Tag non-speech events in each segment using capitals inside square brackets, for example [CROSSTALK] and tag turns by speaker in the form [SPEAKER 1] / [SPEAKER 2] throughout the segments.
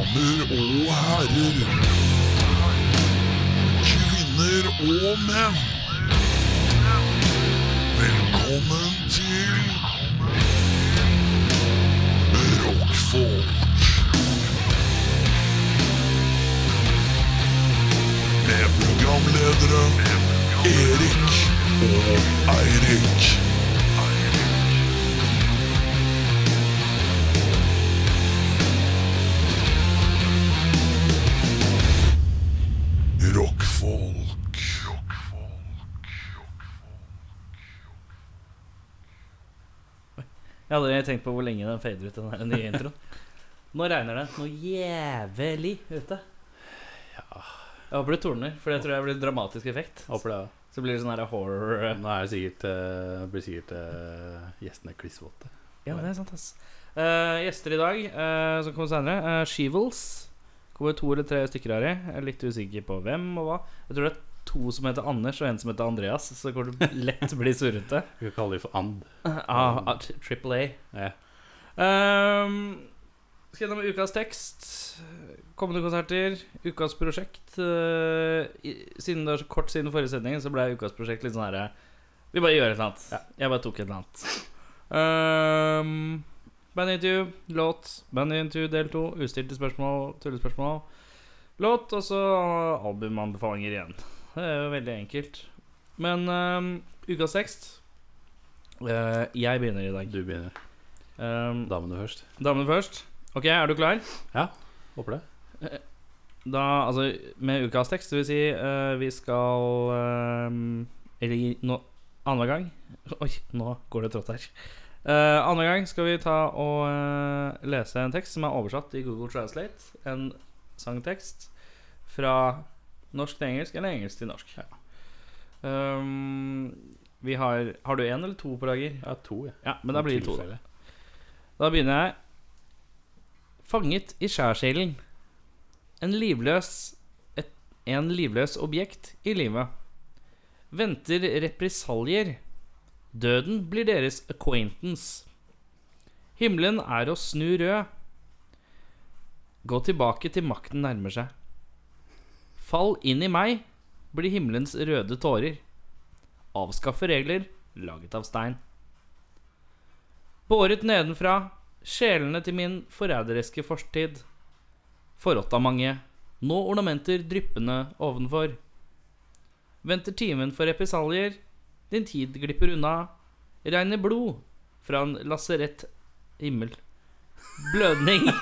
[SPEAKER 1] og herrer. Kvinner og menn. Velkommen til Rockfolk. Med programledere Erik og Eirik. Rockfolk.
[SPEAKER 2] Jeg hadde tenkt på hvor lenge den fader ut, den her nye introen. Nå regner det noe jævlig ute. Jeg håper det torner, for det tror jeg blir dramatisk effekt.
[SPEAKER 3] Håper det.
[SPEAKER 2] Så blir det sånn her horror
[SPEAKER 3] ja. Nå er det sikkert, eh, blir sikkert eh, gjestene klissvåte.
[SPEAKER 2] Ja, det er sant, ass. Eh, gjester i dag, eh, som kommer senere. eh, Shivels. Kommer to eller tre stykker her i. Jeg er litt usikker på hvem og hva. Jeg tror det er to som heter Anders, og en som heter Andreas. Så det kommer til å lett bli surrete.
[SPEAKER 3] Vi kan kalle dem for and.
[SPEAKER 2] [LAUGHS] Ah, ah, tri- Triple A.
[SPEAKER 3] Ja.
[SPEAKER 2] Ehm, skal gjennom ukas tekst, kommende konserter, ukas prosjekt. Eh, i- siden det er så kort siden forrige sending, så ble ukas prosjekt litt sånn herre Vi bare gjør et eller annet.
[SPEAKER 3] Ja.
[SPEAKER 2] Jeg bare tok et eller annet. Um, Bandintervju, låt, bandintervju del to, ustilte spørsmål, tullespørsmål, låt, og så albumanbefalinger igjen. Det er jo veldig enkelt. Men ehm, ukas tekst Eh, Jeg begynner i dag.
[SPEAKER 3] Du begynner.
[SPEAKER 2] Um,
[SPEAKER 3] Damene først.
[SPEAKER 2] Damene først. Ok, er du klar?
[SPEAKER 3] Håper det.
[SPEAKER 2] Da, altså, med ukas tekst, det vil si eh, vi skal eh, Eller nå annenhver gang [LAUGHS] Oi, nå går det trått her. Uh, annenhver gang skal vi ta og eh, lese en tekst som er oversatt i Google Translate. En sangtekst fra norsk til engelsk eller engelsk til norsk. Um, vi har Har du én eller to på lager?
[SPEAKER 3] Jeg har to, jeg.
[SPEAKER 2] Ja, men da blir det to. da.
[SPEAKER 3] Tilfelle.
[SPEAKER 2] Da begynner jeg. Fanget i skjærsilden. En livløs et, En livløs objekt i livet. Venter represaljer. Døden blir deres acquaintance. Himmelen er å snu rød. Gå tilbake til makten nærmer seg. Fall inn i meg blir himmelens røde tårer. Avskaffe regler laget av stein. Båret nedenfra, sjelene til min forræderiske fortid. Forrådt av mange, nå ornamenter dryppende ovenfor. Venter timen for represalier, din tid glipper unna. Regner blod fra en laserett himmel. [LAUGHS] Blødning.
[SPEAKER 3] [LAUGHS]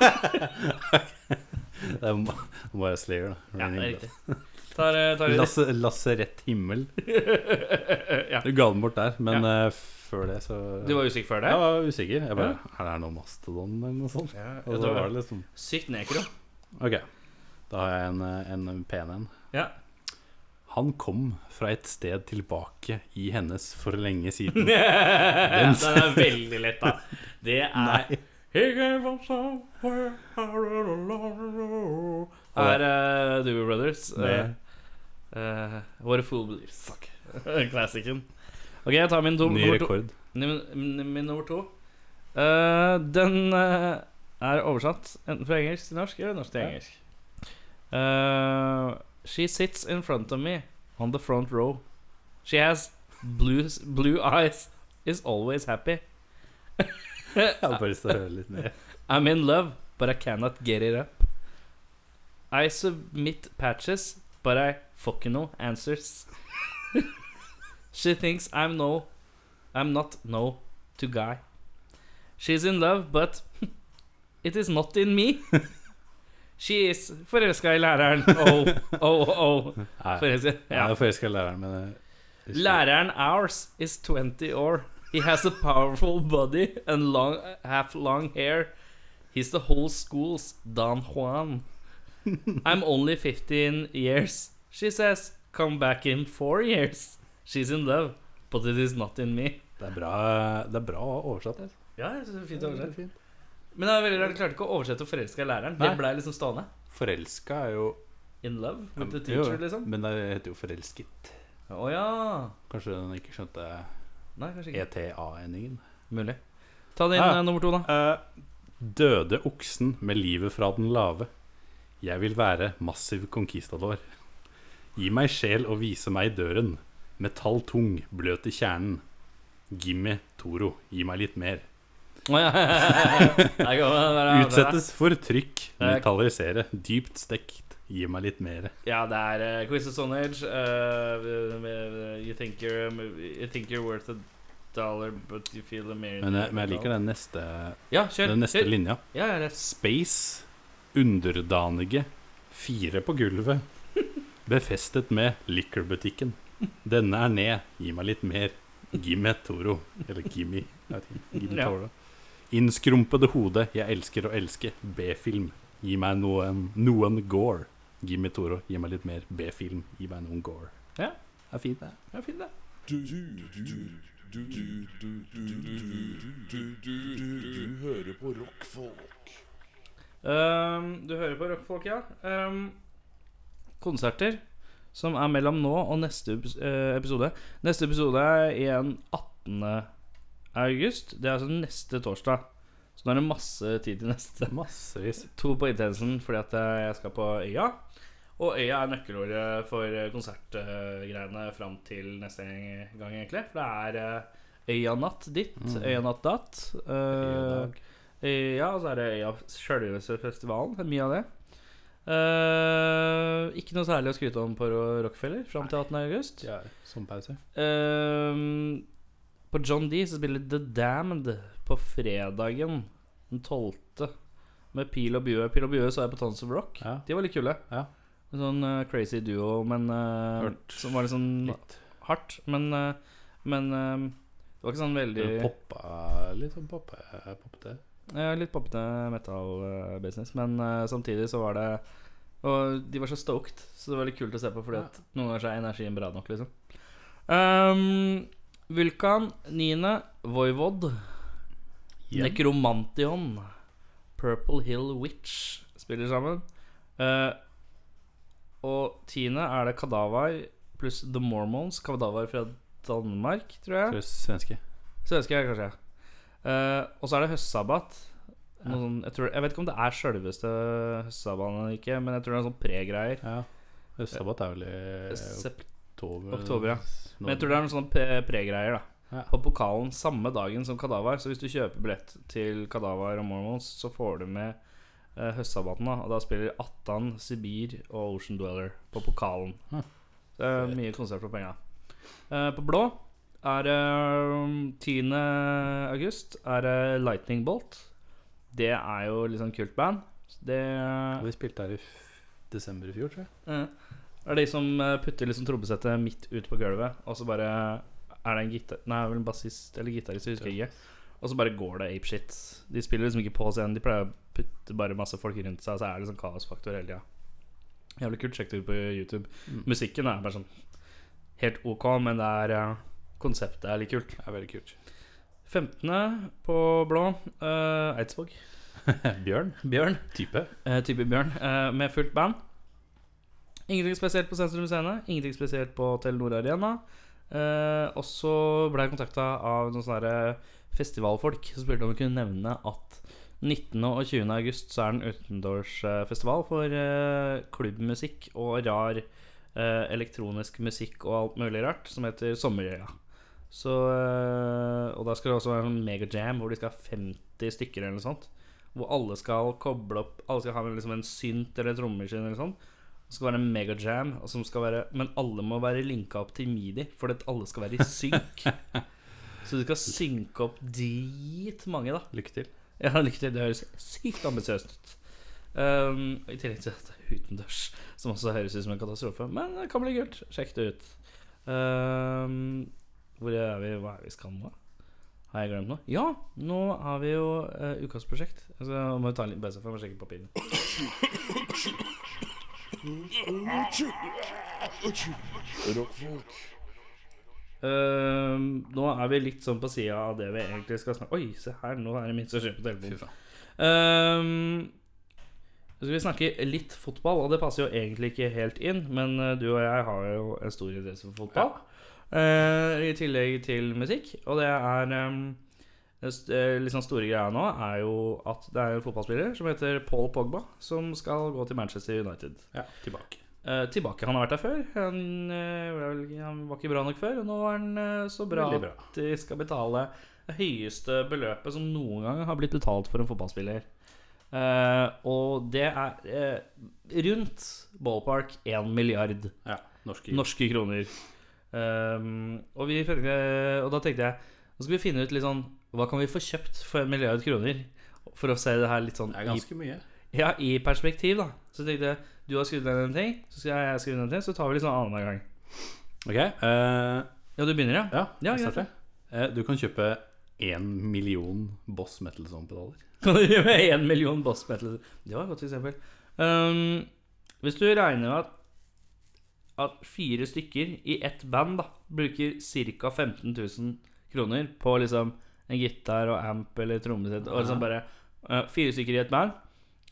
[SPEAKER 3] Det er ma- Nå må jeg slayer, da.
[SPEAKER 2] Ja, det er riktig. Tar, eh, tar vi det.
[SPEAKER 3] Lasse, laserett himmel.
[SPEAKER 2] [LAUGHS] ja.
[SPEAKER 3] Du ga den bort der, men eh, før det, så
[SPEAKER 2] Du var usikker før det?
[SPEAKER 3] Jeg var usikker. Jeg bare Er det noe mastodon eller noe sånt?
[SPEAKER 2] Ja,
[SPEAKER 3] Og så var det liksom
[SPEAKER 2] Sykt nekro.
[SPEAKER 3] Ok. Da har jeg en, eh, en pen en.
[SPEAKER 2] Ja.
[SPEAKER 3] Han kom fra et sted tilbake i hennes for lenge
[SPEAKER 2] [LAUGHS]
[SPEAKER 3] siden.
[SPEAKER 2] Den er veldig lett, da. Det er
[SPEAKER 3] Nei.
[SPEAKER 2] He gave up somewhere Er uh, Doobie Brothers. Uh,
[SPEAKER 3] Det-
[SPEAKER 2] uh, What a fool believes. Fuck. [LAUGHS] Classicen. Ok, jeg tar min, to,
[SPEAKER 3] Ny
[SPEAKER 2] nummer, to,
[SPEAKER 3] rekord.
[SPEAKER 2] min, min, min nummer to. Eh, den eh, er oversatt enten fra engelsk til norsk eller norsk til
[SPEAKER 3] Ja.
[SPEAKER 2] engelsk. Eh, she sits in front of me on the front row. She has blue, blue eyes, is always happy.
[SPEAKER 3] Jeg har bare lyst til å høre litt mer.
[SPEAKER 2] I'm in love, but I cannot get it up. I submit patches, but I fucking no answers. [LAUGHS] she thinks I'm no, I'm not no to guy. She's in love, but [LAUGHS] it is not in me. [LAUGHS] She is forelska i læreren. Oh, oh, oh.
[SPEAKER 3] Nei,
[SPEAKER 2] Forelska.
[SPEAKER 3] jeg
[SPEAKER 2] Ja.
[SPEAKER 3] er forelska i læreren, men eh, jeg- jeg-
[SPEAKER 2] Læreren ours is 20 år. He has a powerful body and long, half long hair. He's the whole school's Don Juan. I'm only 15 years. She says, come back in four years. She's in love, but it is not in me.
[SPEAKER 3] Det er bra, det er bra oversatt. Altså.
[SPEAKER 2] Ja, det er fint
[SPEAKER 3] Det er fint.
[SPEAKER 2] Mm. Men det er veldig rart, du klarte ikke å oversette 'forelska i læreren'. Det
[SPEAKER 3] Nei.
[SPEAKER 2] ble liksom stående.
[SPEAKER 3] Forelska er jo
[SPEAKER 2] In love with the
[SPEAKER 3] Jo,
[SPEAKER 2] teacher, liksom.
[SPEAKER 3] Men det heter jo forelsket.
[SPEAKER 2] Å ja.
[SPEAKER 3] Kanskje den ikke skjønte E
[SPEAKER 2] Nei, kanskje ikke.
[SPEAKER 3] ETA-endingen.
[SPEAKER 2] Mulig. Ta din
[SPEAKER 3] Ja.
[SPEAKER 2] [LAUGHS] eh, nummer to, da.
[SPEAKER 3] Eh, døde oksen med livet fra den lave. Jeg vil være massiv conquistador. Gi meg sjel og vise meg døren. Metall tung, bløt i kjernen. Gimme, Toro, gi meg litt mer. Utsettes for trykk, metallisere. Dypt stekt, gi meg litt mer.
[SPEAKER 2] Ja, det er eh, Quiz of Stone Age. eh, you, think you're, you think you're worth a dollar, but you feel a million.
[SPEAKER 3] Men jeg, men jeg liker den neste,
[SPEAKER 2] Ja, kjør.
[SPEAKER 3] den neste
[SPEAKER 2] kjør.
[SPEAKER 3] linja.
[SPEAKER 2] Ja, ja, rett.
[SPEAKER 3] Space, underdanige, fire på
[SPEAKER 2] [LAUGHS]
[SPEAKER 3] gulvet. Befestet med likørbutikken. Denne er ned, gi meg litt mer. Gimme Toro. Eller Gimmi. jeg vet ikke. Gimme
[SPEAKER 2] Ja.
[SPEAKER 3] Toro. Innskrumpede hode, jeg elsker å elske. B-film. Gi meg noen, noen gore. Gimme Toro, gi meg litt mer. B-film, gi meg noen gore.
[SPEAKER 2] Ja.
[SPEAKER 3] Det er fint, det.
[SPEAKER 2] Ja, fint, det.
[SPEAKER 1] Du, du, du, du, du, du, du, du, du, du, du hører på rockfolk.
[SPEAKER 2] Ehm, du hører på rockfolk, ja. Ehm, konserter som er mellom nå og neste epis- eh, episode. Neste episode er igjen 18. august. Det er altså neste torsdag. Så nå er det masse tid til neste.
[SPEAKER 3] Massevis.
[SPEAKER 2] To på Intensen fordi at eh, jeg skal på Øya. Og Øya er nøkkelordet for eh, konsertgreiene eh, fram til neste gang, egentlig. For det er eh, Øyanatt ditt, Øyanatt datt. eh, Eh, Ja, og så er det Øya sjølveste festivalen. det er Mye av det. Eh, ikke noe særlig å skryte om på Ro- Rockefeller fram til 18. august.
[SPEAKER 3] Ja, som pause.
[SPEAKER 2] Eh, på John D så spiller The Damned på fredagen den 12. med Pil og Bue. Pil og Bue så jeg på Tons of Rock.
[SPEAKER 3] Ja.
[SPEAKER 2] De var litt kule.
[SPEAKER 3] Ja.
[SPEAKER 2] En sånn eh, crazy duo, men eh,
[SPEAKER 3] Hørt
[SPEAKER 2] som var litt sånn
[SPEAKER 3] Litt.
[SPEAKER 2] hardt. Men, eh, men eh, det var ikke sånn veldig
[SPEAKER 3] Poppa litt sånn poppa, poppete.
[SPEAKER 2] Ja, Eh, litt poppete metal-business, men eh, samtidig så var det Og de var så stoked, så det var litt kult å se på, fordi at noen ganger så er energien bra nok, liksom. Ehm, Vulkan, Nine, Voivod,
[SPEAKER 3] Igjen.
[SPEAKER 2] Necromantion, Purple Hill Witch spiller sammen. Eh, og tiende er det Kadavar pluss The Mormons. Kadavar fra Danmark, tror jeg.
[SPEAKER 3] Tror jeg Svenske.
[SPEAKER 2] Svenske, kanskje. Eh, og så er det høstsabbat. Noe sånn, jeg, tror, jeg vet ikke om det er sjølveste høstsabbaten eller ikke, men jeg tror det er sånn pre-greier.
[SPEAKER 3] Ja. Sabbat er vel i
[SPEAKER 2] Sep-
[SPEAKER 3] oktober.
[SPEAKER 2] oktober, ja. Men jeg tror det er noen sånne pre- pre-greier, da.
[SPEAKER 3] Ja.
[SPEAKER 2] På pokalen samme dagen som Kadavar. Så hvis du kjøper billett til Kadavar og Mormons, så får du med uh, høstsabbaten, da. Og da spiller Attan, Sibir og Ocean Dweller på pokalen.
[SPEAKER 3] Ja.
[SPEAKER 2] Så det er mye konsert for penga. Eh, på blå er det 10. august er det Lightning Bolt. Det er jo litt sånn kult band. Så Det
[SPEAKER 3] Vi spilte her i f- desember i fjor, tror jeg.
[SPEAKER 2] Eh, Det er de som eh, putter liksom trommesettet midt ut på gulvet, og så bare er det en gitar... Nei, vel en bassist eller gitarist, jeg husker ikke. Og så bare går det apeshit. De spiller liksom ikke på scenen, de pleier å putte bare masse folk rundt seg, så er det liksom kaosfaktor hele tida. Jævlig kult. Sjekk det ut på YouTube.
[SPEAKER 3] Mm.
[SPEAKER 2] Musikken er bare sånn helt ok, men det er eh, Konseptet er litt kult.
[SPEAKER 3] Det er veldig [LAUGHS] kult.
[SPEAKER 2] 15. på blå, eh, Eidsvåg.
[SPEAKER 3] Bjørn?
[SPEAKER 2] Bjørn.
[SPEAKER 3] Type?
[SPEAKER 2] Eh, type Bjørn, eh, med fullt band. Ingenting spesielt på Sentrum Scene, ingenting spesielt på Telenor Arena. Eh, og så ble jeg kontakta av noen sånne her eh, festivalfolk som spurte om vi kunne nevne at 19. og 20. august så er det en utendørsfestival for eh, klubbmusikk og rar eh, elektronisk musikk og alt mulig rart, som heter Sommerøya. Så, eh, og da skal det også være en megajam hvor de skal ha 50 stykker eller noe sånt. Hvor alle skal koble opp Alle skal ha en- liksom en synt eller trommaskin eller sånn. Det skal være en megajam, og som skal være, men alle må være linka opp til midi, fordi at alle skal være i synk. Så du skal synke opp dritmange, da.
[SPEAKER 3] Lykke til.
[SPEAKER 2] Ja, lykke til. Det høres sykt ambisiøst ut. Um, I tillegg til at det er utendørs, som også høres ut som en katastrofe. Men det kan bli kult. Sjekk det ut. Um, hvor er vi? Hva er vi skal nå? Har jeg glemt noe? Ja, nå har vi jo uh, ukas prosjekt. Altså, jeg må jo ta en liten pause for jeg må sjekke papirene.
[SPEAKER 1] Rockfolk.
[SPEAKER 2] Um, nå er vi litt sånn på sida av det vi egentlig skal snakke Oi, se her, nå er det minst som skjer på telefonen.
[SPEAKER 3] Fy faen.
[SPEAKER 2] Ehm, Så skal vi snakke litt fotball, og det passer jo egentlig ikke helt inn, men eh, du og jeg har jo en stor interesse for fotball. Eh, I tillegg til musikk, og det er ehm, Den st- eh, liksom store greia nå er jo at det er en fotballspiller som heter Paul Pogba, som skal gå til Manchester United.
[SPEAKER 3] Ja, tilbake.
[SPEAKER 2] Eh, tilbake. Han har vært der før. Han, eh, var vel- han var ikke bra nok før, og nå er han eh, så bra,
[SPEAKER 3] Veldig bra.
[SPEAKER 2] at de skal betale det høyeste beløpet som noen gang har blitt betalt for en fotballspiller. Eh, og det er eh, rundt ballpark 1 milliard
[SPEAKER 3] Ja, norske
[SPEAKER 2] norske kroner. Ehm, og, vi, følte- og da tenkte jeg Nå skal vi finne ut litt sånn Hva kan vi få kjøpt for en milliard kroner? For å se det her litt sånn
[SPEAKER 3] Det er
[SPEAKER 2] i
[SPEAKER 3] ganske mye.
[SPEAKER 2] ja, i perspektiv, da. Så tenkte jeg du har skrevet ned en ting, så skal jeg skrive ned en ting. Så tar vi litt sånn annenhver gang.
[SPEAKER 3] Ok, eh,
[SPEAKER 2] Ja, du begynner, ja?
[SPEAKER 3] ja,
[SPEAKER 2] Ja,
[SPEAKER 3] jeg
[SPEAKER 2] greit.
[SPEAKER 3] starter. Eh, du kan kjøpe én million Boss Metal-pedaler.
[SPEAKER 2] [LAUGHS] Kan du gjøre med én million boss metal? Det var et godt eksempel. Ehm, hvis du regner med at, at fire stykker i ett band da bruker ca. 15 000 kroner på liksom en gitar og amp eller trommesett og liksom bare eh, Fire stykker i et band,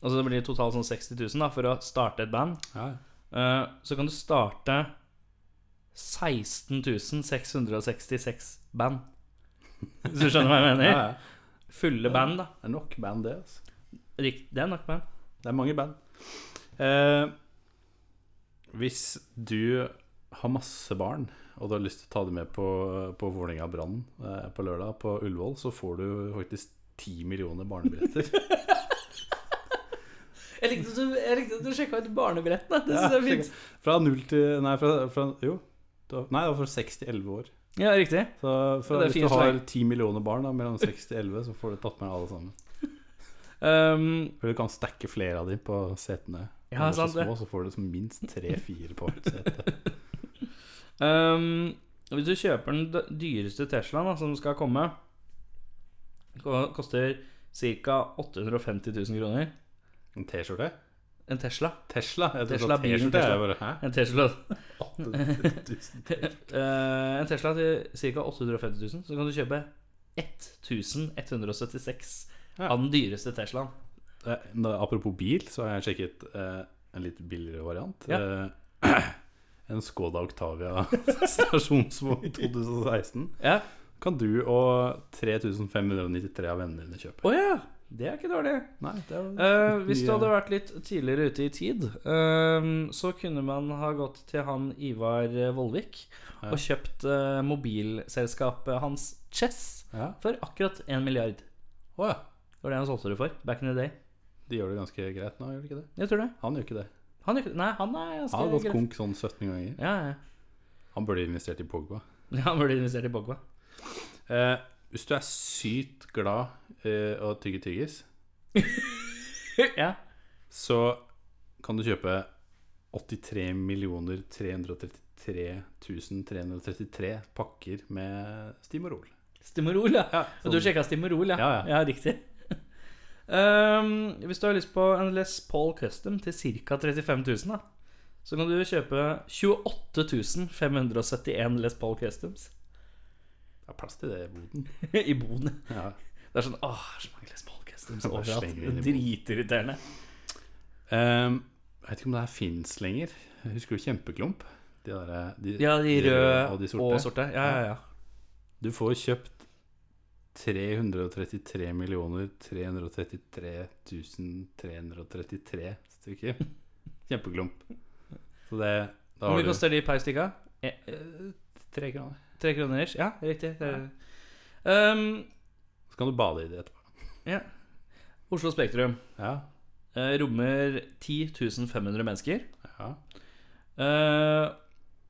[SPEAKER 2] og så blir det totalt sånn 60 000 da, for å starte et band.
[SPEAKER 3] Ja, ja.
[SPEAKER 2] Eh, Så kan du starte 16.666 band. Hvis du skjønner hva jeg
[SPEAKER 3] ja,
[SPEAKER 2] mener?
[SPEAKER 3] ja.
[SPEAKER 2] Fulle band, da.
[SPEAKER 3] Det er nok band, det. altså.
[SPEAKER 2] Rikt, det er nok band.
[SPEAKER 3] Det er mange band. Eh, hvis du har masse barn, og du har lyst til å ta dem med på, på Vålerenga Brann eh, på lørdag på Ullevål, så får du faktisk ti millioner barnebilletter.
[SPEAKER 2] Jeg likte at du, jeg likte at du sjekka ut barnebrettene. [LAUGHS] Det
[SPEAKER 3] Ja,
[SPEAKER 2] synes jeg er fint.
[SPEAKER 3] Fra null til Nei, fra, fra, jo. Da- Nei, det var fra 6 til 11 år.
[SPEAKER 2] Ja, riktig.
[SPEAKER 3] Så
[SPEAKER 2] Ja,
[SPEAKER 3] fra,
[SPEAKER 2] det er
[SPEAKER 3] hvis
[SPEAKER 2] fint
[SPEAKER 3] du har
[SPEAKER 2] slag.
[SPEAKER 3] 10 millioner barn da, mellom 6 til 11, så får du tatt med alle sammen.
[SPEAKER 2] Ehm,
[SPEAKER 3] For du kan stacke flere av dem på setene.
[SPEAKER 2] Ja,
[SPEAKER 3] Når de er så
[SPEAKER 2] sant det.
[SPEAKER 3] små, Så får du så minst 3-4 på hvert sete.
[SPEAKER 2] ehm, hvis du kjøper den d- dyreste Teslaen da, som skal komme, ko- koster ca. 850 000 kroner.
[SPEAKER 3] En T-skjorte?
[SPEAKER 2] En Tesla.
[SPEAKER 3] Tesla? Jeg tror
[SPEAKER 2] Tesla,
[SPEAKER 3] det var
[SPEAKER 2] bilen
[SPEAKER 3] T-skjorte,
[SPEAKER 2] Tesla.
[SPEAKER 3] jeg bare, hæ?
[SPEAKER 2] En Tesla
[SPEAKER 3] 8000.
[SPEAKER 2] Eh, en Tesla til ca. 850 000, så kan du kjøpe 1176
[SPEAKER 3] Ja.
[SPEAKER 2] av den dyreste Teslaen.
[SPEAKER 3] Eh, nå, Apropos bil, så har jeg sjekket eh, en litt billigere variant. Eh, [CLEARS THROAT] en Skoda Octavia [LAUGHS] stasjonsvogn 2016.
[SPEAKER 2] Ja.
[SPEAKER 3] Kan du og 3593 av vennene dine kjøpe?
[SPEAKER 2] Å ja! Det er ikke dårlig.
[SPEAKER 3] Nei, det er jo
[SPEAKER 2] Eh, hvis du
[SPEAKER 3] Mye-
[SPEAKER 2] hadde vært litt tidligere ute i tid, eh, så kunne man ha gått til han Ivar Vollvik
[SPEAKER 3] Ja.
[SPEAKER 2] og kjøpt eh, mobilselskapet hans Chess
[SPEAKER 3] ja.
[SPEAKER 2] for akkurat 1 milliard.
[SPEAKER 3] Å ja.
[SPEAKER 2] Det var det han solgte det for back in the day.
[SPEAKER 3] De gjør det ganske greit nå, gjør de ikke det?
[SPEAKER 2] Jeg tror det.
[SPEAKER 3] Han gjør ikke det.
[SPEAKER 2] Han, er ikke- nei, han er
[SPEAKER 3] Han har
[SPEAKER 2] ganske
[SPEAKER 3] gått konk sånn 17 ganger.
[SPEAKER 2] Ja, ja.
[SPEAKER 3] Han burde investert i Pogba.
[SPEAKER 2] ja, Han burde investert i Pogba.
[SPEAKER 3] Eh, hvis du er sykt glad eh, og tygger tyggis,
[SPEAKER 2] ja.
[SPEAKER 3] så kan du kjøpe 83 333 333 pakker med Stimorol.
[SPEAKER 2] Stimorol, ja.
[SPEAKER 3] Ja,
[SPEAKER 2] Og Du sjekka Stimorol, ja.
[SPEAKER 3] Ja, ja.
[SPEAKER 2] riktig. [LAUGHS] Ehm, hvis du har lyst på en Les Paul Custom til ca. 35 000, da, så kan du kjøpe 28 571 Les Paul Customs [LAUGHS]
[SPEAKER 3] det er plass til det i boden.
[SPEAKER 2] i boden.
[SPEAKER 3] Ja.
[SPEAKER 2] Det er sånn Åh, så mange Les Paul Customs
[SPEAKER 3] Bare
[SPEAKER 2] overalt.
[SPEAKER 3] slenger inn i boden.
[SPEAKER 2] Dritirriterende.
[SPEAKER 3] Eh, jeg vet ikke om det her fins lenger. Jeg husker du Kjempeklump? De der, de,
[SPEAKER 2] Ja, de røde og, sorte.
[SPEAKER 3] sorte.
[SPEAKER 2] Ja, ja, ja.
[SPEAKER 3] Du får kjøpt 333 millioner 333 333 stykker. Kjempeklump. Så det Da
[SPEAKER 2] Hvor
[SPEAKER 3] har
[SPEAKER 2] mye
[SPEAKER 3] du
[SPEAKER 2] koster de per stykka? Eh,
[SPEAKER 3] tre kroner.
[SPEAKER 2] Tre kroner ish? Ja, riktig. Det er- Ehm,
[SPEAKER 3] Så kan du bade i det etterpå.
[SPEAKER 2] Oslo Spektrum
[SPEAKER 3] Ja.
[SPEAKER 2] eh, rommer 10 500 mennesker.
[SPEAKER 3] ja.
[SPEAKER 2] Eh,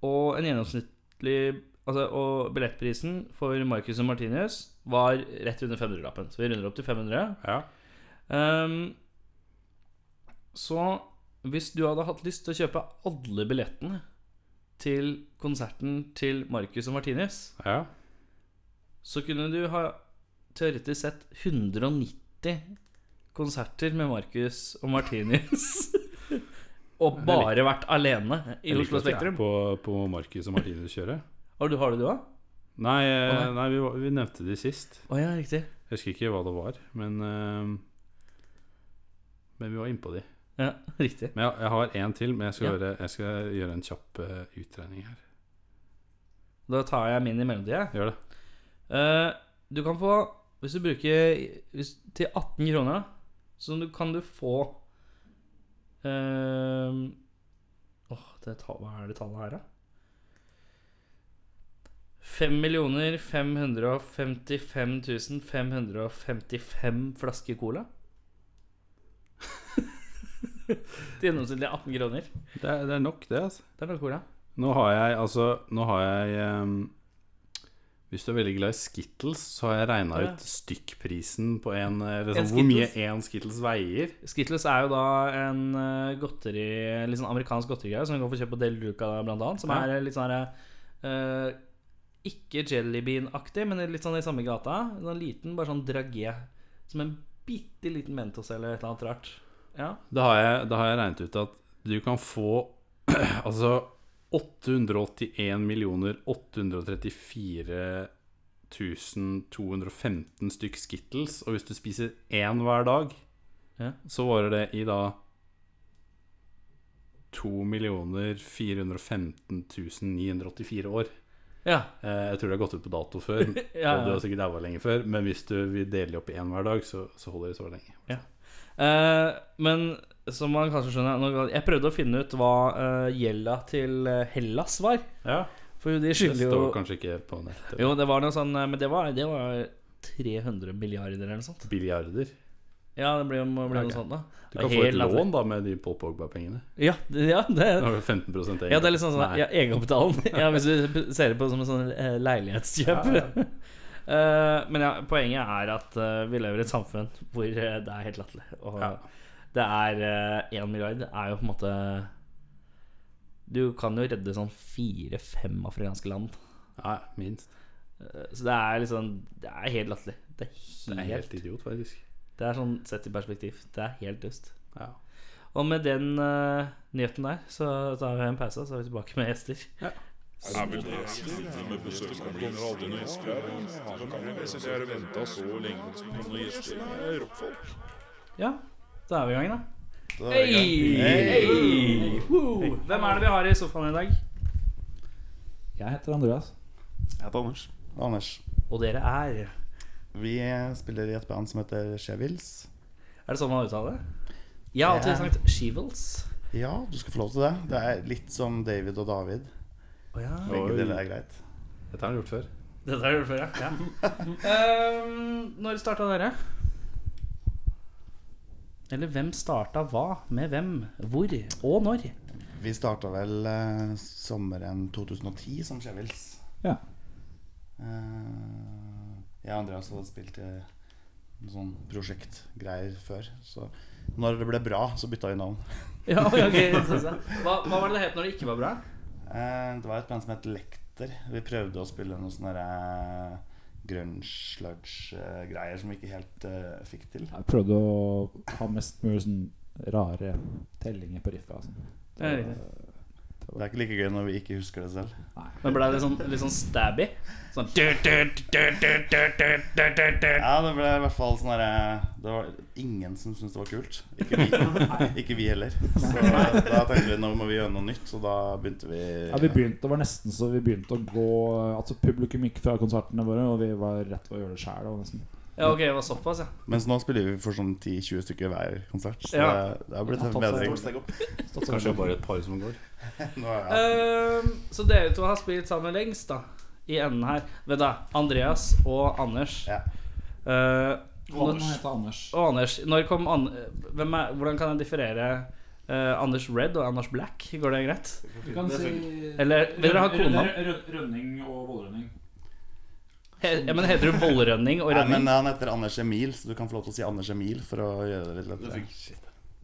[SPEAKER 2] og en gjennomsnittlig altså, Og billettprisen for Marcus og Martinez var rett under 500-lappen. Så vi runder opp til 500.
[SPEAKER 3] ja.
[SPEAKER 2] Ehm, så hvis du hadde hatt lyst til å kjøpe alle billettene til konserten til Marcus og Martinez,
[SPEAKER 3] ja.
[SPEAKER 2] så kunne du ha teoretisk sett 190 konserter med Marcus og
[SPEAKER 3] [LAUGHS]
[SPEAKER 2] Martinez. og
[SPEAKER 3] Jeg liker-
[SPEAKER 2] bare vært alene i
[SPEAKER 3] Jeg liker
[SPEAKER 2] Oslo
[SPEAKER 3] at vi er
[SPEAKER 2] Spektrum.
[SPEAKER 3] På, på Marcus og Martinus kjøret.
[SPEAKER 2] Har du, har du det òg?
[SPEAKER 3] Nei, eh,
[SPEAKER 2] Å,
[SPEAKER 3] nei vi, var- vi nevnte de sist.
[SPEAKER 2] Å ja, riktig.
[SPEAKER 3] Jeg husker ikke hva det var, men eh, Men vi var innpå de.
[SPEAKER 2] Ja, riktig.
[SPEAKER 3] Men jeg, jeg har en til, men jeg skal,
[SPEAKER 2] Ja.
[SPEAKER 3] gjøre, jeg skal gjøre en kjapp eh, utregning her.
[SPEAKER 2] Da tar jeg min i mellomtida.
[SPEAKER 3] Gjør det.
[SPEAKER 2] Eh, du kan få Hvis du bruker hvis, til 18 kroner, så du, kan du få ehm, Åh, det ta- hva er det tallet her, da? 5 555 555 flasker cola. til gjennomsnittlig 18 kroner.
[SPEAKER 3] Det er, det er nok, det, altså.
[SPEAKER 2] Det er da cola.
[SPEAKER 3] Nå har jeg altså Nå har jeg ehm, Hvis du er veldig glad i Skittles, så har jeg regna
[SPEAKER 2] Ja.
[SPEAKER 3] ut stykkprisen på en eller
[SPEAKER 2] En
[SPEAKER 3] sånn, Hvor mye
[SPEAKER 2] Skittles?
[SPEAKER 3] én Skittles veier.
[SPEAKER 2] Skittles er jo da en eh, godteri Litt sånn amerikansk godterigreie som du kan få kjøpt på Del Luca blant annet. Som
[SPEAKER 3] Ja.
[SPEAKER 2] er litt sånn uh, Ikke jellybean-aktig, men litt sånn i samme gata. En liten, bare sånn dragé. Som en bitte liten Mentos eller et eller annet rart. Ja.
[SPEAKER 3] Da har jeg, da har jeg regnet ut at du kan få [CLEARS THROAT] Altså 881 834 215 stykk Skittles, og hvis du spiser én hver dag,
[SPEAKER 2] Ja.
[SPEAKER 3] så varer det i da 2 415 984 år.
[SPEAKER 2] ja.
[SPEAKER 3] Eh, Jeg tror det har gått ut på
[SPEAKER 2] [LAUGHS]
[SPEAKER 3] dato før, og
[SPEAKER 2] ja.
[SPEAKER 3] du har sikkert daua lenge før, men hvis du vil dele opp i én hver dag, så, så holder det så lenge.
[SPEAKER 2] Eh, men som man kanskje skjønner nå- Jeg prøvde å finne ut hva eh, gjelda til eh, Hellas var.
[SPEAKER 3] Ja,
[SPEAKER 2] For de
[SPEAKER 3] Det
[SPEAKER 2] skylder
[SPEAKER 3] står
[SPEAKER 2] jo
[SPEAKER 3] kanskje ikke på nettet.
[SPEAKER 2] Jo, det var noe sånn eh, Men det var, det var 300 milliarder eller noe sånt.
[SPEAKER 3] Billiarder.
[SPEAKER 2] Ja, det blir, må bli
[SPEAKER 3] Ok.
[SPEAKER 2] noe sånt, da.
[SPEAKER 3] Du kan få et lån da med de Paul
[SPEAKER 2] [LAUGHS]
[SPEAKER 3] Pogba-pengene.
[SPEAKER 2] Ja, det, ja, det,
[SPEAKER 3] [LAUGHS] Da har du 15 egen.
[SPEAKER 2] ja, det er litt sånn sånn
[SPEAKER 3] Nei.
[SPEAKER 2] ja, egenkapitalen.
[SPEAKER 3] [LAUGHS]
[SPEAKER 2] ja, hvis du ser det på som en sånn eh, leilighetskjøp.
[SPEAKER 3] Ja,
[SPEAKER 2] [LAUGHS] Eh, men ja, poenget er at eh, vi lever i et samfunn hvor eh, det er helt latterlig. Og
[SPEAKER 3] Ja.
[SPEAKER 2] det er én milliard er jo på en måte Du kan jo redde sånn fire-fem afrikanske land.
[SPEAKER 3] Nei, minst.
[SPEAKER 2] Eh, Så det er liksom Det er helt latterlig. Det er helt,
[SPEAKER 3] Det er helt idiot, faktisk.
[SPEAKER 2] det er sånn sett i perspektiv. Det er helt dust.
[SPEAKER 3] Ja.
[SPEAKER 2] Og med den eh, nyheten der, så tar vi en pause, og så er vi tilbake med gjester.
[SPEAKER 1] Er vi gjester med besøk som blir aldri noen gjester her? Her kan vi sitte her og vente så lenge på noen gjester. Det er rockfolk.
[SPEAKER 2] Ja, da er vi i gang, da.
[SPEAKER 4] Da er vi i gang.
[SPEAKER 2] Hei! Hei! Woo! Hvem er det vi har i sofaen i dag?
[SPEAKER 5] Jeg heter Andreas.
[SPEAKER 4] Jeg heter Anders. Anders.
[SPEAKER 2] Og dere er
[SPEAKER 4] Vi spiller i et band som heter Chevils.
[SPEAKER 2] Er det sånn man uttaler det? Jeg har alltid
[SPEAKER 4] Det er-
[SPEAKER 2] sagt Shevels.
[SPEAKER 4] Ja, du skal få lov til det. Det er litt som David og David.
[SPEAKER 2] Å ja.
[SPEAKER 4] Begge
[SPEAKER 3] Oi.
[SPEAKER 4] deler er greit.
[SPEAKER 3] Dette har han gjort før.
[SPEAKER 2] Dette har jeg gjort før, ja. [LAUGHS] Ehm, når starta dere? Eller hvem starta hva? Med hvem? Hvor? Og når?
[SPEAKER 4] Vi starta vel eh, sommeren 2010 som Chevils.
[SPEAKER 5] Ja.
[SPEAKER 4] Eh, jeg og Andreas hadde spilt i noen sånn prosjektgreier før. Så når det ble bra, så bytta vi navn.
[SPEAKER 2] [LAUGHS] Ja, ok, det synes jeg. Hva, hva var det det het når det ikke var bra?
[SPEAKER 4] Eh, det var et band som het Lekter. Vi prøvde å spille noen sånne uh, grunge-sludge-greier eh, som vi ikke helt eh, fikk til.
[SPEAKER 5] Jeg prøvde å ha mest mulig sånn rare tellinger på riffet. Altså.
[SPEAKER 2] Det er riktig.
[SPEAKER 4] Det er ikke like gøy når vi ikke husker det selv.
[SPEAKER 2] Men ble det sånn, litt sånn stabby? Sånn du, du, du, du, du, du, du, du, du.
[SPEAKER 4] Ja, det ble i hvert fall sånn derre Det var ingen som syntes det var kult. Ikke vi, ikke vi heller. Så da tenkte vi nå må vi gjøre noe nytt, så da begynte vi
[SPEAKER 5] Ja, vi begynte, det var nesten så vi begynte å gå Altså Publikum gikk fra konsertene våre, og vi var rett ved å gjøre det sjæl.
[SPEAKER 2] Ja, ok, det var såpass, ja.
[SPEAKER 4] Mens nå spiller vi for sånn 10-20 stykker hver konsert. Så
[SPEAKER 2] Ja.
[SPEAKER 4] det, det har blitt
[SPEAKER 5] Ja,
[SPEAKER 4] en
[SPEAKER 5] tatt seg
[SPEAKER 4] bedring.
[SPEAKER 5] et stort
[SPEAKER 3] Kanskje det er bare et par som går.
[SPEAKER 4] [LAUGHS] Nå, ja.
[SPEAKER 2] Ehm, så dere to har spilt sammen lengst, da. I enden her. Vet du, Andreas og Anders.
[SPEAKER 4] Ja.
[SPEAKER 2] Ehm,
[SPEAKER 5] Han heter Anders.
[SPEAKER 2] og Anders, når kom An hvem er, hvordan kan jeg differere eh, Anders Red og Anders Black? Går det greit?
[SPEAKER 5] Du kan si
[SPEAKER 2] Eller vil dere ha kona?
[SPEAKER 5] Rønning og Vålrønning.
[SPEAKER 2] He ja, men heter du Vollrønning og
[SPEAKER 4] Nei, men eh,
[SPEAKER 2] Rønning?
[SPEAKER 4] han heter Anders Emil, så du kan få lov til å si Anders Emil for å gjøre det litt lettere.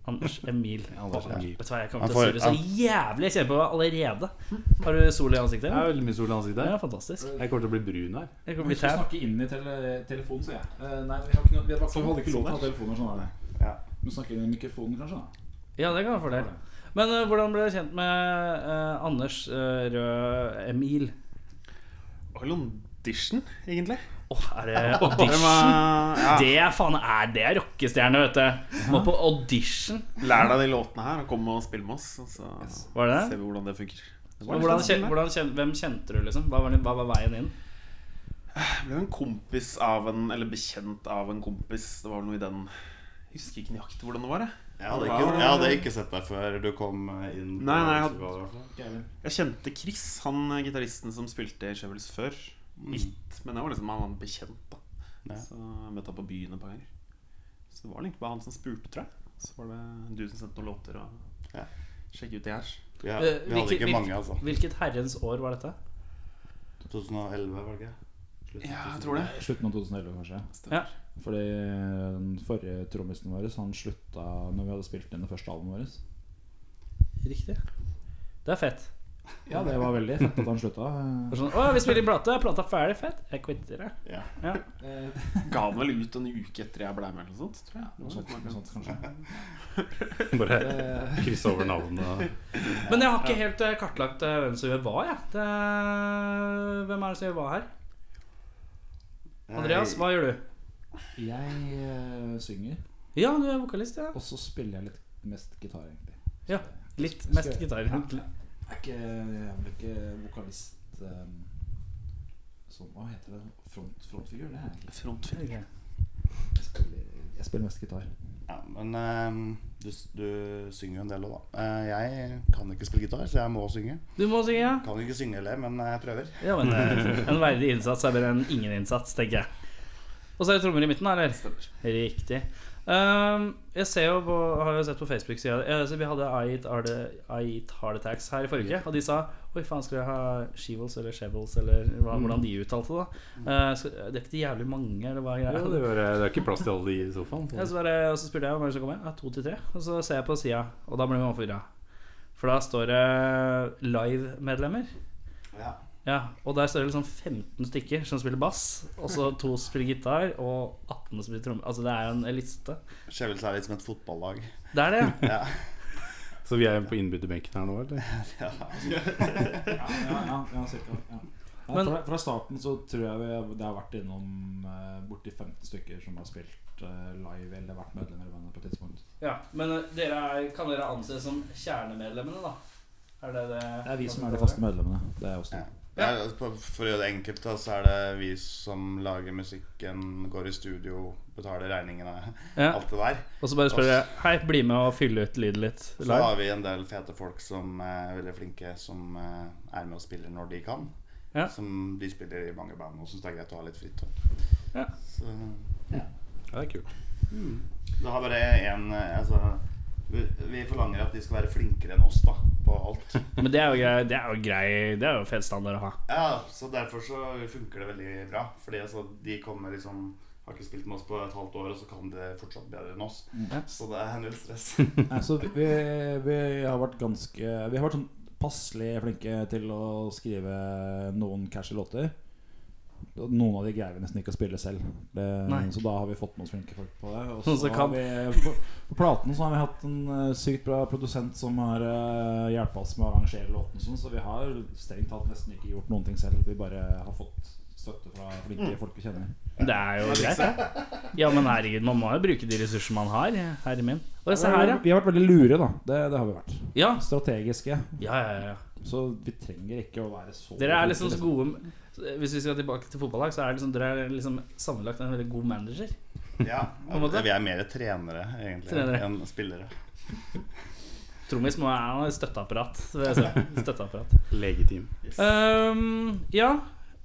[SPEAKER 2] Anders Emil.
[SPEAKER 3] Anders
[SPEAKER 2] Åh,
[SPEAKER 3] Emil.
[SPEAKER 2] Vet du hva, jeg kommer
[SPEAKER 4] eh, Han
[SPEAKER 2] til å
[SPEAKER 4] får-
[SPEAKER 2] surre så jævlig. Jeg kjenner på det allerede. Har du sol i ansiktet?
[SPEAKER 3] Det
[SPEAKER 2] eller?
[SPEAKER 3] er veldig mye sol i ansiktet.
[SPEAKER 2] Ja,
[SPEAKER 3] her.
[SPEAKER 2] fantastisk.
[SPEAKER 3] Jeg kommer til å bli brun her. [LAUGHS]
[SPEAKER 2] Jeg kommer
[SPEAKER 5] Vi
[SPEAKER 2] til å bli
[SPEAKER 5] skal
[SPEAKER 2] tær.
[SPEAKER 5] snakke inn i tele telefonen, sier jeg. Eh, nei, vi har ikke noe, vi hadde, vi hadde ikke lov til å ha telefoner sånn. er det.
[SPEAKER 4] Ja.
[SPEAKER 5] Men snakke inn i mikrofonen, kanskje? da
[SPEAKER 2] Ja, det kan være fordel. Men eh, hvordan ble du kjent med eh, Anders eh, Rød Emil?
[SPEAKER 6] All audition, egentlig.
[SPEAKER 2] Åh,
[SPEAKER 6] [LAUGHS]
[SPEAKER 2] er det audition? Det er faen er det er rockestjerne, vet du. Må på audition.
[SPEAKER 6] Lær deg de låtene her, og kom og spill med oss. Og så
[SPEAKER 2] Var det
[SPEAKER 6] ser
[SPEAKER 2] det?
[SPEAKER 6] vi hvordan det funker. Det var
[SPEAKER 2] Men
[SPEAKER 6] litt
[SPEAKER 2] Hvordan,
[SPEAKER 6] sånn,
[SPEAKER 2] kjen- hvordan, kjen- hvem kjente du, liksom? Hva var, din- hva var veien inn?
[SPEAKER 6] da. ble en kompis av en Eller bekjent av en kompis. Det var vel noe i den jeg Husker ikke nøyaktig hvordan det var. Jeg.
[SPEAKER 4] Jeg hadde ikke, jeg hadde ikke sett deg før du kom inn. på
[SPEAKER 6] Nei, nei, jeg hadde-
[SPEAKER 4] festivaler, i hvert fall.
[SPEAKER 6] jeg kjente Chris, han eh, gitaristen som spilte i Shovels før. Litt. Men jeg var liksom han var bekjent, da.
[SPEAKER 4] Ja.
[SPEAKER 6] Så jeg møtte han på byen et par ganger. Så det var egentlig bare han som spurte, tror jeg. Så var det du som sendte noen låter og
[SPEAKER 4] Ja.
[SPEAKER 6] sjekket ut det her.
[SPEAKER 4] Ja,
[SPEAKER 2] Eh,
[SPEAKER 4] vi hadde
[SPEAKER 2] hvilke-
[SPEAKER 4] ikke mange, altså.
[SPEAKER 2] Hvilket herrens år var dette?
[SPEAKER 4] 2011, var det ikke? Slutten
[SPEAKER 6] Ja,
[SPEAKER 4] av
[SPEAKER 6] jeg tror det.
[SPEAKER 5] Slutten av 2011, kanskje.
[SPEAKER 2] Ja.
[SPEAKER 5] Fordi eh, den forrige trommisen vår han slutta når vi hadde spilt inn det første albumet vårt.
[SPEAKER 2] Riktig. Det er fett.
[SPEAKER 5] Ja, det var veldig fett at han slutta. [LAUGHS]
[SPEAKER 2] Det er sånn, Å, vi spiller inn plate. Er plata ferdig? Fett. Jeg quitter, jeg.
[SPEAKER 4] Ja.
[SPEAKER 2] Ja.
[SPEAKER 5] Eh,
[SPEAKER 6] Ga den vel ut en uke etter jeg ble med, eller noe sånt. Tror jeg.
[SPEAKER 5] Noe sånt, noe sånt, kanskje. Eh,
[SPEAKER 3] Bare krysse over navnet.
[SPEAKER 2] Men jeg har ikke helt eh, kartlagt eh, hvem som gjør hva, jeg. Det... er- Hvem er det som gjør hva her? Andreas, hva gjør du?
[SPEAKER 5] Jeg eh, synger,
[SPEAKER 2] Ja, du er vokalist, ja.
[SPEAKER 5] og så spiller jeg litt mest gitar, egentlig.
[SPEAKER 2] Ja, Litt mest gitar.
[SPEAKER 5] Ja, Jeg er, ikke, jeg er vel ikke vokalist um, Sånn, hva heter det? Front, frontfigur? Det er jeg ikke.
[SPEAKER 6] Frontfilm.
[SPEAKER 2] Ok.
[SPEAKER 5] Jeg spiller, jeg spiller mest gitar.
[SPEAKER 4] Ja, men eh, du, du synger jo en del òg, da. Eh, jeg kan ikke spille gitar, så jeg må synge.
[SPEAKER 2] Du må synge, ja.
[SPEAKER 4] Kan ikke synge heller, men jeg prøver.
[SPEAKER 2] Ja, men eh, [LAUGHS] En verdig innsats er bedre enn ingen innsats, tenker jeg. Og så er det trommer i midten, eller?
[SPEAKER 6] Stemmer.
[SPEAKER 2] Riktig. Ehm, jeg ser jo på, har jo sett på Facebook-sida eh, så Vi hadde Ait Hard Attacks her i forrige uke, og de sa Oi, faen, skal vi ha Shevels eller Shevels, eller hva, hvordan de uttalte det? da Eh, skal, Det er ikke jævlig mange, eller hva er
[SPEAKER 3] Ja,
[SPEAKER 2] greia?
[SPEAKER 3] det, var, det er ikke plass til alle de i sofaen.
[SPEAKER 2] Ja, så bare, og så spurte jeg om hvem som kom med. Ja, to til tre. Og så ser jeg på sida, og da blir man forvirra. For da står det live-medlemmer.
[SPEAKER 4] Ja.
[SPEAKER 2] Ja, Og der står det liksom 15 stykker som spiller bass, og så to som spiller gitar, og 18 som spiller trommer. Altså det er jo en liste.
[SPEAKER 4] Skjevelse er litt som et fotballag.
[SPEAKER 2] Det er det, ja.
[SPEAKER 4] Ja.
[SPEAKER 3] Så vi er på innbytterbenken her nå, eller?
[SPEAKER 5] Ja, ja, ja, cirka, ja. Nei,
[SPEAKER 2] Men-
[SPEAKER 5] fra, fra starten så tror jeg vi, det har vært innom eh, borti 15 stykker som har spilt eh, live eller vært medlemmer i bandet på et tidspunkt.
[SPEAKER 2] ja. Men eh, dere er, kan dere anses som kjernemedlemmene, da? Er det det
[SPEAKER 5] Det er vi som er de faste medlemmene. Det er oss to.
[SPEAKER 4] Ja. Ja, altså, på- for å gjøre det enkelt, da, så er det vi som lager musikken, går i studio, betaler regningene,
[SPEAKER 2] Ja.
[SPEAKER 4] alt det der.
[SPEAKER 2] Og så bare spør jeg Hei, bli med og fylle ut lyden litt
[SPEAKER 4] Så
[SPEAKER 2] live.
[SPEAKER 4] har vi en del fete folk som eh, er veldig flinke, som eh, er med og spiller når de kan.
[SPEAKER 2] Ja.
[SPEAKER 4] Som de spiller i mange band og syns det er greit å ha litt fritt. da.
[SPEAKER 2] Ja.
[SPEAKER 4] Så
[SPEAKER 3] Ja, det er kult.
[SPEAKER 4] det har bare én Altså, vi, vi forlanger at de skal være flinkere enn oss, da, på alt.
[SPEAKER 2] [LAUGHS] Men det er jo grei, det er jo, grei, det er jo en fet standard å ha.
[SPEAKER 4] Ja, så derfor så funker det veldig bra. Fordi altså, de kommer liksom har ikke spilt med oss på et halvt år, og så kan det fortsatt bedre enn oss.
[SPEAKER 5] Mm.
[SPEAKER 2] Ja.
[SPEAKER 4] Så det er null
[SPEAKER 2] [LAUGHS]
[SPEAKER 4] stress.
[SPEAKER 5] Nei, så vi, vi har vært ganske Vi har vært sånn passelig flinke til å skrive noen cashy låter. Og Noen av de greier vi nesten ikke å spille selv. Det,
[SPEAKER 2] Nei.
[SPEAKER 5] så da har vi fått med oss flinke folk på det.
[SPEAKER 2] Noen
[SPEAKER 5] Og så
[SPEAKER 2] som
[SPEAKER 5] har
[SPEAKER 2] kan.
[SPEAKER 5] vi, på, på platen så har vi hatt en eh, sykt bra produsent som har uh, hjulpet oss med å arrangere låten. og Sånn, så vi har strengt tatt nesten ikke gjort noen ting selv. Vi bare har fått støtte fra flinke
[SPEAKER 2] Mm.
[SPEAKER 5] folk vi kjenner.
[SPEAKER 2] Det er jo greit, det. Ja, men herregud, man må jo bruke de ressurser man har. Herre min. Og se her, ja.
[SPEAKER 5] Vi har vært veldig lure, da. Det, det har vi vært.
[SPEAKER 2] Ja,
[SPEAKER 5] Strategiske.
[SPEAKER 2] ja, ja, ja.
[SPEAKER 5] Så vi trenger ikke å være så
[SPEAKER 2] Dere er liksom så gode Hvis vi skal tilbake til fotballag, så er liksom, dere er liksom sammenlagt en veldig god manager.
[SPEAKER 4] ja,
[SPEAKER 2] en måte.
[SPEAKER 4] Vi er mer trenere egentlig
[SPEAKER 2] Trenere.
[SPEAKER 4] enn spillere.
[SPEAKER 2] Trommis må ha et støtteapparat. vil jeg si. Støtteapparat.
[SPEAKER 3] Legeteam.
[SPEAKER 2] Ehm, ja.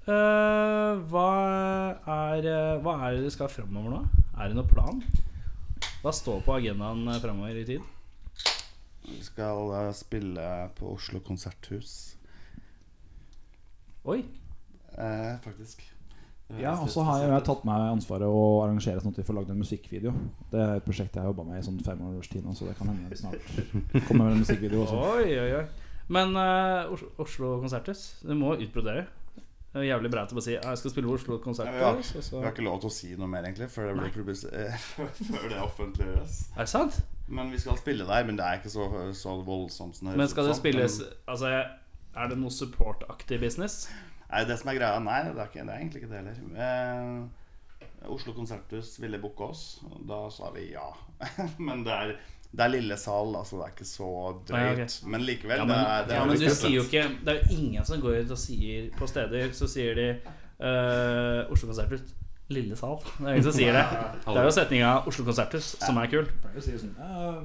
[SPEAKER 2] Eh, hva er eh, Hva er det dere skal framover nå? Er det noen plan? Hva står på agendaen framover i tid?
[SPEAKER 4] Vi skal eh, spille på Oslo Konserthus,
[SPEAKER 2] Oi.
[SPEAKER 4] eh, faktisk.
[SPEAKER 5] Ja, og så har jeg, jeg har tatt meg ansvaret å arrangere sånn at vi får lagd en musikkvideo. Det er et prosjekt jeg har jobba med i sånn fem års tid nå, så det kan hende vi snart kommer med en musikkvideo også.
[SPEAKER 2] Oi, oi, oi. Men eh, Os- Oslo Konserthus, du må utbrodere. Det er jævlig bra til å bare si «Ja, 'Jeg skal spille på Oslo
[SPEAKER 4] Ja,
[SPEAKER 2] Konserthus'. og så-
[SPEAKER 4] Vi har ikke lov til å si noe mer egentlig før det, blir publis- [LAUGHS] eh, før det offentliggjøres.
[SPEAKER 2] Er det sant?
[SPEAKER 4] Men vi skal spille der, men det er ikke så, så voldsomt. som det høres
[SPEAKER 2] Men
[SPEAKER 4] ut
[SPEAKER 2] skal det
[SPEAKER 4] som.
[SPEAKER 2] spilles Altså, er det noe supportaktig business?
[SPEAKER 4] Nei, det som er greia Nei, det er, ikke, det er egentlig ikke det heller. Eh, Oslo Konserthus ville booke oss, og da sa vi ja. [LAUGHS] men det er, det er lille sal, altså det er ikke så drøyt.
[SPEAKER 2] Nei,
[SPEAKER 4] Men likevel,
[SPEAKER 2] Ja, men,
[SPEAKER 4] det er, det er
[SPEAKER 2] ja, men du
[SPEAKER 4] veldig
[SPEAKER 2] sier jo
[SPEAKER 4] fett.
[SPEAKER 2] ikke Det er jo ingen som går ut og sier på steder Så sier de eh, eh, Oslo Konserthus. Lille sal. Det er ingen som sier det. Det er jo setninga Oslo Konserthus som er kul.
[SPEAKER 5] Jeg pleier å si sånn «Ja,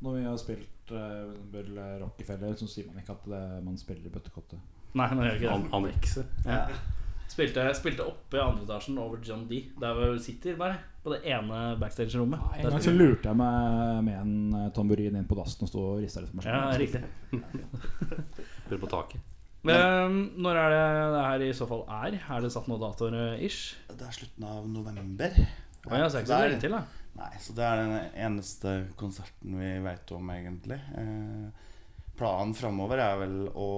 [SPEAKER 5] Når vi har spilt uh, Bøll Rockefeller, så sier man ikke at det, man spiller i bøttekottet.
[SPEAKER 2] Nei, nå gjør jeg ikke det.
[SPEAKER 3] An annekset.
[SPEAKER 2] Spilte, spilte oppe i andre etasjen over John D. Der hvor vi sitter, bare. På det ene backstage-rommet.
[SPEAKER 5] En
[SPEAKER 2] Der
[SPEAKER 5] gang så
[SPEAKER 2] spilte-
[SPEAKER 5] lurte jeg meg med en eh, tamburin inn på dassen og sto og rista litt på meg
[SPEAKER 2] Ja,
[SPEAKER 5] selv.
[SPEAKER 2] riktig.
[SPEAKER 3] Dere på taket.
[SPEAKER 2] Ehm, når er det det her i så fall er? Er det satt noen datoer eh, ish?
[SPEAKER 4] Det er slutten av november.
[SPEAKER 2] Å ja, så er det ikke så
[SPEAKER 4] Der-
[SPEAKER 2] lenge til, da.
[SPEAKER 4] Nei, så det er den eneste konserten vi veit om, egentlig. Eh, planen framover er vel å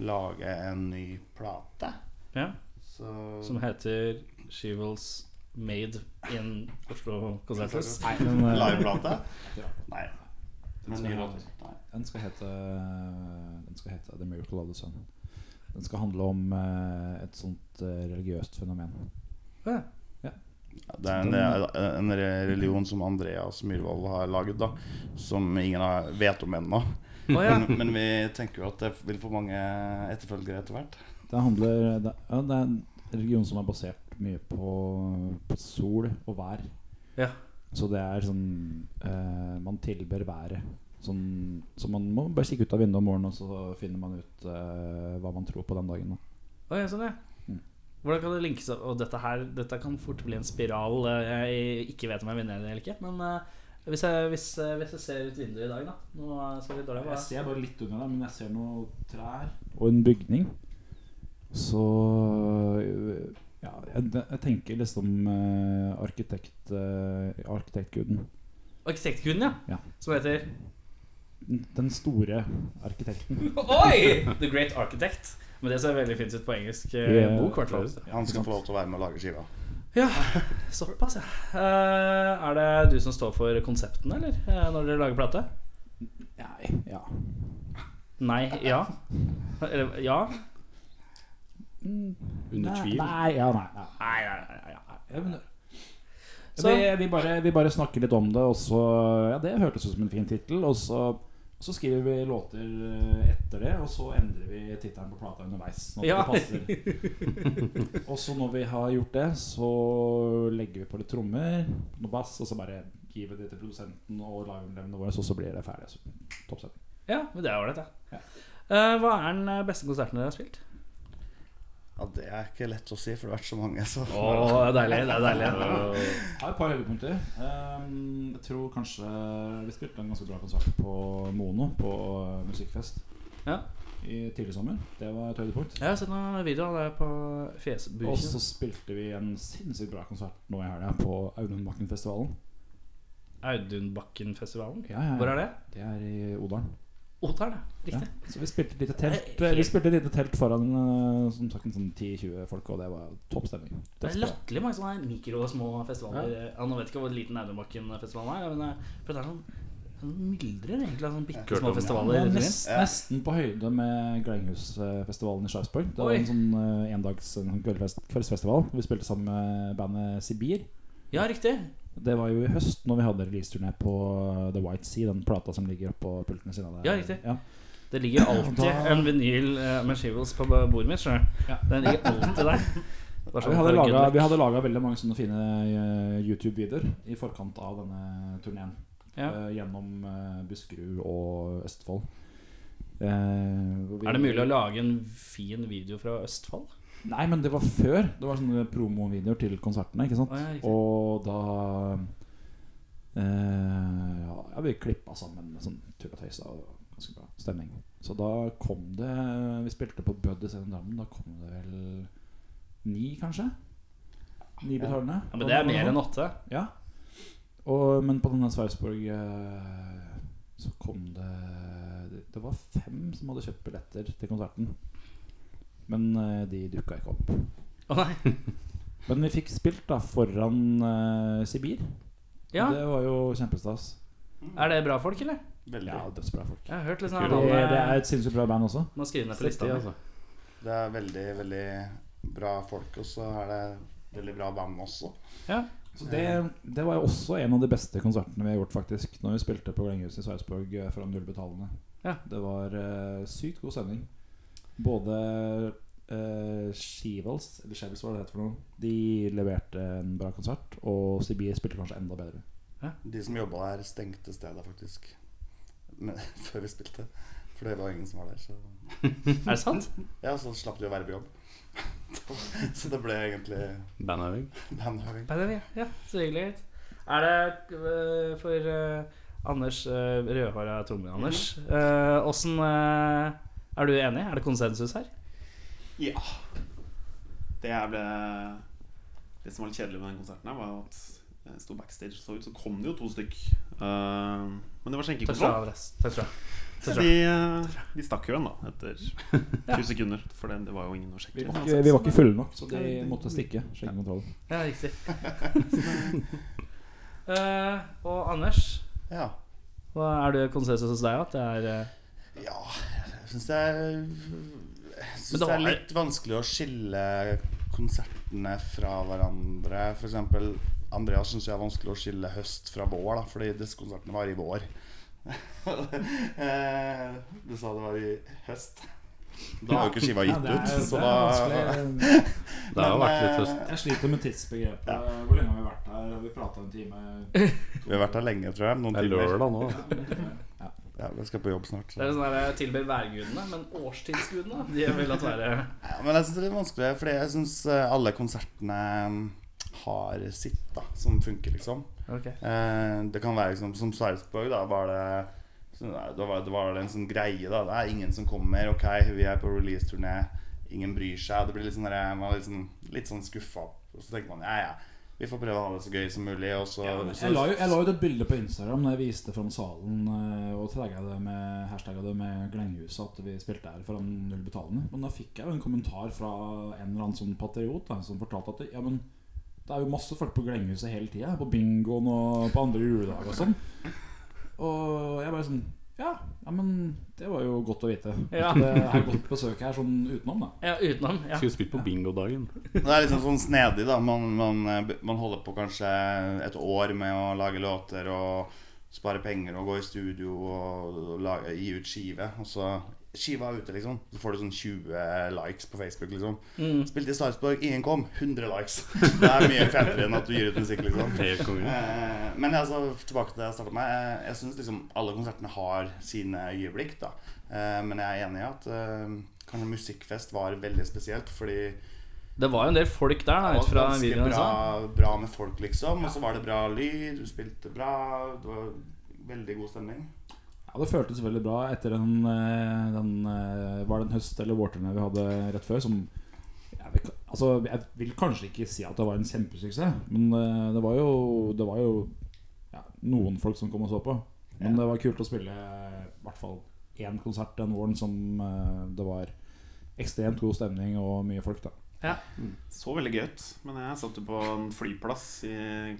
[SPEAKER 4] lage en ny plate.
[SPEAKER 2] Ja.
[SPEAKER 4] Så
[SPEAKER 2] Som heter She Was Made in Oslo Konserthus.
[SPEAKER 4] Nei,
[SPEAKER 5] Men, eh,
[SPEAKER 4] Liveplate? Nei. Men eh,
[SPEAKER 5] nye
[SPEAKER 4] nye
[SPEAKER 5] låter.
[SPEAKER 4] Nei.
[SPEAKER 5] Den skal hete Den skal hete The Miracle of the Sun. Den skal handle om eh, et sånt eh, religiøst fenomen.
[SPEAKER 4] Det er en, det er en re- religion som Andreas Myhrvold har laget, da. Som ingen har- vet om ennå.
[SPEAKER 2] Å ja.
[SPEAKER 4] Men, [LAUGHS] men vi tenker jo at det vil få mange etterfølgere etter hvert.
[SPEAKER 5] Det handler det, ja, det er en religion som er basert mye på, på sol og vær.
[SPEAKER 2] Ja.
[SPEAKER 5] Så det er sånn eh, Man tilber været. Sånn, så man må bare kikke ut av vinduet om morgenen, og så finner man ut eh, hva man tror på den dagen. Da.
[SPEAKER 2] Å ja, sånn, ja. Hvordan kan det linkes opp? Og dette her dette kan fort bli en spiral eh, jeg ikke vet om jeg vinner eller ikke. Men eh, hvis, jeg, hvis, eh, hvis jeg ser ut vinduet i dag, da Nå eh, skal vi dårlig
[SPEAKER 5] Jeg
[SPEAKER 2] hva-
[SPEAKER 5] ser bare litt under deg, men jeg ser noen trær og en bygning. Så øh, ja, jeg, jeg tenker liksom eh, arkitekt, eh, arkitektguden.
[SPEAKER 2] Arkitektguden, ja.
[SPEAKER 5] Ja.
[SPEAKER 2] Som heter
[SPEAKER 5] Den den store arkitekten.
[SPEAKER 2] Oi! [LAUGHS] The Great Architect. Men det ser veldig fint ut på engelsk eh,
[SPEAKER 5] Ja.
[SPEAKER 2] bok, i hvert fall.
[SPEAKER 4] Han skal få lov til å være med og lage skiva.
[SPEAKER 2] Ja, såpass, ja. Eh, er det du som står for konseptene, eller? eh, når dere lager plate?
[SPEAKER 5] Nei, ja.
[SPEAKER 2] Nei, ja. Eller ja?
[SPEAKER 3] Under
[SPEAKER 5] Nei,
[SPEAKER 3] tvil.
[SPEAKER 5] Nei, ja, nei, nei.
[SPEAKER 2] Nei, nei, nei. nei, nei.
[SPEAKER 5] Ja, men-
[SPEAKER 2] Så-
[SPEAKER 5] vi, vi, bare, vi bare snakker litt om det, og så Ja, det hørtes ut som en fin tittel, og så så skriver vi låter eh, etter det, og så endrer vi tittelen på plata underveis. Når
[SPEAKER 2] Ja.
[SPEAKER 5] det passer [LAUGHS] Og så når vi har gjort det, så legger vi på litt trommer, noe bass, og så bare gir vi det til produsenten og livelemene våre, så, så blir det ferdig. Så, toppsetting.
[SPEAKER 2] Ja, men det er ålreit,
[SPEAKER 5] Ja.
[SPEAKER 2] ja. Eh, hva er den eh, beste konserten dere har spilt?
[SPEAKER 4] Ja, Det er ikke lett å si, for det har vært så mange. Så.
[SPEAKER 2] Å, det er deilig. det er deilig
[SPEAKER 5] Jeg har et par høydepunkter. Ehm, jeg tror kanskje vi spilte en ganske bra konsert på Mono, på eh, musikkfest.
[SPEAKER 2] Ja.
[SPEAKER 5] i tidlig sommer. Det var et høydepunkt.
[SPEAKER 2] Jeg har sett noen videoer der på
[SPEAKER 5] Og så
[SPEAKER 2] Fjesbuken.
[SPEAKER 5] spilte vi en sinnssykt bra konsert nå i helga på Audunbakken-festivalen.
[SPEAKER 2] Audunbakkenfestivalen.
[SPEAKER 5] Ja, ja, ja.
[SPEAKER 2] Hvor er det?
[SPEAKER 5] Det er i Odalen.
[SPEAKER 2] Otar, det.
[SPEAKER 5] Ja.
[SPEAKER 2] Riktig.
[SPEAKER 5] Så vi spilte et lite telt eh,
[SPEAKER 2] Nei, helt-
[SPEAKER 5] Vi spilte et lite telt foran eh, Som sagt en sånn 10-20 folk, og det var topp stemning.
[SPEAKER 2] Det er
[SPEAKER 5] Dødsbra.
[SPEAKER 2] latterlig mange sånne her mikro og små festivaler. Ja. nå vet jeg ikke hvor liten Audunbakken-festivalen er, men eh, for det er sånn den myldrer egentlig av sånne bitte
[SPEAKER 3] Hørt om
[SPEAKER 2] små
[SPEAKER 3] det.
[SPEAKER 5] Det
[SPEAKER 2] festivaler.
[SPEAKER 5] var
[SPEAKER 2] rundt omkring.
[SPEAKER 5] nest, nesten på høyde med Glenghusfestivalen i Sarpsborg. Det var
[SPEAKER 2] Oi.
[SPEAKER 5] en sånn eh, endags en sånn kveldsfest, kveldsfestival. Vi spilte sammen med bandet Sibir.
[SPEAKER 2] Ja, riktig.
[SPEAKER 5] Det var jo i høst når vi hadde releaseturné på eh, The White Sea, den plata som ligger oppå pultene sine der.
[SPEAKER 2] Ja, riktig.
[SPEAKER 5] Ja.
[SPEAKER 2] Det ligger alltid
[SPEAKER 5] Da-
[SPEAKER 2] en vinyl eh, med Shivels på bordet mitt. skjønner du.
[SPEAKER 5] Ja.
[SPEAKER 2] Den ligger alltid
[SPEAKER 5] [LAUGHS]
[SPEAKER 2] der. Bare
[SPEAKER 5] Ja,
[SPEAKER 2] sånn
[SPEAKER 5] Vi hadde,
[SPEAKER 2] for good
[SPEAKER 5] laget,
[SPEAKER 2] luck.
[SPEAKER 5] vi hadde laget veldig mange sånne fine eh, YouTube-videoer i forkant av denne turneen.
[SPEAKER 2] Ja.
[SPEAKER 5] gjennom eh, Buskerud og Østfold. Eh, hvor vi-
[SPEAKER 2] Er det mulig å lage en fin video fra Østfold?
[SPEAKER 5] Nei, men det var før. Det var sånne promovideoer til konsertene. ikke sant?
[SPEAKER 2] Å, ja, riktig.
[SPEAKER 5] og da eh, ja, ja, vi klippa sammen med sånn tull og tøys. da, og det var Ganske bra stemning. Så da kom det Vi spilte på Buddy Scene Drammen. Da kom det vel ni, kanskje? Ni betalende.
[SPEAKER 2] Ja, men Det er mer enn åtte.
[SPEAKER 5] Ja. Og, men på denne Sarpsborg eh, så kom det Det var fem som hadde kjøpt billetter til konserten. Men eh, de dukka ikke opp.
[SPEAKER 2] Å nei.
[SPEAKER 5] Men vi fikk spilt da foran eh, Sibir.
[SPEAKER 2] Ja,
[SPEAKER 5] Det var jo kjempestas.
[SPEAKER 2] Er det bra folk, eller?
[SPEAKER 4] [LAUGHS] Veldig.
[SPEAKER 5] Ja, dødsbra folk.
[SPEAKER 2] Jeg har hørt litt
[SPEAKER 5] Det,
[SPEAKER 2] sånn her
[SPEAKER 5] det er
[SPEAKER 2] navn,
[SPEAKER 5] et sinnssykt bra band også.
[SPEAKER 2] eh, Må skrive ned på lista. mi.
[SPEAKER 3] Det, altså.
[SPEAKER 4] Det er veldig, veldig bra folk, og så er det veldig bra band også.
[SPEAKER 2] Ja.
[SPEAKER 5] Så det, det var jo også en av de beste konsertene vi har gjort, faktisk. Når vi spilte på Glenghuset i Sarpsborg eh, foran nullbetalende.
[SPEAKER 2] Ja.
[SPEAKER 5] Det var eh, sykt god stemning. Både eh, Skivals, eller Skjevels, hva det heter for noe, de leverte en bra konsert. Og CB spilte kanskje enda bedre.
[SPEAKER 4] De som jobba der, stengte stedet faktisk Men, [LAUGHS] før vi spilte. For det var ingen som var der. Så
[SPEAKER 2] Er det sant?
[SPEAKER 4] ja, så slapp de å være på jobb. [LAUGHS] så det ble egentlig
[SPEAKER 3] Bandøving.
[SPEAKER 4] bandøving.
[SPEAKER 2] Bare det, Ja, så hyggelig. Er det eh, for eh, Anders uh, rødhåra trommel, Anders.
[SPEAKER 4] Mhm.
[SPEAKER 2] eh, Åssen eh, Er du enig? Er det konsensus her?
[SPEAKER 6] Ja. Det jeg ble Det som var litt kjedelig med den konserten, her var at jeg sto backstage og så ut, så kom det jo to stykk. Eh, men
[SPEAKER 2] Takk skal du
[SPEAKER 6] det var
[SPEAKER 2] ha.
[SPEAKER 6] skjenkekontroll.
[SPEAKER 2] Andreas. Takk skal du ha.
[SPEAKER 6] Så de, eh, de stakk køen, da,
[SPEAKER 5] [LAUGHS]
[SPEAKER 6] etter 20 sekunder. For det, det var jo ingen å sjekke.
[SPEAKER 5] Vi var ikke, vi var ikke fulle nok, så de måtte stikke. Skjengekontrollen.
[SPEAKER 2] Ja, riktig.
[SPEAKER 4] [LAUGHS]
[SPEAKER 2] Eh, og Anders,
[SPEAKER 4] Ja.
[SPEAKER 2] hva er det konsensus hos deg at det er eh,
[SPEAKER 4] Ja, jeg syns det er Jeg
[SPEAKER 2] Men
[SPEAKER 4] syns
[SPEAKER 2] det
[SPEAKER 4] det er
[SPEAKER 2] var-
[SPEAKER 4] litt vanskelig å skille konsertene fra hverandre. For eksempel Andreas syns jeg er vanskelig å skille høst fra vår, da, fordi disse konsertene var i vår. [LAUGHS] Eh, du sa det var i høst. Da har jo ikke skiva gitt ut, så
[SPEAKER 5] [LAUGHS]
[SPEAKER 4] da
[SPEAKER 3] Det har jo
[SPEAKER 4] Men,
[SPEAKER 3] vært litt
[SPEAKER 4] eh,
[SPEAKER 3] høst.
[SPEAKER 5] Jeg sliter med tidsbegrepet. Hvor lenge har vi vært her? Har vi prata en time?
[SPEAKER 4] Vi har vært her lenge, tror jeg. Noen
[SPEAKER 3] Det er
[SPEAKER 4] timer.
[SPEAKER 3] lørdag nå.
[SPEAKER 4] Ja, vi skal på jobb snart.
[SPEAKER 2] Det
[SPEAKER 4] Så.
[SPEAKER 2] er sånn der, eh, tilber værgudene, men årstidsgudene De vil la være
[SPEAKER 4] Ja, men jeg syns det er litt vanskelig, fordi jeg syns alle konsertene mm, har sitt da, som funker, liksom.
[SPEAKER 2] Ok.
[SPEAKER 4] Eh, det kan være liksom, som Sarpsborg, da var det så da var, da var det en sånn greie, da. Det er ingen som kommer. Ok, vi er på release-turné. Ingen bryr seg. Det blir litt sånn der, man var litt sånn, litt sånn skuffa. Og så tenker man ja, ja, vi får prøve å ha det så gøy som mulig. Og så, så
[SPEAKER 5] Jeg la jo jeg la ut et bilde på Instagram da jeg viste fram salen eh, og tagga det med hashtagga det med Glenghuset at vi spilte her foran null betalende. Men da fikk jeg jo en kommentar fra en eller annen sånn patriot da, som fortalte at ja, men det er jo masse folk på Glenghuset hele tida. På bingoen og på andre juledager og sånn. Og jeg bare sånn ja, ja, men det var jo godt å vite.
[SPEAKER 2] Ja.
[SPEAKER 5] At Det er godt besøk her sånn utenom, da.
[SPEAKER 2] Ja, utenom. Ja.
[SPEAKER 3] Skulle spilt på bingodagen.
[SPEAKER 4] Det er liksom sånn snedig, da. Man, man, eh, man holder på kanskje et år med å lage låter og spare penger og gå i studio og, og lage, gi ut skive. Og så Skiva er ute, liksom. Så får du sånn 20 likes på Facebook, liksom. Spilte i Sarpsborg, ingen kom. 100 likes. [LAUGHS] Det er mye fetere enn at du gir ut musikk, liksom.
[SPEAKER 3] Helt konge.
[SPEAKER 4] Eh, Men altså, tilbake til det jeg startet med. Eh, Jeg syns liksom alle konsertene har sine øyeblikk, da. Eh, Men jeg er enig i at eh, kanskje Musikkfest var veldig spesielt, fordi
[SPEAKER 2] Det var jo en del folk der, da, ut fra
[SPEAKER 4] det var
[SPEAKER 2] videoen. altså. jeg så.
[SPEAKER 4] ganske bra, bra med folk, liksom. Og så var det bra lyd, du spilte bra. Det var veldig god stemning.
[SPEAKER 5] Ja, Det føltes veldig bra etter den, eh, den eh, Var det en høst- eller vårturné vi hadde rett før? Som jeg vil, altså, jeg vil kanskje ikke si at det var en kjempesuksess, men eh, det var jo, det var jo ja, noen folk som kom og så på. Men det var kult å spille eh, i hvert fall én konsert den våren som eh, det var ekstremt god stemning og mye folk, da.
[SPEAKER 6] Så veldig gøy ut. Men jeg satt jo på en flyplass i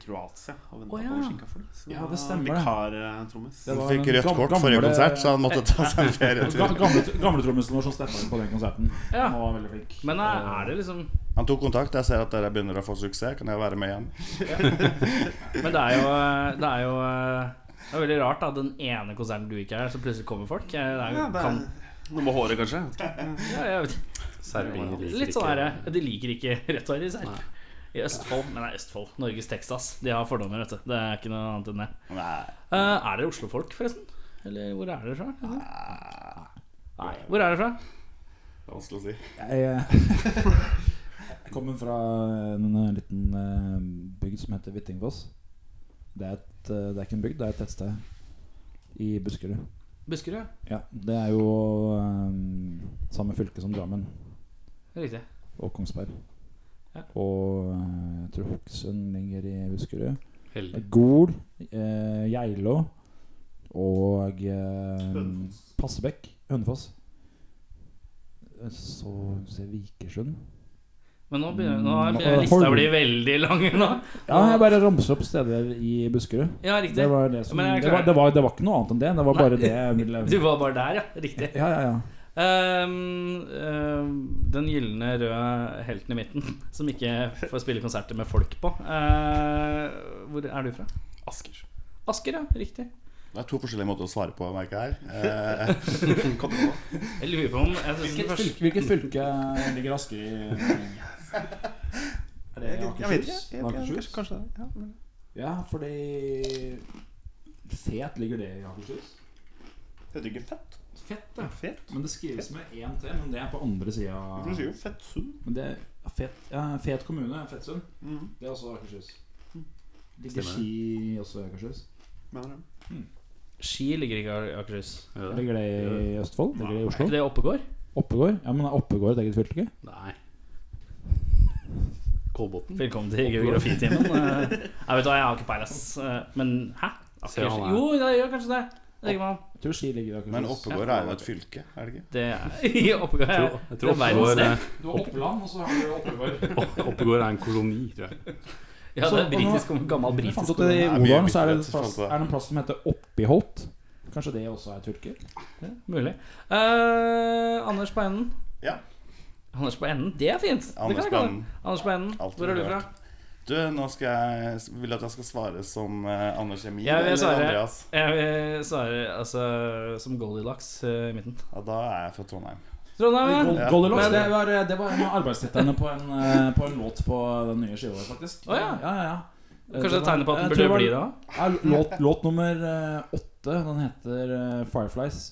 [SPEAKER 6] Kroatia og venta
[SPEAKER 2] Å, ja.
[SPEAKER 6] på skinkafly. Så eh,
[SPEAKER 5] Ja, det stemmer det.
[SPEAKER 6] Vikartrommis.
[SPEAKER 5] Det
[SPEAKER 4] Hun
[SPEAKER 5] var
[SPEAKER 4] fikk
[SPEAKER 5] en
[SPEAKER 4] rødt
[SPEAKER 5] gam-
[SPEAKER 4] kort forrige
[SPEAKER 5] gamle-
[SPEAKER 4] konsert, så han måtte ta seg en
[SPEAKER 5] [LAUGHS] Ga-
[SPEAKER 4] ferietur.
[SPEAKER 5] Gamle, gamle trommisen vår som steppa inn på den konserten.
[SPEAKER 2] Ja.
[SPEAKER 5] Han var veldig flink.
[SPEAKER 2] Men er, er det liksom
[SPEAKER 4] Han tok kontakt. Jeg ser at dere begynner å få suksess. Kan jeg være med igjen?
[SPEAKER 2] Men det er jo Det er jo det er veldig rart, da. Den ene konserten du ikke er, så plutselig kommer folk. Jeg- Det er, jo-
[SPEAKER 6] Ja, det
[SPEAKER 2] kan,
[SPEAKER 6] er noe med håret, kanskje. Jeg vet ikke.
[SPEAKER 2] ja, jeg vet ikke.
[SPEAKER 3] Serping liker
[SPEAKER 2] Litt sånn
[SPEAKER 3] ikke-
[SPEAKER 2] herre De liker ikke [LAUGHS] rett og slett serp. I Østfold. Men det er Østfold. Norges Texas. De har fordommer, vet du. Det er ikke noe annet enn det.
[SPEAKER 4] Nei.
[SPEAKER 2] Eh, er dere Oslo-folk, forresten? Eller hvor er dere fra? Liksom? Nei. Hvor er dere fra?
[SPEAKER 4] Vanskelig å si.
[SPEAKER 5] Jeg, eh, jeg [LAUGHS] kommer fra en eh, liten eh, bygd som heter Hvittingfoss. Det er, et, eh, det er ikke en bygd, det er et tettsted i Buskerud.
[SPEAKER 2] Buskerud?
[SPEAKER 5] Ja, Det er jo eh, samme fylke som Drammen
[SPEAKER 2] Riktig.
[SPEAKER 5] og Kongsberg.
[SPEAKER 2] Ja.
[SPEAKER 5] Og eh, jeg tror Hokksund ligger i Buskerud.
[SPEAKER 3] Heldig.
[SPEAKER 5] Gol, eh, Geilo og eh, Passebekk. Hønefoss. Eh, Så ser jeg Vikersund.
[SPEAKER 2] Men nå begynner, nå
[SPEAKER 5] Mm,
[SPEAKER 2] begynner
[SPEAKER 5] og
[SPEAKER 2] lista å
[SPEAKER 5] Holmen.
[SPEAKER 2] bli veldig lang nå.
[SPEAKER 5] Ja, jeg bare ramser opp steder i Buskerud.
[SPEAKER 2] Ja, riktig.
[SPEAKER 5] Det var, det, som,
[SPEAKER 2] Men jeg er
[SPEAKER 5] det,
[SPEAKER 2] klar.
[SPEAKER 5] var, det, var, det var ikke noe annet enn det. Det var
[SPEAKER 2] Nei.
[SPEAKER 5] bare det jeg ville
[SPEAKER 2] Du var bare der, ja. Riktig.
[SPEAKER 5] Ja, ja, ja.
[SPEAKER 2] Ehm, ehm, den gylne røde helten i midten, [LAUGHS] som ikke får spille konserter med folk på. Eh, hvor er du fra?
[SPEAKER 6] Asker.
[SPEAKER 2] Asker, ja. Riktig.
[SPEAKER 4] Det er to forskjellige måter å svare på, merker jeg her. Eh, kom på.
[SPEAKER 2] Jeg lurer på om jeg synes den
[SPEAKER 5] Hvilket
[SPEAKER 2] første,
[SPEAKER 5] fylke, hvilket fylke eh, ligger Asker i? Er det
[SPEAKER 6] Jeg, jeg vet ikke.
[SPEAKER 5] Akershus?
[SPEAKER 6] Jeg, jeg, kanskje,
[SPEAKER 5] Akershus?
[SPEAKER 6] kanskje det. Ja, men-
[SPEAKER 5] Ja, fordi Fet ligger det i Akershus?
[SPEAKER 6] Heter det ikke fett?
[SPEAKER 5] Fett, da.
[SPEAKER 6] Fet?
[SPEAKER 5] Men det skrives med én T, men det er på andre sida.
[SPEAKER 6] For du sier jo fettsund.
[SPEAKER 5] Men det er fet, ja, fet kommune, Fettsund.
[SPEAKER 6] Mm.
[SPEAKER 5] Det er også Akershus. Ligger
[SPEAKER 3] Stemmer.
[SPEAKER 5] Ski også i Akershus?
[SPEAKER 6] Mener du?
[SPEAKER 2] Ski ligger ikke i Akershus.
[SPEAKER 3] Gjør det?
[SPEAKER 5] Ligger det i Østfold? Ligger det i
[SPEAKER 2] Er
[SPEAKER 5] Oslo?
[SPEAKER 2] ikke det Oppegård?
[SPEAKER 5] Oppegård? Ja, men er Oppegård et eget fylke?
[SPEAKER 3] Nei. Kolbotn.
[SPEAKER 2] Velkommen til geografitimen. Eh, Jeg vet hva, jeg har ikke peilas. Eh, Men hæ?
[SPEAKER 3] Se, han
[SPEAKER 2] Akershus?
[SPEAKER 3] er-
[SPEAKER 2] Jo, det gjør kanskje det. Det legger man.
[SPEAKER 5] Jeg tror Ski ligger i Akershus.
[SPEAKER 4] Men Oppegård er jo et fylke, er det ikke?
[SPEAKER 2] Det er [LAUGHS] i Oppegård.
[SPEAKER 3] Jeg
[SPEAKER 2] er-
[SPEAKER 3] tror, jeg
[SPEAKER 2] Det
[SPEAKER 3] tror
[SPEAKER 2] er verdens
[SPEAKER 3] Oppegård,
[SPEAKER 2] sted.
[SPEAKER 3] eh,
[SPEAKER 5] Du har Oppland, og så har du [LAUGHS] Oppegård.
[SPEAKER 3] Oppegård eh, er en koloni, tror jeg.
[SPEAKER 2] Ja, det er
[SPEAKER 5] Så-
[SPEAKER 2] britisk, gammel
[SPEAKER 5] Jeg fant
[SPEAKER 2] britisk.
[SPEAKER 5] ut at I
[SPEAKER 4] Det er mye
[SPEAKER 5] Odalen så er
[SPEAKER 4] bitterhet,
[SPEAKER 5] det, en plass,
[SPEAKER 4] fant jeg.
[SPEAKER 5] er det en plass som heter Oppiholt. Kanskje det også er tyrker?
[SPEAKER 2] Mulig. Eh, Anders på enden.
[SPEAKER 4] Ja.
[SPEAKER 2] Anders på enden, det er fint. det kan jeg
[SPEAKER 4] Anders på
[SPEAKER 2] kalle
[SPEAKER 4] enden.
[SPEAKER 2] det. Anders på enden.
[SPEAKER 4] Alltid
[SPEAKER 2] Hvor er du
[SPEAKER 4] bra.
[SPEAKER 2] fra?
[SPEAKER 4] Du, nå skal jeg, vil du at jeg skal svare som eh, Anders Emil
[SPEAKER 2] Jeg vil
[SPEAKER 4] eller
[SPEAKER 2] svare.
[SPEAKER 4] Andreas?
[SPEAKER 2] Jeg vil svare altså, som Goldilocks eh, i midten.
[SPEAKER 4] Ja, da er jeg fra Trondheim.
[SPEAKER 2] Trondheim, ja.
[SPEAKER 5] Gold- Goldilocks, det var, eh, det var en av arbeidstitlene på, en, eh, på en låt på den nye skiva, faktisk.
[SPEAKER 2] Å, ja.
[SPEAKER 5] Ja, ja, ja. Eh,
[SPEAKER 2] Kanskje det
[SPEAKER 5] var-
[SPEAKER 2] tegner på at
[SPEAKER 5] jeg
[SPEAKER 2] den
[SPEAKER 5] tror
[SPEAKER 2] burde bli
[SPEAKER 5] var-
[SPEAKER 2] det da?
[SPEAKER 5] Ja, låt, låt nummer eh, åtte, den heter eh, Fireflies.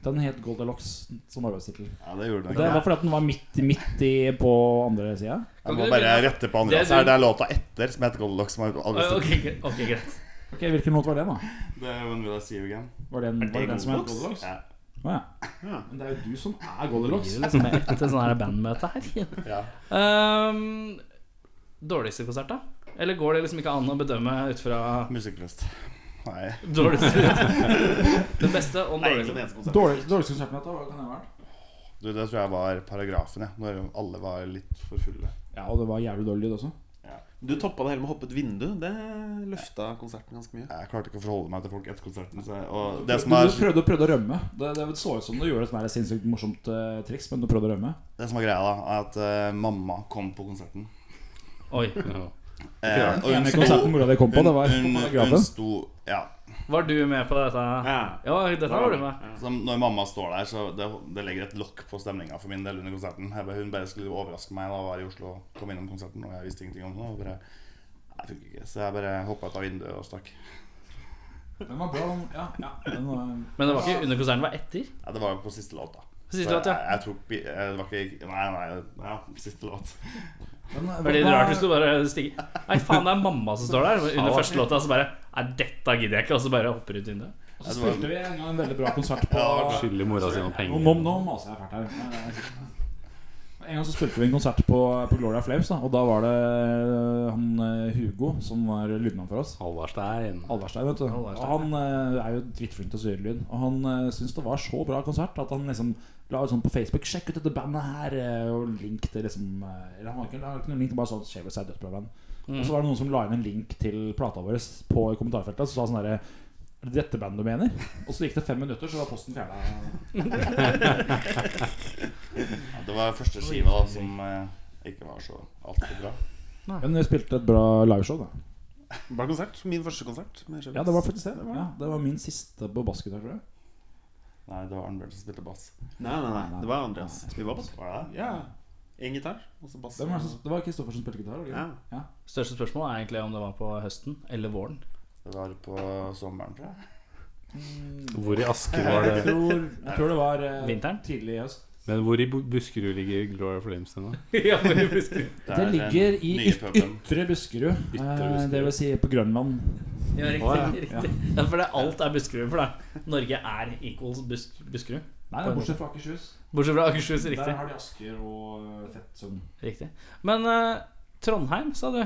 [SPEAKER 5] Den het Goldilocks som arbeidstittel.
[SPEAKER 4] Ja, det gjorde
[SPEAKER 5] Det
[SPEAKER 4] den.
[SPEAKER 5] var fordi at den var midt, midt i på andre sida.
[SPEAKER 4] Jeg
[SPEAKER 2] Kan
[SPEAKER 4] må
[SPEAKER 2] du-
[SPEAKER 4] bare rette
[SPEAKER 2] Det
[SPEAKER 4] på Andreas
[SPEAKER 2] er
[SPEAKER 4] her.
[SPEAKER 2] du-
[SPEAKER 4] Det er låta etter som heter Goldilocks. Som er
[SPEAKER 2] Å,
[SPEAKER 4] August.
[SPEAKER 2] Ok, gre- ok, greit.
[SPEAKER 5] Ok, Hvilken låt var det, da?
[SPEAKER 4] Det er When Will I See You Again.
[SPEAKER 5] Var det, en, var det den som het
[SPEAKER 6] Goldilocks?
[SPEAKER 5] Goldilocks?
[SPEAKER 4] Ja.
[SPEAKER 5] Å ja.
[SPEAKER 6] Ja.
[SPEAKER 5] Men det er jo du som er
[SPEAKER 2] Blir
[SPEAKER 5] Goldilocks.
[SPEAKER 2] det liksom et sånn her bandmøte her?
[SPEAKER 4] Ja.
[SPEAKER 2] Ehm, dårligste konsert, da? Eller går det liksom ikke an å bedømme ut fra
[SPEAKER 4] Musikkfest. Nei.
[SPEAKER 2] dårligste [LAUGHS] Den beste og den
[SPEAKER 6] Nei, egentlig den
[SPEAKER 2] dårligste.
[SPEAKER 6] eneste konserten.
[SPEAKER 5] Dårlig- Dårligste konserten jeg har hatt, hva kan det ha vært?
[SPEAKER 4] Du, det tror jeg var paragrafen, ja. Når alle var litt for fulle.
[SPEAKER 5] Ja, og det var jævlig dårlig lyd også.
[SPEAKER 6] Du toppa det hele med å hoppe ut vindu. Det løfta konserten ganske mye.
[SPEAKER 4] Jeg klarte ikke å forholde meg til folk etter konserten. Så, og
[SPEAKER 5] Du
[SPEAKER 4] det som er
[SPEAKER 5] du prøvde, prøvde å rømme. Det, det så ut som du gjorde et sånt her sinnssykt morsomt eh, triks, men du prøvde å rømme.
[SPEAKER 4] Det som var greia, da, er at eh, mamma kom på konserten.
[SPEAKER 2] Oi.
[SPEAKER 3] Ja.
[SPEAKER 4] Eh, og hun,
[SPEAKER 5] Eneste konserten
[SPEAKER 4] hun,
[SPEAKER 5] mora di kom på, det var på
[SPEAKER 4] hun, hun
[SPEAKER 5] paragrafen.
[SPEAKER 4] sto Ja.
[SPEAKER 2] Var du med på dette?
[SPEAKER 6] Ja.
[SPEAKER 2] Ja, dette var du med.
[SPEAKER 4] Så Altså, når mamma står der, så det, det legger et lokk på stemninga for min del under konserten. Jeg, bare- hun bare skulle overraske meg da jeg var i Oslo og kom innom konserten, og jeg visste ingenting om det. Og bare, nei, det funker ikke. Så jeg bare hoppa ut av vinduet og stakk.
[SPEAKER 5] Den var bra, den. Ja, ja. Den var,
[SPEAKER 2] Men det var ikke under konserten, det var etter?
[SPEAKER 4] Ja, det var jo på siste låt, da.
[SPEAKER 2] Siste
[SPEAKER 4] Så
[SPEAKER 2] låt, ja.
[SPEAKER 4] Jeg, jeg tok bi- eh, Det var ikke Nei, nei. Ja, siste låt.
[SPEAKER 5] eh, den
[SPEAKER 2] Det blir litt rart hvis du bare stiger Nei, faen, det er mamma som står der under første låta, og så bare Nei, dette gidder jeg ikke, og så bare hopper ut vinduet.
[SPEAKER 5] Og så spilte vi en gang en veldig bra konsert på
[SPEAKER 4] Ja, det var
[SPEAKER 5] Nå,
[SPEAKER 3] Skylder mora si noen penger.
[SPEAKER 5] nå, nå maser altså, jeg fælt her. Nei, nei, nei. En gang så spilte vi en konsert på, på Gloria Flames, da, og da var det eh, han eh, Hugo som var lydmann for oss.
[SPEAKER 3] Halvarstein.
[SPEAKER 5] Alverstein, vet du. Og
[SPEAKER 2] Alverstein.
[SPEAKER 5] han eh, er jo dritflink til å styre lyd. Og han uh, syntes det var så bra konsert at han liksom la ut sånn på Facebook 'Sjekk ut dette bandet her', eh, og link til liksom eh, Eller han var ikke, la ikke noen link, det var bare sånn 'Shaver seg dødsbra band'. Og så var det noen som la inn en link til plata vår på i kommentarfeltet, og så sa sånn herre er det dette bandet du mener? Og så gikk det fem minutter, så var posten fjerna.
[SPEAKER 4] Ja, det var første skiva da som eh, ikke var så altfor bra.
[SPEAKER 5] Men vi spilte et bra liveshow, da.
[SPEAKER 6] Bra konsert. Min første konsert. Med Shelby.
[SPEAKER 5] Ja, det var faktisk det. Ja, det var min siste på bassgitar, tror jeg.
[SPEAKER 4] Nei, det var Arnbjørn som spilte bass.
[SPEAKER 6] Nei, nei, nei. Det var Andreas. Vi var på
[SPEAKER 4] Var det?
[SPEAKER 6] Ja. En gitar, og så bass.
[SPEAKER 5] Det var, det var Kristoffer som spilte gitar. var det ikke?
[SPEAKER 6] Ja.
[SPEAKER 5] Ja.
[SPEAKER 2] Største spørsmål er egentlig om det var på høsten eller våren.
[SPEAKER 4] Det var på sommeren, tror jeg.
[SPEAKER 3] Hvor i Asker var
[SPEAKER 2] [LAUGHS]
[SPEAKER 5] Jeg
[SPEAKER 3] det
[SPEAKER 5] tror, jeg tror det var eh,
[SPEAKER 2] Vinteren?
[SPEAKER 5] tidlig i høst.
[SPEAKER 3] Men hvor i Bu- Buskerud ligger Gloria Flames nå?
[SPEAKER 2] ja, men vi husker.
[SPEAKER 4] Det
[SPEAKER 5] Det
[SPEAKER 4] er, eh,
[SPEAKER 5] ligger i
[SPEAKER 4] nye
[SPEAKER 5] yt-
[SPEAKER 4] puben.
[SPEAKER 5] ytre Buskerud,
[SPEAKER 3] Ytre
[SPEAKER 5] eh,
[SPEAKER 3] Buskerud.
[SPEAKER 5] det vil si på Grønland.
[SPEAKER 2] ja,
[SPEAKER 3] Å, ja.
[SPEAKER 2] riktig. riktig. Ja, for det, alt er Buskerud for deg. Norge er equals Busk Buskerud.
[SPEAKER 5] Nei, det er bortsett fra Akershus.
[SPEAKER 2] Bortsett fra Akershus,
[SPEAKER 5] Der
[SPEAKER 2] riktig.
[SPEAKER 5] har de Asker og eh, Fettsund.
[SPEAKER 2] riktig. Men eh, Trondheim, sa du?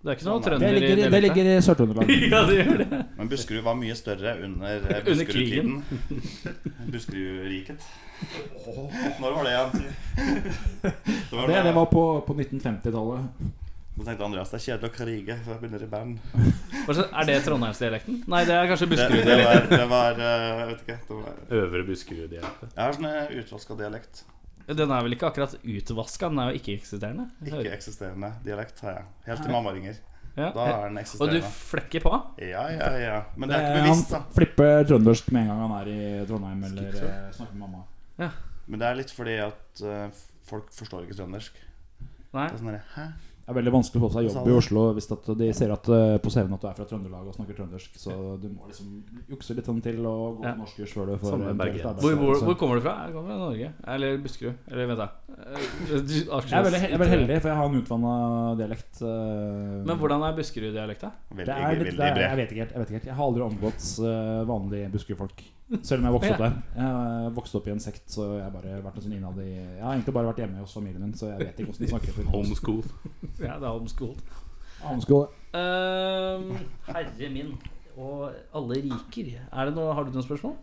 [SPEAKER 2] Det er ikke noe
[SPEAKER 4] Trondheim.
[SPEAKER 5] Det
[SPEAKER 2] trønder i
[SPEAKER 5] ligger, det
[SPEAKER 2] dialekten?
[SPEAKER 5] ligger i [LAUGHS] Sør-Trøndelag.
[SPEAKER 2] [LAUGHS] ja, det gjør det.
[SPEAKER 4] Men Buskerud var mye større under eh,
[SPEAKER 2] Under krigen.
[SPEAKER 4] Buskerud-tiden. Buskerud-riket. Når var det igjen? Det var
[SPEAKER 5] Det,
[SPEAKER 4] da-
[SPEAKER 5] det var på, på 1950-tallet.
[SPEAKER 4] Så tenkte Andreas det er kjedelig å krige, så jeg begynner i band.
[SPEAKER 2] Hva slags- Er det Trondheimsdialekten? Nei, det er kanskje
[SPEAKER 4] Det, det
[SPEAKER 2] Buskerud.
[SPEAKER 4] var, det var eh, Jeg vet ikke. Det var,
[SPEAKER 3] Øvre Buskerud-dialekten.
[SPEAKER 4] jeg har sånn eh, utvaska dialekt.
[SPEAKER 2] Den er vel ikke akkurat utvaska, den er jo ikke-eksisterende?
[SPEAKER 4] Ikke-eksisterende dialekt har jeg. Helt til mamma ringer.
[SPEAKER 2] Ja.
[SPEAKER 4] Da er den
[SPEAKER 2] Og du
[SPEAKER 4] eksisterende.
[SPEAKER 2] flekker på?
[SPEAKER 4] Ja, ja, ja. Men det er ikke
[SPEAKER 5] Eh,
[SPEAKER 4] bevisst, da.
[SPEAKER 5] Han flipper trøndersk med en gang han er i Trondheim eller eh, snakker med mamma.
[SPEAKER 4] Men det er litt fordi at eh, folk forstår ikke trøndersk.
[SPEAKER 2] Nei?
[SPEAKER 4] Det er sånn der, Hæ?
[SPEAKER 5] Det er veldig vanskelig å få seg
[SPEAKER 4] Sa
[SPEAKER 5] jobb
[SPEAKER 4] det.
[SPEAKER 5] i Oslo hvis at de ser at eh, på CV-en at du er fra Trøndelag og snakker trøndersk. Så du må liksom jukse litt sånn til og gå
[SPEAKER 2] Ja.
[SPEAKER 5] på norskkurs før du får
[SPEAKER 3] Samme med
[SPEAKER 5] eventuelt
[SPEAKER 3] Bergen.
[SPEAKER 4] sånn
[SPEAKER 5] arbeid.
[SPEAKER 2] Hvor, hvor,
[SPEAKER 5] Så-
[SPEAKER 2] hvor kommer du fra? Jeg kommer fra Norge. Eller Buskerud. Eller vent, da. Eh, du-
[SPEAKER 5] Jeg er veldig, jeg er veldig
[SPEAKER 2] Akershus.
[SPEAKER 5] heldig, for jeg har en utvanna dialekt. eh,
[SPEAKER 2] Men hvordan er Buskerud-dialekta?
[SPEAKER 4] Veldig,
[SPEAKER 5] det er litt,
[SPEAKER 4] veldig
[SPEAKER 5] det er,
[SPEAKER 4] bred.
[SPEAKER 5] jeg, vet ikke helt, jeg vet ikke helt. Jeg har aldri omgått eh, vanlige Buskerud-folk. Selv om jeg vokste opp der. Jeg vokste opp i en sekt, så jeg har bare vært en sånn innad i Jeg har egentlig bare vært hjemme hos familien min, så jeg vet ikke hvordan de snakker. til-
[SPEAKER 3] Homeschool.
[SPEAKER 2] Ja, det er homeschool.
[SPEAKER 5] Homeschool.
[SPEAKER 2] Ehm, herre min og alle riker. Er det noe, har du noen spørsmål?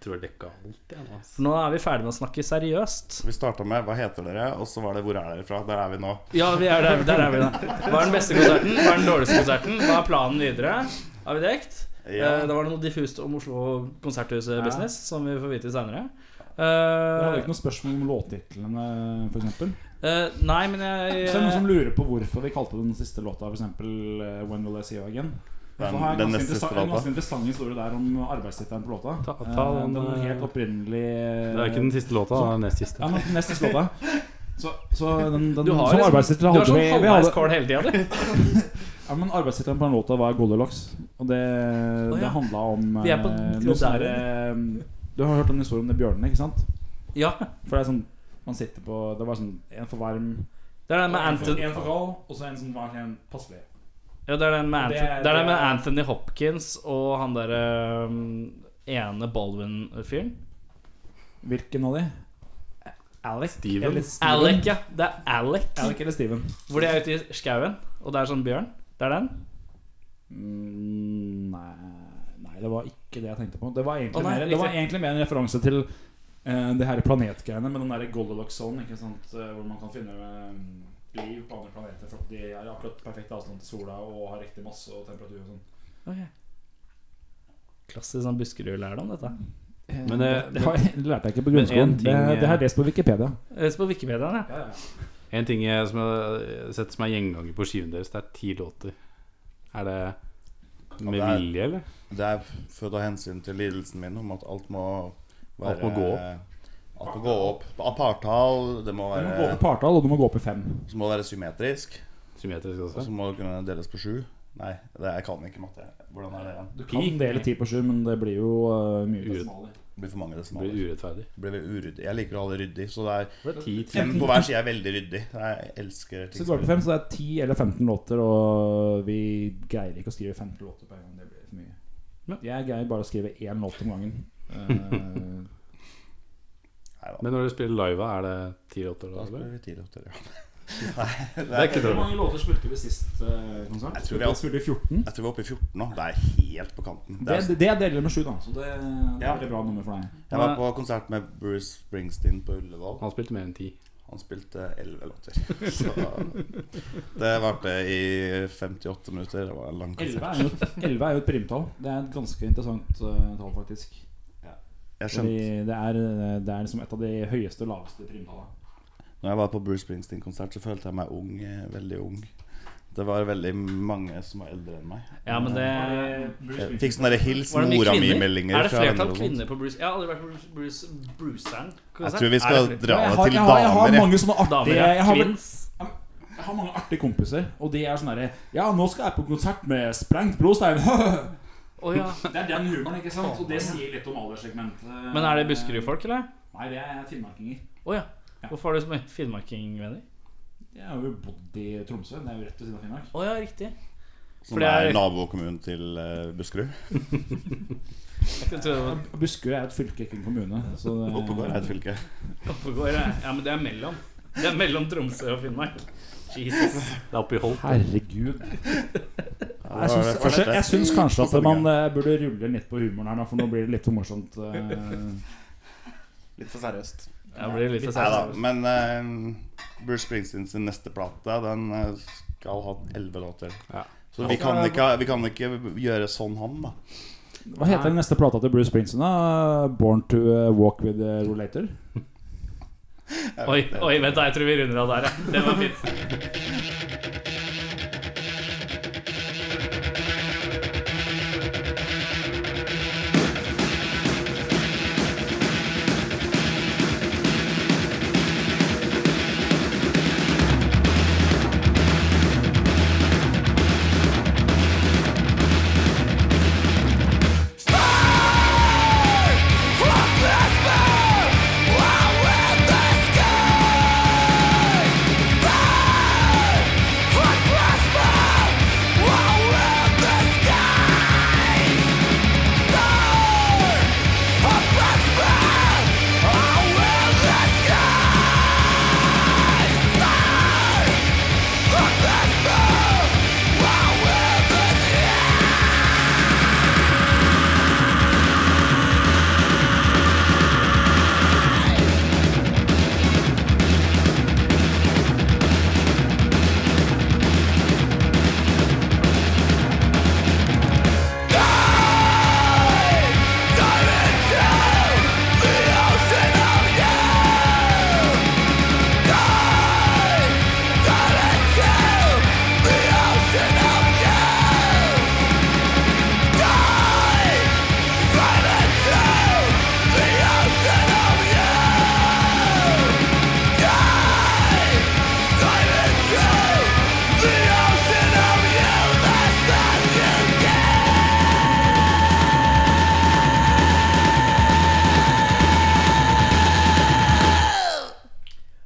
[SPEAKER 3] Tror jeg dekka alt, jeg. nå, ass.
[SPEAKER 2] For nå er vi ferdig med å snakke seriøst.
[SPEAKER 4] Vi starta med 'Hva heter dere?' og så var det 'Hvor er dere fra?' Der er vi nå.
[SPEAKER 2] Ja, vi er der, der er vi da. Hva er den beste konserten? Hva er den dårligste konserten? Hva er planen videre? Har vi dekt?
[SPEAKER 4] Ja.
[SPEAKER 2] Eh, da var det noe diffust om Oslo Konserthuset-business, som vi får vite Eh, seinere.
[SPEAKER 5] Jeg hadde ikke noe spørsmål om låttitlene, f.eks.
[SPEAKER 2] Eh, nei, men jeg eh,
[SPEAKER 5] Så er det noen som lurer på hvorfor vi kalte den siste låta for eksempel eh, When Will I See You Again. Så
[SPEAKER 4] Den,
[SPEAKER 5] har jeg en
[SPEAKER 4] den
[SPEAKER 5] ganske
[SPEAKER 4] neste
[SPEAKER 5] interessant-
[SPEAKER 4] siste
[SPEAKER 5] En ganske
[SPEAKER 4] låta.
[SPEAKER 5] interessant historie der om arbeidstittelen på låta.
[SPEAKER 3] Ta- ta
[SPEAKER 5] Eh,
[SPEAKER 3] den,
[SPEAKER 5] den
[SPEAKER 3] eh,
[SPEAKER 5] helt opprinnelig
[SPEAKER 3] Det er ikke den siste låta, det er den nest siste.
[SPEAKER 5] Ja, men neste låta. Så, så den, den
[SPEAKER 2] Du har
[SPEAKER 5] som
[SPEAKER 2] liksom-
[SPEAKER 5] arbeidstittel
[SPEAKER 2] Du har
[SPEAKER 5] hadde vi,
[SPEAKER 2] sånn
[SPEAKER 5] vi hadde,
[SPEAKER 2] halvveiskål hele tida,
[SPEAKER 5] [LAUGHS]
[SPEAKER 2] du.
[SPEAKER 5] ja, men Arbeidstittelen på den låta var 'Goldilocks'. Og det,
[SPEAKER 2] ja.
[SPEAKER 5] det handla om
[SPEAKER 2] Vi er på
[SPEAKER 5] eh,
[SPEAKER 2] den
[SPEAKER 5] noe
[SPEAKER 2] der.
[SPEAKER 5] sånn der, eh, Du har hørt den historien om de bjørnene, ikke sant?
[SPEAKER 2] Ja.
[SPEAKER 5] For det er sånn man sitter på Det var sånn en for varm,
[SPEAKER 2] Det er den med
[SPEAKER 5] en for,
[SPEAKER 2] Anthony,
[SPEAKER 5] en for kald, og så en som var helt passelig.
[SPEAKER 2] ja, det er den med
[SPEAKER 5] Det
[SPEAKER 2] Anthony,
[SPEAKER 5] er-
[SPEAKER 2] det er den med
[SPEAKER 5] det er-
[SPEAKER 2] Anthony Hopkins og han derre ene Baldwin-fyren.
[SPEAKER 5] Hvilken av de? Alec?
[SPEAKER 3] Steven.
[SPEAKER 5] Eller Steven?
[SPEAKER 2] Alec, ja. Det er Alec.
[SPEAKER 5] Alec eller Steven?
[SPEAKER 2] Hvor de er ute i skauen, og det er sånn bjørn. Det er den.
[SPEAKER 5] Mm, nei, nei, det var ikke det jeg tenkte på. Det var
[SPEAKER 2] Å,
[SPEAKER 5] egentlig,
[SPEAKER 2] nei,
[SPEAKER 5] mer, det var
[SPEAKER 2] riktig.
[SPEAKER 5] egentlig mer en referanse til eh, det her planetgreiene med den derre Goldilocks-sonen, ikke sant, eh, hvor man kan finne eh, liv på andre planeter for at de er i akkurat perfekt avstand til sola og har riktig masse og temperatur og sånn.
[SPEAKER 2] Klassisk sånn Buskerud-lærdom, dette.
[SPEAKER 5] Eh,
[SPEAKER 3] Men det-
[SPEAKER 5] det, har- [LAUGHS] det lærte jeg ikke på
[SPEAKER 3] Men en
[SPEAKER 5] grunnskolen.
[SPEAKER 3] ting,
[SPEAKER 5] det, det har
[SPEAKER 3] eh,
[SPEAKER 5] jeg lest på Wikipedia.
[SPEAKER 2] Les på Wikipedia. Ja.
[SPEAKER 3] En ting jeg, som jeg har sett som er gjenganger på skiven deres, det er ti låter. Er det med
[SPEAKER 4] Ja, det er-
[SPEAKER 3] vilje, eller?
[SPEAKER 4] Det er født av hensyn til lidelsen min om at alt må være
[SPEAKER 3] Alt må gå
[SPEAKER 4] Alt må gå opp. Apartall, det må
[SPEAKER 5] Du må gå
[SPEAKER 4] være,
[SPEAKER 5] opp i partall, og du må gå opp i fem.
[SPEAKER 4] så må det være symmetrisk.
[SPEAKER 3] Symmetrisk
[SPEAKER 4] Og så
[SPEAKER 3] også.
[SPEAKER 4] må det kunne deles på sju. Nei, det, jeg kan ikke matte. Hvordan er det igjen?
[SPEAKER 5] Du kan dele ti på sju, men det blir jo eh, mye
[SPEAKER 3] Ure-
[SPEAKER 5] desimaler.
[SPEAKER 4] Det blir for mange
[SPEAKER 3] Det blir
[SPEAKER 4] desimaler.
[SPEAKER 3] urettferdig.
[SPEAKER 4] Det blir uryddig. Jeg liker å ha det ryddig, så det er
[SPEAKER 3] Det er ti ti-
[SPEAKER 4] fem på hver side er veldig ryddig. Jeg elsker
[SPEAKER 5] Så
[SPEAKER 4] ting
[SPEAKER 5] går det på fem, så det er 10 eller 15 låter, og vi greier ikke å skrive 15 låter på en gang. Det blir for mye.
[SPEAKER 2] Ja.
[SPEAKER 5] Jeg greier bare å skrive én låt om [LAUGHS] gangen. Eh,
[SPEAKER 4] Neida.
[SPEAKER 3] Men når dere spiller live, er det ti låter da,
[SPEAKER 4] Da spiller
[SPEAKER 3] eller?
[SPEAKER 4] vi ti låter, ja.
[SPEAKER 3] Det er ikke
[SPEAKER 5] Hvor
[SPEAKER 3] dårlig.
[SPEAKER 5] mange låter spilte vi sist eh, konsert?
[SPEAKER 4] Jeg tror vi
[SPEAKER 5] Spilte
[SPEAKER 4] har-
[SPEAKER 5] spilte 14.
[SPEAKER 4] Jeg tror vi er oppe i 14 nå. Det er helt på kanten. Det
[SPEAKER 5] Det,
[SPEAKER 4] er,
[SPEAKER 5] det er deler med 7, da. Så det, det
[SPEAKER 4] Ja.
[SPEAKER 5] er veldig bra nummer for deg.
[SPEAKER 4] jeg var på konsert med Bruce Springsteen på Ullevål.
[SPEAKER 3] Han spilte mer enn ti.
[SPEAKER 4] Han spilte elleve låter. Så [LAUGHS] det varte i 58 minutter. Det var en lang
[SPEAKER 5] 11
[SPEAKER 4] konsert.
[SPEAKER 5] er jo, et- [LAUGHS] 11 er jo et primtall. Det er et ganske interessant eh, tall, faktisk.
[SPEAKER 4] Jeg
[SPEAKER 5] Fordi
[SPEAKER 4] skjønte
[SPEAKER 5] det er, eh, det er liksom et av de høyeste, laveste primtallene.
[SPEAKER 4] Når jeg var på Bruce Springsteen-konsert, så følte jeg meg ung. eh, Veldig ung. Det var veldig mange som var eldre enn meg. Eh,
[SPEAKER 2] ja, men det
[SPEAKER 5] Eh,
[SPEAKER 4] Jeg fikk sånne der hils
[SPEAKER 2] Var det mye
[SPEAKER 4] mora
[SPEAKER 2] kvinner?
[SPEAKER 4] mi-meldinger.
[SPEAKER 2] Er det
[SPEAKER 4] fra venner
[SPEAKER 2] flertall
[SPEAKER 4] og sånt.
[SPEAKER 2] kvinner på Bruce? Jeg har aldri vært på Bruce, Bruce Bruceren.
[SPEAKER 4] Jeg tror vi skal dra
[SPEAKER 5] jeg
[SPEAKER 4] det
[SPEAKER 5] har,
[SPEAKER 4] til
[SPEAKER 5] jeg, har, jeg har
[SPEAKER 4] damer. jeg.
[SPEAKER 5] mange sånne
[SPEAKER 2] Damer,
[SPEAKER 5] artige
[SPEAKER 2] ja.
[SPEAKER 5] jeg har, vel-
[SPEAKER 2] Kvinns.
[SPEAKER 5] Jeg har mange artige kompiser, og de er sånn herre Ja, nå skal jeg på konsert med Sprengt Brostein. [LAUGHS] det
[SPEAKER 2] Å ja.
[SPEAKER 5] er den humoren, ikke sant? Og det sier litt om alderssegmentet.
[SPEAKER 2] [LAUGHS] Men er det Buskerud-folk, eller?
[SPEAKER 5] Nei, det er finnmarkinger.
[SPEAKER 2] Å ja. Hvorfor har du så mye finnmarkingvenner?
[SPEAKER 5] Jeg har jo bodd i Tromsø. Det er jo rett ved siden av Finnmark.
[SPEAKER 2] Å ja, riktig.
[SPEAKER 4] Som
[SPEAKER 2] For det
[SPEAKER 4] er
[SPEAKER 2] er-
[SPEAKER 4] nabokommunen Sånn til eh, Buskerud.
[SPEAKER 2] Jeg kunne tro det var
[SPEAKER 5] Og Buskerud er et fylke, ikke en kommune. Så det,
[SPEAKER 4] Oppegård er et fylke.
[SPEAKER 2] Oppegård. ja. Ja, men det er mellom. Det er mellom Tromsø og Finnmark. Jesus.
[SPEAKER 3] Det er oppe i Holt.
[SPEAKER 5] Herregud.
[SPEAKER 4] Ja,
[SPEAKER 5] Jeg
[SPEAKER 4] det var det
[SPEAKER 5] syns, kanskje,
[SPEAKER 4] første.
[SPEAKER 5] jeg syns kanskje at man eh, burde rulle litt på humoren her nå, for nå blir det litt for morsomt.
[SPEAKER 2] [LAUGHS]
[SPEAKER 5] eh.
[SPEAKER 6] Litt for seriøst.
[SPEAKER 2] Jeg blir litt for
[SPEAKER 4] Nei da,
[SPEAKER 2] seriøs.
[SPEAKER 4] men eh, Bruce Springsteen sin neste plate Den eh, skal ha elleve låter.
[SPEAKER 3] Ja.
[SPEAKER 4] Så vi kan, ikke, vi kan ikke gjøre sånn han, da.
[SPEAKER 5] Hva heter den neste plata til Bruce Springsteen? da? Born to eh, Walk with a Rollator?
[SPEAKER 2] Oi, oi, vent da, jeg tror vi runder av der. ja. Det var fint.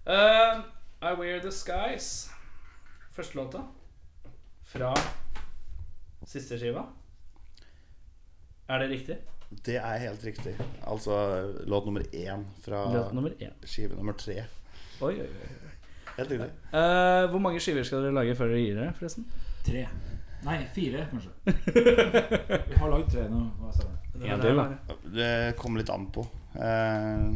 [SPEAKER 2] Eh, I Wear The Skies. Første låta fra siste skiva. Er det riktig?
[SPEAKER 4] Det er helt riktig. Altså låt nummer én fra
[SPEAKER 2] Låt nummer én.
[SPEAKER 4] skive nummer tre.
[SPEAKER 2] Oi, oi, oi.
[SPEAKER 4] Helt riktig.
[SPEAKER 2] Eh, hvor mange skiver skal dere lage før dere gir dere, forresten?
[SPEAKER 5] Tre. Nei, fire, kanskje. Vi har lagd tre nå. Hva sa du?
[SPEAKER 3] En del, da.
[SPEAKER 4] Det kommer litt an på. Eh,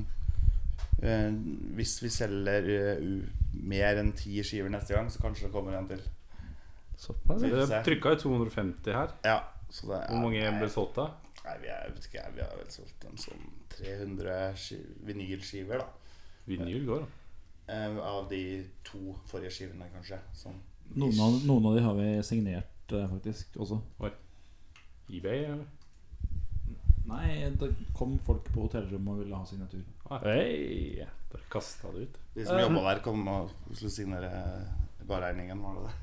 [SPEAKER 4] eh, hvis vi selger eh, u- mer enn ti skiver neste gang, så kanskje det kommer en til.
[SPEAKER 2] Såpass, ja.
[SPEAKER 4] Vi får se.
[SPEAKER 3] Jeg trykka jo 250 her.
[SPEAKER 4] Ja, så det er,
[SPEAKER 3] Hvor mange ble
[SPEAKER 4] nei,
[SPEAKER 3] solgt da?
[SPEAKER 4] nei, vi, er, jeg vet ikke, vi har vel solgt en sånn 300 ski- vinylskiver, da.
[SPEAKER 3] Vinyl går, da.
[SPEAKER 4] Eh, av de to forrige skivene, kanskje. Sånn.
[SPEAKER 5] Noen av, noen av de har vi signert eh, faktisk også.
[SPEAKER 3] eBay? eller?
[SPEAKER 5] Nei, det kom folk på hotellrommet og ville ha signatur.
[SPEAKER 2] Hei.
[SPEAKER 3] Ah, Bare kasta det ut.
[SPEAKER 4] De som jobba der, kom og skulle signere barregningen, var det det?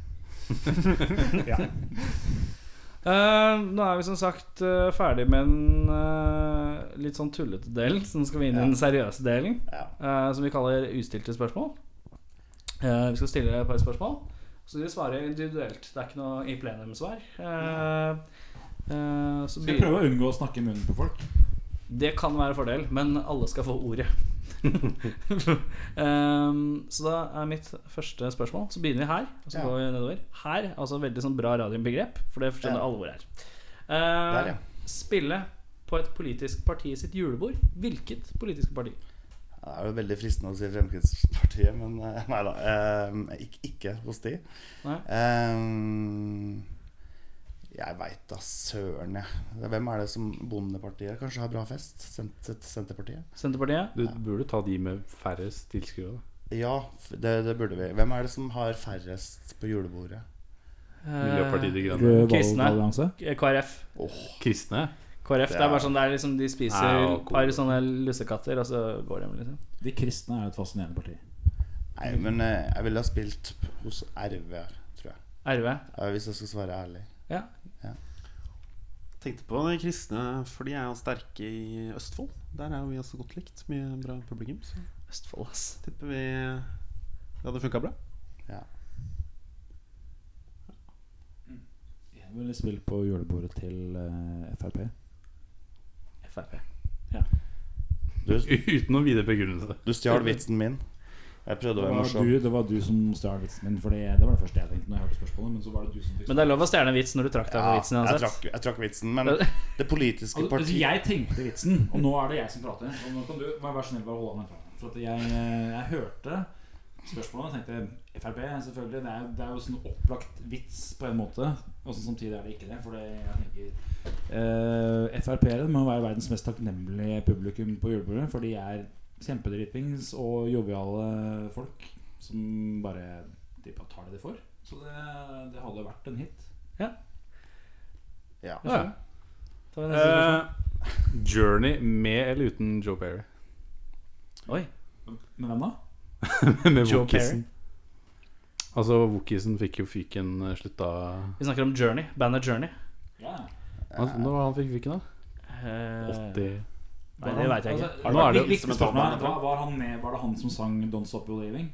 [SPEAKER 2] Eh, nå er vi som sagt eh, ferdig med den eh, litt sånn tullete delen, så nå skal vi inn i den seriøse delen,
[SPEAKER 4] Ja.
[SPEAKER 2] eh, som vi kaller ustilte spørsmål. Eh, vi skal stille et par spørsmål, så vi svarer individuelt. Det er ikke noe i plenumsvar. Eh, eh, så
[SPEAKER 5] Skal
[SPEAKER 2] begyn-
[SPEAKER 5] jeg prøve å unngå å snakke i munnen på folk?
[SPEAKER 2] det kan være en fordel, men alle skal få
[SPEAKER 4] [LAUGHS]
[SPEAKER 2] ordet. Ehm, så da er mitt første spørsmål. Så begynner vi her, og så
[SPEAKER 4] Ja.
[SPEAKER 2] går vi nedover. Her, altså veldig sånn bra radiobegrep, for det skjønner
[SPEAKER 4] Ja.
[SPEAKER 2] alle hvor det er. Ehm,
[SPEAKER 4] Der, ja.
[SPEAKER 2] Spille på et politisk parti sitt julebord. Hvilket politisk parti?
[SPEAKER 4] Det er jo veldig fristende å si Fremskrittspartiet, men eh, [LAUGHS] nei da. eh, ikke, ikke hos de.
[SPEAKER 2] Nei.
[SPEAKER 4] Eh, jeg veit da søren, jeg. Hvem er det som Bondepartiet kanskje har bra fest? Sent Senterpartiet?
[SPEAKER 2] Senterpartiet?
[SPEAKER 3] Du burde ta de med færrest tilskuere.
[SPEAKER 2] Eh,
[SPEAKER 3] da.
[SPEAKER 4] Ja, f- det, det burde vi. Hvem er det som har færrest på julebordet?
[SPEAKER 3] Miljøpartiet De Grønne.
[SPEAKER 5] Rød
[SPEAKER 2] Kristne.
[SPEAKER 5] valgallianse?
[SPEAKER 2] Eh, KrF.
[SPEAKER 3] Kristne? [LAUGHS]
[SPEAKER 2] KrF, det
[SPEAKER 4] Ja.
[SPEAKER 2] er bare sånn det er liksom De spiser
[SPEAKER 3] Ja,
[SPEAKER 2] et par sånne lussekatter, og så går de, liksom.
[SPEAKER 5] De kristne er jo et fascinerende parti.
[SPEAKER 4] Nei, men eh, jeg ville ha spilt hos RV, tror jeg.
[SPEAKER 2] RV.
[SPEAKER 4] Eh, Hvis jeg skal svare ærlig.
[SPEAKER 2] Ja.
[SPEAKER 6] Tenkte på de kristne, for de er jo sterke i Østfold. Der er jo vi også godt likt. Mye bra publikum. Så
[SPEAKER 2] Østfold, ass.
[SPEAKER 6] tipper vi det hadde funka bra.
[SPEAKER 5] Jeg ville spilt på julebordet til eh, Frp.
[SPEAKER 2] Frp.
[SPEAKER 4] Du,
[SPEAKER 3] Uten noen videre begrunnelse.
[SPEAKER 4] du stjal vitsen min. Jeg prøvde
[SPEAKER 5] Det
[SPEAKER 4] å være
[SPEAKER 5] var,
[SPEAKER 4] morsom.
[SPEAKER 5] du, det var du som stjal vitsen min, Fordi det var det første jeg tenkte når jeg hørte spørsmålet. Men så var det du som fikk
[SPEAKER 2] Men det er lov å stjele en vits når du trakk deg på
[SPEAKER 4] Ja,
[SPEAKER 2] vitsen
[SPEAKER 4] jeg
[SPEAKER 2] uansett.
[SPEAKER 4] trakk, jeg trakk vitsen,
[SPEAKER 3] [LAUGHS]
[SPEAKER 4] men det politiske
[SPEAKER 5] Altså,
[SPEAKER 4] partiet
[SPEAKER 5] jeg tenkte vitsen, og nå er det jeg som prater. Og nå kan du vær vær så snill bare holde meg fra den. For at jeg, eh, jeg hørte spørsmålet og tenkte Frp, selvfølgelig. Det er, det er jo sånn opplagt vits på en måte. Og så samtidig er det ikke det. Fordi jeg tenker eh, Frp-ere må være verdens mest takknemlige publikum på julebordet. For de er kjempedritings og joviale folk som bare de bare tar det de får. Så det, det hadde vært en hit.
[SPEAKER 4] ja.
[SPEAKER 2] sånn.
[SPEAKER 3] Ja.
[SPEAKER 2] Ta neste spørsmål.
[SPEAKER 3] Eh, Journey med eller uten Joe Perry? [LAUGHS]
[SPEAKER 2] Oi.
[SPEAKER 5] Men hvem da?
[SPEAKER 3] med
[SPEAKER 2] Joe
[SPEAKER 3] Wokisen. Altså, Wokisen fikk jo fyken eh, slutta
[SPEAKER 2] Vi snakker om Journey. Bandet Journey.
[SPEAKER 5] Ja.
[SPEAKER 3] Hva- Når var han fikk fyken, da?
[SPEAKER 2] Eh,
[SPEAKER 3] 80
[SPEAKER 2] Nei, det vet jeg ikke.
[SPEAKER 5] Altså,
[SPEAKER 3] Nå er det-
[SPEAKER 5] viktig- viktig spørsmål er, var, var, han med, var det han som sang 'Don't Stop Your Leaving'?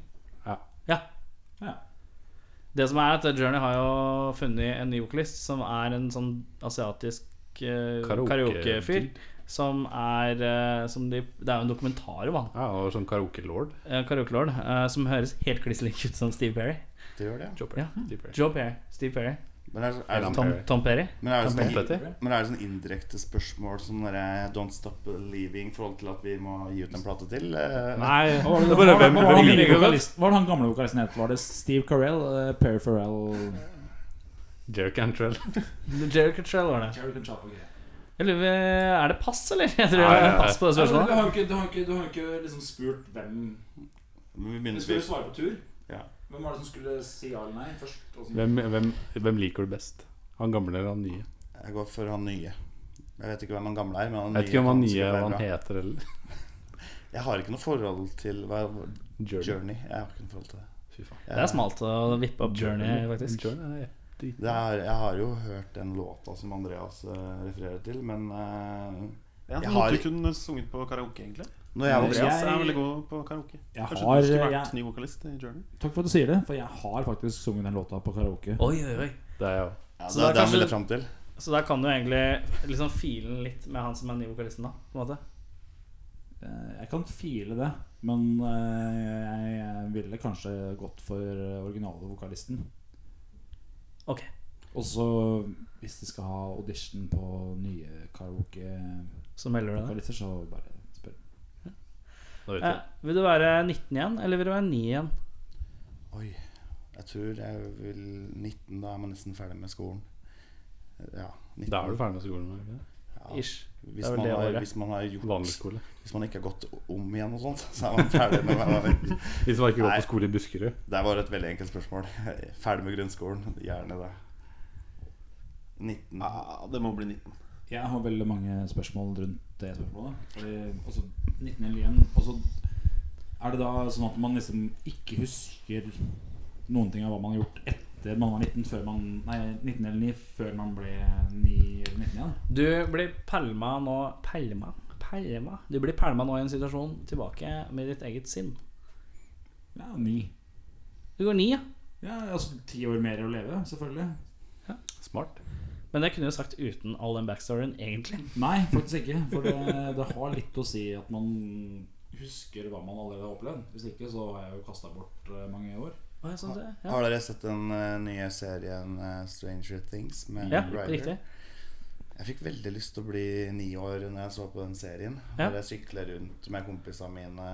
[SPEAKER 2] Det som er at Journey har jo funnet en ny vokalist som er en sånn asiatisk eh,
[SPEAKER 3] Karaoke-
[SPEAKER 2] karaokefyr. Som er eh, som de, Det er jo en dokumentar om han.
[SPEAKER 3] Ja, han var sånn karaoke-lord.
[SPEAKER 2] eh, Karaokelord. eh, som høres helt kliss lik ut som Steve Perry.
[SPEAKER 4] Det gjør det.
[SPEAKER 3] Joe Perry.
[SPEAKER 2] Ja.
[SPEAKER 3] Steve Perry.
[SPEAKER 2] Joe Perry. Steve Perry.
[SPEAKER 4] Men er, er, det
[SPEAKER 3] Tom
[SPEAKER 4] sånn,
[SPEAKER 2] Tom,
[SPEAKER 3] Perry.
[SPEAKER 2] Tom Perry.
[SPEAKER 4] men er det sånn,
[SPEAKER 3] Tom Petty.
[SPEAKER 4] Men er det sånn indirekte spørsmål som dere Don't Stop Leaving i forhold til at vi må gi ut en plate til? Eh,
[SPEAKER 3] Nei,
[SPEAKER 5] Hva var det,
[SPEAKER 3] det er bare hvem,
[SPEAKER 5] hva
[SPEAKER 3] hvem
[SPEAKER 5] var han
[SPEAKER 3] liker du
[SPEAKER 5] gamle
[SPEAKER 3] best?
[SPEAKER 5] vokalisten- hva var det han gamle vokalisten het? Var det Steve Carell? eh, Perry Farrell?
[SPEAKER 3] Jerry Cantrell.
[SPEAKER 2] Jerry Cuttrell var det.
[SPEAKER 5] Jerry Cantrell, ok.
[SPEAKER 2] Jeg lurer, på- er det pass, eller? Jeg tror
[SPEAKER 3] Nei,
[SPEAKER 2] det
[SPEAKER 3] nei,
[SPEAKER 2] er pass på det
[SPEAKER 5] Nei, men Du
[SPEAKER 2] spørsmålet.
[SPEAKER 5] har jo ikke, du har ikke, du har ikke liksom spurt hvem
[SPEAKER 4] men vi
[SPEAKER 5] Du
[SPEAKER 4] begynner
[SPEAKER 5] skulle jo
[SPEAKER 4] vi-
[SPEAKER 5] svare på tur.
[SPEAKER 4] Ja.
[SPEAKER 5] Hvem var det som skulle si ja eller nei først? og så-
[SPEAKER 3] Hvem, hvem, hvem liker du best? Han gamle eller han nye?
[SPEAKER 4] Jeg går for han nye. Jeg vet ikke hvem han gamle er. Men han
[SPEAKER 3] Jeg vet ikke om han
[SPEAKER 4] kan
[SPEAKER 3] nye
[SPEAKER 4] sikkert
[SPEAKER 3] hva
[SPEAKER 4] være
[SPEAKER 3] han
[SPEAKER 4] bra.
[SPEAKER 3] heter eller [LAUGHS]
[SPEAKER 4] Jeg har ikke noe forhold til hva,
[SPEAKER 3] Journey.
[SPEAKER 4] Journey. Jeg har ikke noe forhold til det.
[SPEAKER 3] Fy faen.
[SPEAKER 2] Det er smalt å vippe opp Journey, faktisk.
[SPEAKER 3] Journey, nei.
[SPEAKER 4] Det er, jeg har jo hørt den låta som Andreas eh, refererer til, men eh,
[SPEAKER 6] Det er
[SPEAKER 4] Jeg
[SPEAKER 6] en
[SPEAKER 4] har-
[SPEAKER 6] låt du kunne sunget på karaoke, egentlig.
[SPEAKER 4] Når jeg var
[SPEAKER 6] Andreas
[SPEAKER 5] Jeg-
[SPEAKER 6] er veldig god på karaoke.
[SPEAKER 5] Jeg
[SPEAKER 6] Kanskje
[SPEAKER 5] har-
[SPEAKER 6] du skulle vært
[SPEAKER 5] jeg-
[SPEAKER 6] ny vokalist i Journey?
[SPEAKER 5] Takk for at du sier det, for jeg har faktisk sunget den låta på karaoke.
[SPEAKER 2] Oi, oi, oi.
[SPEAKER 3] Det er jeg òg.
[SPEAKER 4] Ja,
[SPEAKER 2] Så
[SPEAKER 4] det
[SPEAKER 2] da
[SPEAKER 4] er det han
[SPEAKER 2] kanskje-
[SPEAKER 4] ville fram til.
[SPEAKER 2] Så da kan du egentlig liksom file den litt med han som er ny vokalisten, da. På en måte.
[SPEAKER 5] Eh, Jeg kan file det, men eh, jeg ville kanskje gått for eh, originale vokalisten.
[SPEAKER 2] Ok.
[SPEAKER 5] Og så, hvis de skal ha audition på nye karaoke-vokalister,
[SPEAKER 2] Så melder du deg.
[SPEAKER 5] så bare spør.
[SPEAKER 3] Da vet
[SPEAKER 2] Ja,
[SPEAKER 3] jeg.
[SPEAKER 2] vil du være 19 igjen, eller vil du være 9 igjen?
[SPEAKER 4] Oi, jeg tror jeg vil 19, da er man nesten ferdig med skolen. Ja, 19.
[SPEAKER 3] Da er du ferdig med skolen? er du ikke det?
[SPEAKER 4] Ja.
[SPEAKER 2] Ish.
[SPEAKER 4] Hvis,
[SPEAKER 2] Det er vel
[SPEAKER 4] man
[SPEAKER 2] det
[SPEAKER 4] har,
[SPEAKER 2] året.
[SPEAKER 4] hvis, man har gjort,
[SPEAKER 3] Vanlig skole.
[SPEAKER 4] hvis man ikke har gått om igjen og sånt, så er man ferdig med hver
[SPEAKER 3] Hvis man ikke går
[SPEAKER 4] Nei.
[SPEAKER 3] på skole i Buskerud.
[SPEAKER 4] Det var et veldig enkelt spørsmål. Ferdig med grunnskolen, gjerne det. 19.
[SPEAKER 6] Ja, det må bli 19.
[SPEAKER 5] Jeg har veldig mange spørsmål rundt det spørsmålet. Fordi, altså, 19 eller igjen og så Er det da sånn at man liksom ikke husker noen ting av hva man har gjort etter man var 19, før man, nei, 19 eller 9 før man ble 9 eller 19 igjen?
[SPEAKER 2] Du blir pælma nå Pælma? Pælma? Du blir pælma nå i en situasjon tilbake med ditt eget sinn.
[SPEAKER 5] Ja, 9.
[SPEAKER 2] Du går 9, ja.
[SPEAKER 5] Ja, altså ti år mer å leve, selvfølgelig.
[SPEAKER 3] Smart.
[SPEAKER 2] Men det kunne du sagt uten all den backstoryen, egentlig.
[SPEAKER 5] Nei, faktisk ikke. For det, det har litt å si at man husker hva man allerede har opplevd. Hvis ikke så har jeg jo kasta bort eh, mange år.
[SPEAKER 2] Hva er sånn det? Ja,
[SPEAKER 4] Har dere sett den eh, nye serien eh, Stranger Things med
[SPEAKER 2] ja
[SPEAKER 4] Ryder?
[SPEAKER 2] riktig.
[SPEAKER 4] Jeg fikk veldig lyst til å bli ni år når jeg så på den serien.
[SPEAKER 2] Ja.
[SPEAKER 4] Når jeg sykler rundt med kompisene mine,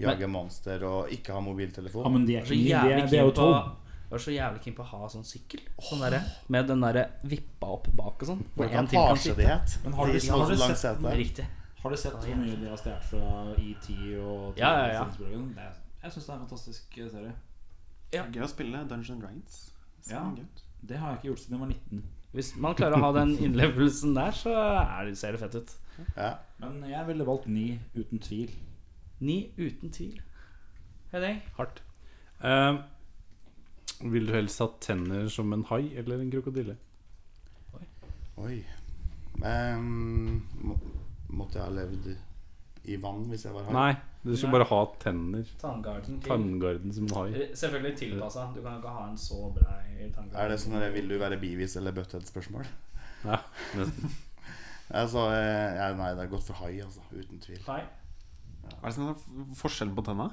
[SPEAKER 4] jager monster og ikke har
[SPEAKER 5] Ja,
[SPEAKER 4] mobiltelefon.
[SPEAKER 5] men de
[SPEAKER 2] Jeg
[SPEAKER 5] er
[SPEAKER 2] var så
[SPEAKER 5] ikke ni, de
[SPEAKER 2] jævlig
[SPEAKER 5] er, de er
[SPEAKER 2] keen
[SPEAKER 5] jo
[SPEAKER 2] på
[SPEAKER 5] tolv.
[SPEAKER 2] jeg var så jævlig keen på å ha sånn sykkel. Sånn derre- med den derre vippa opp bak og sånn. Hvor
[SPEAKER 4] Hvordan
[SPEAKER 2] en til kan
[SPEAKER 4] parse det
[SPEAKER 2] sitte.
[SPEAKER 4] het?
[SPEAKER 5] Men har
[SPEAKER 4] De
[SPEAKER 5] du-
[SPEAKER 4] som
[SPEAKER 5] har
[SPEAKER 4] hadde
[SPEAKER 5] du
[SPEAKER 4] langt
[SPEAKER 5] sett
[SPEAKER 4] sete.
[SPEAKER 2] Riktig.
[SPEAKER 5] Har du sett hvor mye de har stjålet fra ET
[SPEAKER 2] Ja,
[SPEAKER 5] og
[SPEAKER 2] ja, ja.
[SPEAKER 5] Flintstones-bloggen? Det er- Jeg syns det er en fantastisk eh, serie.
[SPEAKER 2] Ja.
[SPEAKER 6] Gøy å spille Dungeons and Dragons. Så
[SPEAKER 5] Ja.
[SPEAKER 6] gøy.
[SPEAKER 5] Det har jeg ikke gjort siden jeg var 19.
[SPEAKER 2] Hvis man klarer å ha den innlevelsen der, så er det, ser det fett ut.
[SPEAKER 4] Ja.
[SPEAKER 5] Men jeg ville valgt 9, uten tvil.
[SPEAKER 2] Ni uten tvil. Henning?
[SPEAKER 3] Hardt. Eh, vil du helst ha tenner som en hai eller en krokodille?
[SPEAKER 4] Oi. Ehm, må, måtte jeg ha levd i vann hvis jeg var her?
[SPEAKER 3] Nei, du skal
[SPEAKER 2] Nei.
[SPEAKER 3] bare ha tenner.
[SPEAKER 2] Tanngarden.
[SPEAKER 3] Tanngarden som en hai.
[SPEAKER 2] Eh, Selvfølgelig tilpassa. Du kan ikke ha en så brei tanngarden.
[SPEAKER 4] Er det sånn at jeg vil du være bivis eller butthead-spørsmål?
[SPEAKER 3] Ja, nesten.
[SPEAKER 4] Altså, eh, ja, nei, det er godt for hai, altså. Uten tvil.
[SPEAKER 2] Hei.
[SPEAKER 6] Hva er det som er f- forskjellen på tenna?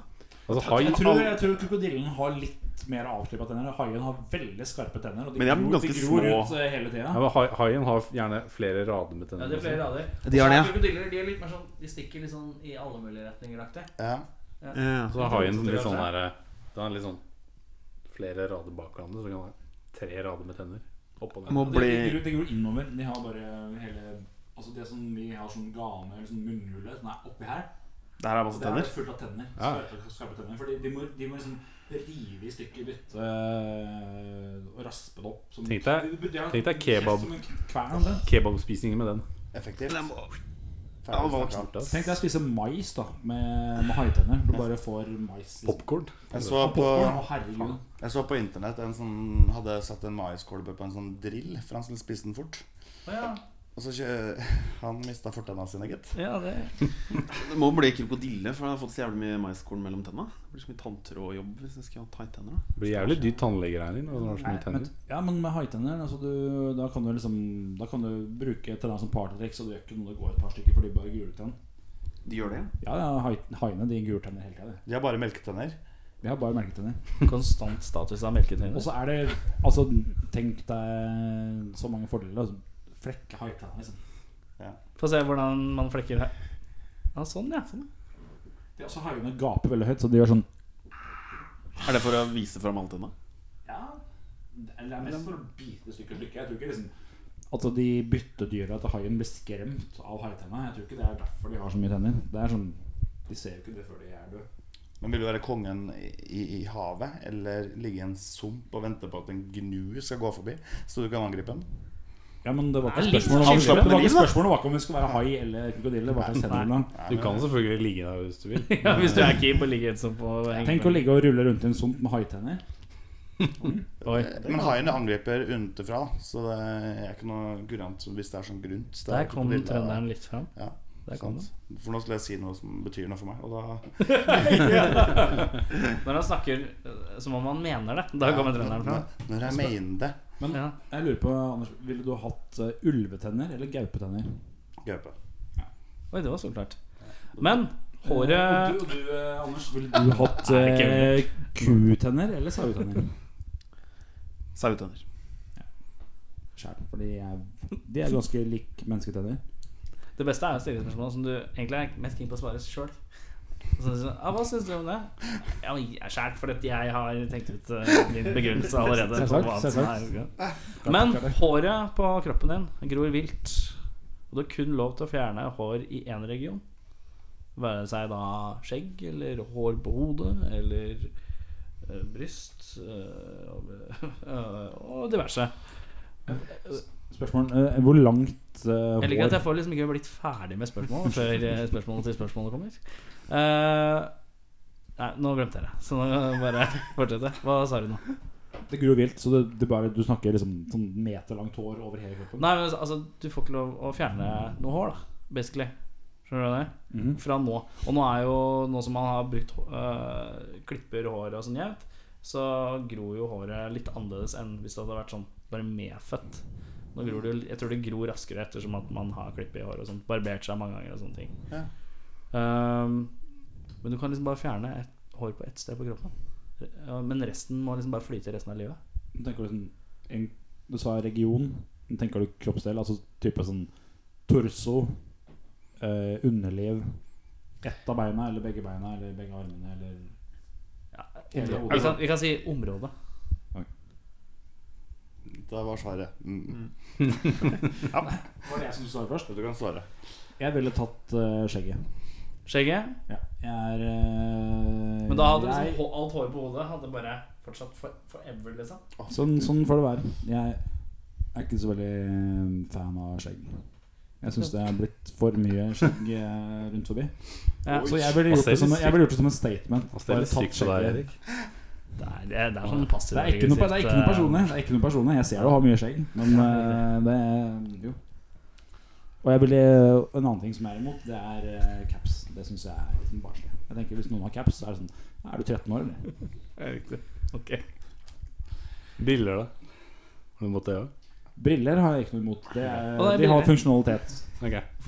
[SPEAKER 3] Altså, hai
[SPEAKER 5] Jeg tror, jeg tror krokodillen har litt mer avklippa tenner. og Haien har veldig skarpe tenner. Og de
[SPEAKER 6] Men de er
[SPEAKER 5] gror,
[SPEAKER 6] ganske
[SPEAKER 5] de gror
[SPEAKER 6] små.
[SPEAKER 5] ut eh, hele tida.
[SPEAKER 3] ja, men hai- Haien har gjerne flere rader med
[SPEAKER 2] Ja,
[SPEAKER 3] tenner.
[SPEAKER 2] det er flere
[SPEAKER 3] også.
[SPEAKER 2] rader.
[SPEAKER 6] De har det, ja.
[SPEAKER 2] Krokodiller de er litt mer sånn De stikker litt sånn i alle mulige retninger. aktig.
[SPEAKER 4] Ja.
[SPEAKER 3] Så er haien litt sånn
[SPEAKER 2] Kanskje.
[SPEAKER 3] der eh, Da er den litt sånn flere rader bak hverandre, så kan den ha tre rader med tenner. Oppå den.
[SPEAKER 6] Må
[SPEAKER 5] De,
[SPEAKER 6] bli
[SPEAKER 5] de, gror, de gror innover. De har bare hele Altså det som vi har sånn gane eller sånn munnhule som er oppi her,
[SPEAKER 6] Der
[SPEAKER 5] og
[SPEAKER 6] er masse
[SPEAKER 5] det er
[SPEAKER 6] Altså tenner.
[SPEAKER 5] fullt av tenner.
[SPEAKER 3] Ja.
[SPEAKER 5] Skarpe, skarpe tenner. For de, de, må, de må liksom rive i stykker bytte eh, og raspe det opp. som-
[SPEAKER 3] Tenk deg-
[SPEAKER 5] de- de- de har-
[SPEAKER 3] tenk deg
[SPEAKER 5] de
[SPEAKER 3] kebab.
[SPEAKER 5] som en Kvern, det.
[SPEAKER 3] Kebabspisningen med den.
[SPEAKER 4] Effektivt.
[SPEAKER 6] Den må- Ja,
[SPEAKER 4] Ferdig
[SPEAKER 6] hva-
[SPEAKER 4] snakka.
[SPEAKER 3] Smart, ass.
[SPEAKER 5] Tenk deg å spise mais da med, med haitenner. Du bare får mais. i-
[SPEAKER 3] Popcorn.
[SPEAKER 4] Jeg så på
[SPEAKER 5] Popcorn, Å, herregud.
[SPEAKER 4] Jeg så på internett en som hadde satt en maiskolbe på en sånn drill, for han skulle spise den fort.
[SPEAKER 2] Å ja.
[SPEAKER 4] Og så kjø... [LAUGHS] Han mista fortenna sine, gitt.
[SPEAKER 2] ja, det
[SPEAKER 6] Det må bli krokodille, for jeg har fått så jævlig mye maiskorn mellom tenna. Det blir så mye tanntrådjobb hvis jeg skal ha tight tenner. da.
[SPEAKER 3] Det blir jævlig dyr tannlegeregning når du har så
[SPEAKER 5] Nei,
[SPEAKER 3] mye
[SPEAKER 5] men,
[SPEAKER 3] tenner.
[SPEAKER 5] ja, men med haitenner altså du, da, kan du liksom, da kan du bruke tenna som partytriks, og det gjør ikke noe om det går et par stykker, for de bare gruer tenn.
[SPEAKER 6] De gjør det?
[SPEAKER 5] Ja,
[SPEAKER 6] ja.
[SPEAKER 5] ja, hai- haiene de gruer tenner hele tida.
[SPEAKER 4] De har bare melketenner.
[SPEAKER 5] De har bare melketenner.
[SPEAKER 2] Konstant status av melketenner.
[SPEAKER 5] Og så er det Altså, tenk deg så mange fordeler. Altså, flekke haitenner, liksom.
[SPEAKER 2] Få se hvordan man flekker her. Ja, sånn, ja. Sånn, ja.
[SPEAKER 5] De, altså, haiene gaper veldig høyt, så de gjør sånn
[SPEAKER 6] Er det for å vise fram alle tenna?
[SPEAKER 5] Ja Eller det er mest for å bite stykker stykker. Jeg tror ikke liksom at de byttedyra til haien blir skremt av haitenna. Jeg tror ikke det er derfor de har så mye tenner. Det er sånn De ser jo ikke det før de er døde.
[SPEAKER 4] Men vil du være kongen i, i, i havet, eller ligge i en sump og vente på at en gnu skal gå forbi, så du kan angripe den?
[SPEAKER 5] Ja, men det sånn var
[SPEAKER 2] Det er
[SPEAKER 5] ikke
[SPEAKER 2] litt
[SPEAKER 5] spørsmålet om,
[SPEAKER 2] skillende
[SPEAKER 5] det var ikke
[SPEAKER 6] liv, da.
[SPEAKER 5] spørsmålet var ikke om vi skulle være hai eller krokodille. det var slags tenner vi skulle ha.
[SPEAKER 3] Du kan selvfølgelig ligge der hvis du vil.
[SPEAKER 2] [LAUGHS] [LAUGHS] ja hvis du er keen på å ligge et sånt på henge
[SPEAKER 5] Tenk
[SPEAKER 2] på-
[SPEAKER 5] å ligge og rulle rundt i en sump med haitenner.
[SPEAKER 2] Oi.
[SPEAKER 4] Men haien angriper utenfra, så det er ikke noe gurant hvis det er sånn grunt. så det er
[SPEAKER 2] Der kom
[SPEAKER 4] krokodille-
[SPEAKER 2] trønderen litt fram.
[SPEAKER 4] Ja.
[SPEAKER 2] Der kom
[SPEAKER 4] sant? For nå skulle jeg si noe som betyr noe for meg, og da
[SPEAKER 2] den. Når han snakker eh, som om han mener det, da kommer trønderen fram.
[SPEAKER 4] Når jeg mener det
[SPEAKER 5] Men
[SPEAKER 2] Ja.
[SPEAKER 5] jeg lurer på, Anders, ville du ha hatt eh, ulvetenner eller gaupetenner?
[SPEAKER 4] Gaupe.
[SPEAKER 2] Oi, det var solklart. Men håret
[SPEAKER 5] Og du, og du eh, Anders, ville du hatt eh, kutenner eller sauetenner?
[SPEAKER 6] Sauetenner.
[SPEAKER 5] Skjær, fordi jeg, de er ganske lik mennesketenner.
[SPEAKER 2] Det beste er å stille spørsmål som du egentlig er mest keen på å svare sjøl. Ah, hva syns du om det? Ja, men jeg er skjært fordi at jeg har tenkt ut eh, min begrunnelse allerede. på
[SPEAKER 5] Selvsagt,
[SPEAKER 2] hva som
[SPEAKER 5] selvsagt. Eh,
[SPEAKER 2] er- Men håret på kroppen din gror vilt. Og du har kun lov til å fjerne hår i én region. Være seg da skjegg eller hår på hodet eller eh, bryst eh, og, [LAUGHS] eh, og diverse.
[SPEAKER 5] Spørsmål eh, Hvor langt eh,
[SPEAKER 2] Jeg liker at
[SPEAKER 5] hår
[SPEAKER 2] jeg får liksom ikke blitt ferdig med spørsmålet før eh, spørsmålet til spørsmålet kommer. Eh, nei, nå glemte jeg det, så nå bare [LAUGHS] fortsette. Hva sa du nå? Nei,
[SPEAKER 5] Det gror vilt, så det, det bare, du snakker liksom sånn meterlangt hår over hele kroppen?
[SPEAKER 2] men altså, du får ikke lov å fjerne noe hår, da, basically. Skjønner du hva jeg mener?
[SPEAKER 5] Mhm.
[SPEAKER 2] Fra nå. Og nå er jo nå som man har brukt eh, klipper håret og sånn jevnt, så gror jo håret litt annerledes enn hvis det hadde vært sånn bare medfødt. Nå gror det, jo- jeg tror det gror raskere ettersom at man har klippe i håret og sånt. Barbert seg mange ganger og sånne ting.
[SPEAKER 4] Ja.
[SPEAKER 2] Ehm, men du kan liksom bare fjerne et hår på ett sted på kroppen. Ja, Men resten må liksom bare flyte resten av livet.
[SPEAKER 5] Nå Tenker du, sånn, en, du sa region. Nå Tenker du kroppsdel? Altså type sånn torso, eh, underliv, ett av beina eller begge beina eller begge armene eller
[SPEAKER 2] Ja,
[SPEAKER 5] Hele
[SPEAKER 2] vi,
[SPEAKER 5] hodet.
[SPEAKER 2] kan, vi kan si området.
[SPEAKER 4] Da var svaret. Mm.
[SPEAKER 5] Var det jeg som svarer først?
[SPEAKER 4] Du kan svare.
[SPEAKER 5] Jeg ville tatt eh, skjegget.
[SPEAKER 2] Skjegget.
[SPEAKER 5] Ja. Jeg er eh,
[SPEAKER 2] Men da hadde liksom
[SPEAKER 5] jeg,
[SPEAKER 2] hå- alt håret på hodet hadde bare fortsatt for, forever, liksom.
[SPEAKER 5] sånn, sånn får det være. Jeg er ikke så veldig eh, fan av skjegg. Jeg syns det er blitt for mye skjegg eh, rundt forbi.
[SPEAKER 2] Ja.
[SPEAKER 5] Så jeg ville gjort,
[SPEAKER 3] Hva
[SPEAKER 5] det som,
[SPEAKER 3] ser
[SPEAKER 5] jeg ville gjort det som en statement.
[SPEAKER 3] Hva ser
[SPEAKER 5] Bare
[SPEAKER 3] litt
[SPEAKER 5] tatt
[SPEAKER 3] sykt på deg,
[SPEAKER 5] skjegget.
[SPEAKER 3] Erik?
[SPEAKER 2] Det er, det er, det er sånn passiv
[SPEAKER 5] Det er ikke noe, det er ikke noe personlig.
[SPEAKER 3] eh.
[SPEAKER 5] Det er ikke noe personlig Jeg ser du har mye skjegg, men eh, det er jo. Og jeg ville, en annen ting som jeg er imot, det er eh, caps. Det syns jeg er liksom barnslig. Jeg tenker Hvis noen har caps, så er det sånn "Ja, Er du 13 år, eller?
[SPEAKER 2] eh, riktig. Ok.
[SPEAKER 3] Briller, da? Har du måttet det òg?
[SPEAKER 5] Briller har jeg ikke noe imot. Det er,
[SPEAKER 2] Og det er
[SPEAKER 5] de har
[SPEAKER 2] briller.
[SPEAKER 5] funksjonalitet.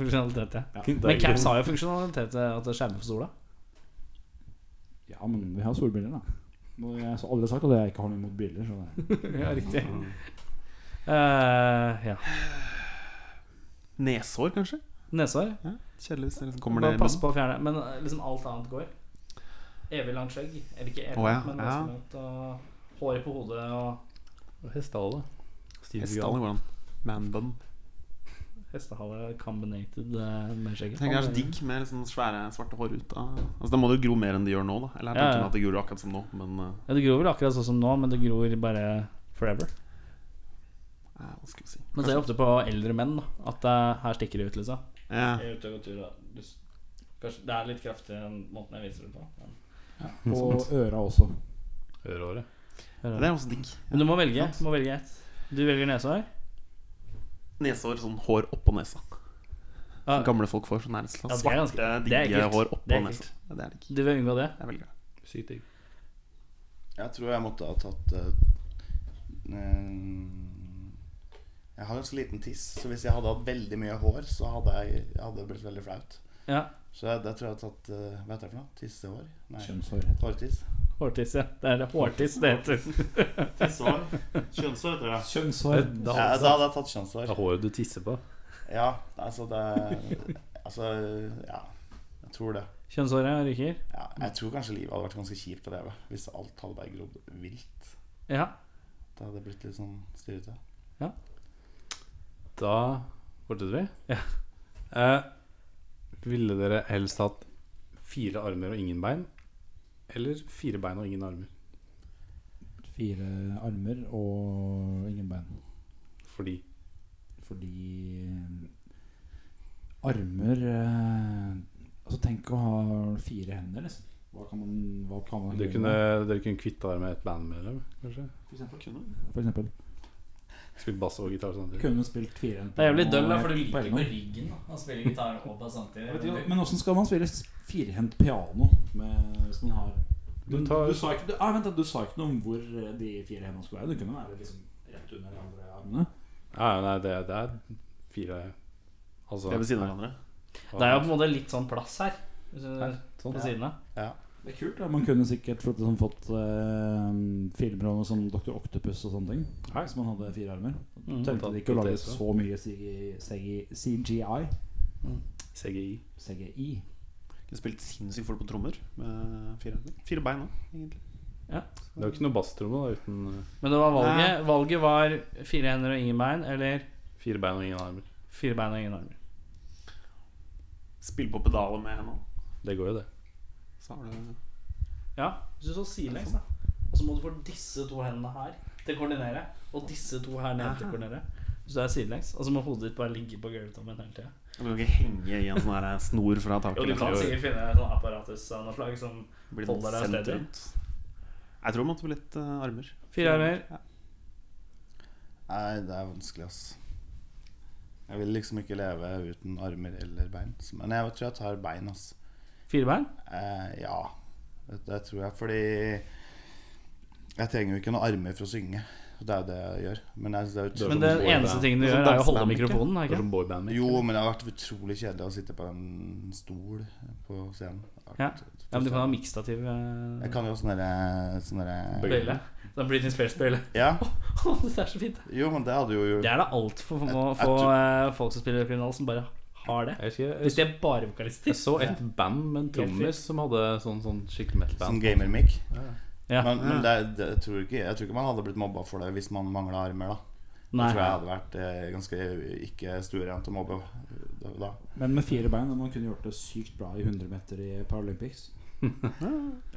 [SPEAKER 2] Funksjonalitet, ja.
[SPEAKER 5] Ja.
[SPEAKER 2] Men caps har jo funksjonalitet eh, at det skjermer for sola.
[SPEAKER 5] Ja, men vi har solbriller, da. Nå har jeg så aldri sagt at jeg ikke har noe imot briller. Så
[SPEAKER 3] [LAUGHS]
[SPEAKER 5] det.
[SPEAKER 2] ja, riktig. Eh, ja.
[SPEAKER 6] Neshår, kanskje?
[SPEAKER 2] Nesehår.
[SPEAKER 6] Kjedelig hvis det liksom kommer
[SPEAKER 2] Bare
[SPEAKER 6] ned.
[SPEAKER 2] pass på å fjerne Men eh, liksom alt annet går. Evig langt skjegg. Eller ikke evig,
[SPEAKER 6] Å, ja.
[SPEAKER 2] men
[SPEAKER 6] Ja.
[SPEAKER 2] ganske langt. Og håret på hodet og
[SPEAKER 3] Hestehale. Steven
[SPEAKER 6] Hestehale
[SPEAKER 3] Seagal.
[SPEAKER 6] går an. Man bun.
[SPEAKER 2] hestehale combinated eh, med skjegget.
[SPEAKER 6] Tenker jeg er så digg med liksom svære, svarte hår ut av Altså Da må det jo gro mer enn det gjør nå, da. Eller jeg
[SPEAKER 2] Ja,
[SPEAKER 6] tenker
[SPEAKER 2] ja.
[SPEAKER 6] at det gror akkurat som nå, men eh,
[SPEAKER 2] Ja, det gror vel akkurat sånn som nå, men det gror bare forever.
[SPEAKER 6] eh, hva skal vi si
[SPEAKER 2] Man ser ofte på eldre menn da, at eh, her stikker det ut, liksom.
[SPEAKER 6] Ja.
[SPEAKER 2] Jeg er ute og går tur, da. Du s- Kanskje, det er litt kraftig den måten jeg viser det på. men-
[SPEAKER 5] Og øra også.
[SPEAKER 3] Ørehåret.
[SPEAKER 6] Det er også digg.
[SPEAKER 2] Men du må velge. Du må velge ett. Du velger nesehår.
[SPEAKER 6] Nesehår, sånn hår oppå nesa.
[SPEAKER 2] Ja,
[SPEAKER 6] Gamle folk får sånn
[SPEAKER 2] Ja,
[SPEAKER 6] her
[SPEAKER 2] det er
[SPEAKER 6] svarte,
[SPEAKER 2] ganske- det er
[SPEAKER 6] digge
[SPEAKER 2] ekkelt.
[SPEAKER 6] hår
[SPEAKER 2] Det
[SPEAKER 6] oppå
[SPEAKER 2] er
[SPEAKER 6] nesa.
[SPEAKER 2] ekkelt.
[SPEAKER 6] Ja, Det er digg.
[SPEAKER 2] du vil unngå det.
[SPEAKER 6] Jeg velger det.
[SPEAKER 3] Sykt digg.
[SPEAKER 4] Jeg tror jeg måtte ha tatt eh, eh, Jeg har ganske liten tiss, så hvis jeg hadde hatt veldig mye hår, så hadde jeg hadde det blitt veldig flaut.
[SPEAKER 2] Ja,
[SPEAKER 4] Så jeg, da tror jeg har tatt eh, Hva heter det for noe? Tissehår? Nei,
[SPEAKER 5] Kjønnshår.
[SPEAKER 4] hårtiss.
[SPEAKER 2] Hårtiss, ja. Det er det hårtiss det heter.
[SPEAKER 4] Tissehår. Kjønnshår heter det.
[SPEAKER 5] Kjønnshår.
[SPEAKER 4] Da hadde jeg tatt kjønnshår.
[SPEAKER 3] Det er håret du tisser på.
[SPEAKER 4] Ja, altså det Altså, ja. Jeg tror det.
[SPEAKER 2] Kjønnshåret ryker.
[SPEAKER 4] Ja, jeg tror kanskje livet hadde vært ganske kjipt å leve hvis alt hadde bare grodd vilt.
[SPEAKER 2] Ja.
[SPEAKER 4] Det hadde blitt litt sånn styrete.
[SPEAKER 3] Da fortsetter vi.
[SPEAKER 2] Ja.
[SPEAKER 3] Eh, ville dere helst hatt fire armer og ingen bein? Eller fire bein og ingen armer?
[SPEAKER 5] Fire armer og ingen bein.
[SPEAKER 3] Fordi
[SPEAKER 5] Fordi armer eh, Altså tenk å ha fire hender, liksom. Hva kan man, hva kan man
[SPEAKER 3] dere
[SPEAKER 5] gjøre
[SPEAKER 3] kunne,
[SPEAKER 5] med det,
[SPEAKER 3] dere kunne kvitta dere med et bandmedlem, kanskje?
[SPEAKER 5] for eksempel?
[SPEAKER 6] Kunne.
[SPEAKER 5] For eksempel.
[SPEAKER 3] Spilt bass og gitar samtidig.
[SPEAKER 5] Kunne spilt fire
[SPEAKER 2] Det er jævlig døll, da, for du
[SPEAKER 5] på
[SPEAKER 2] ligger
[SPEAKER 5] egen
[SPEAKER 2] på
[SPEAKER 5] hånd.
[SPEAKER 2] ryggen da, og spiller gitar og bass samtidig.
[SPEAKER 5] Jeg vet ikke, Men åssen skal man spille s- firhendt piano med, hvis man har
[SPEAKER 3] Du
[SPEAKER 5] du,
[SPEAKER 3] tar-
[SPEAKER 5] du, sa ikke, du, ah, vent, da, du sa ikke noe om hvor eh, de fire hendene skulle være. Det kunne være liksom rett under de andre armene.
[SPEAKER 3] Ja, ja, nei, det, det er fire Altså
[SPEAKER 6] Det er ved siden av hverandre.
[SPEAKER 2] Det er jo på en måte litt sånn plass her. Hvis du,
[SPEAKER 3] Her, sånn.
[SPEAKER 2] på siden av.
[SPEAKER 5] Det er kult. da, Man kunne sikkert fått, sånn, fått eh, filmer om noe sånn Dr. Octopus og sånne ting.
[SPEAKER 3] Nei.
[SPEAKER 5] Hvis man hadde fire armer.
[SPEAKER 2] Mm.
[SPEAKER 5] Tenkte de ikke å lage
[SPEAKER 3] Tatt-
[SPEAKER 5] så mye CGI, CGI
[SPEAKER 3] CGI.
[SPEAKER 5] CGI.
[SPEAKER 6] Kunne spilt sinnssykt fort på trommer med fire, fire bein òg, egentlig.
[SPEAKER 3] Det er jo ikke noe basstromme da, uten eh,
[SPEAKER 2] Men det var valget. Valget var fire hender og ingen bein, eller
[SPEAKER 3] fire bein og ingen armer.
[SPEAKER 2] fire bein og ingen armer.
[SPEAKER 6] Spille på pedalet med henne òg.
[SPEAKER 3] Det går jo, det.
[SPEAKER 6] Så har du
[SPEAKER 2] Ja, hvis du så sidelengs, da. Og så må du få disse to hendene her til å koordinere. Og disse to her ned til å koordinere. Hvis du er sidelengs. Og så må hodet ditt bare ligge på gulvtommen hele tida.
[SPEAKER 6] Du kan ikke henge i en sånn her snor fra taket.
[SPEAKER 2] Jo, du kan
[SPEAKER 6] liksom.
[SPEAKER 2] sikkert finne et sånt apparatus av noe slag som
[SPEAKER 6] Blir
[SPEAKER 2] holde deg
[SPEAKER 6] sendt
[SPEAKER 2] stedig.
[SPEAKER 6] rundt. Jeg tror det måtte bli litt eh, armer.
[SPEAKER 2] Fire armer.
[SPEAKER 6] Ja.
[SPEAKER 4] Nei, det er vanskelig, ass. Jeg vil liksom ikke leve uten armer eller bein. Så- Men jeg tror jeg tar bein, ass.
[SPEAKER 2] Fire bein?
[SPEAKER 4] Eh, ja, det, det tror jeg. Fordi jeg trenger jo ikke noen armer for å synge. Det er jo det jeg gjør. Men jeg, det er
[SPEAKER 3] Det
[SPEAKER 4] ut...
[SPEAKER 3] er
[SPEAKER 2] Men
[SPEAKER 3] som
[SPEAKER 2] den
[SPEAKER 3] boyband.
[SPEAKER 2] eneste tingen du
[SPEAKER 6] Det er
[SPEAKER 2] gjør,
[SPEAKER 6] som
[SPEAKER 2] er å holde
[SPEAKER 6] danseband, ikke?
[SPEAKER 2] mikrofonen, er
[SPEAKER 3] Det er
[SPEAKER 2] ikke det?
[SPEAKER 3] som boyband.
[SPEAKER 4] Jo, men det har vært utrolig kjedelig å sitte på en stol på scenen. Det
[SPEAKER 2] Ja.
[SPEAKER 4] har vært-
[SPEAKER 2] Ja, men du kan ha mikstativ eh,
[SPEAKER 4] Jeg kan jo sånn sånne der- sånne der-
[SPEAKER 2] bøyle. Sånn Britney [LAUGHS] Spears-bøyle.
[SPEAKER 4] Ja.
[SPEAKER 2] det er så fint.
[SPEAKER 4] Jo, men det hadde jo
[SPEAKER 2] Det er det altfor få,
[SPEAKER 4] Jeg- jeg
[SPEAKER 2] få
[SPEAKER 4] tror-
[SPEAKER 2] eh, folk som spiller kriminal, som bare har det.
[SPEAKER 3] Jeg, husker, jeg,
[SPEAKER 2] Hvis
[SPEAKER 3] husker,
[SPEAKER 2] de er bare vokalister.
[SPEAKER 3] jeg så et band med en trommis som hadde sånn, sånn skikkelig
[SPEAKER 4] sånn
[SPEAKER 3] metal-band.
[SPEAKER 4] gamer-mic.
[SPEAKER 2] Ja.
[SPEAKER 4] Men, men det, det, jeg, tror ikke, jeg tror ikke man hadde blitt mobba for det hvis man mangla armer, da.
[SPEAKER 2] Nei.
[SPEAKER 4] Jeg tror jeg hadde vært eh, ganske ikke stuerent å mobbe da. da.
[SPEAKER 5] Men med fire bein hadde man kunne gjort det sykt bra i 100 meter i Paralympics.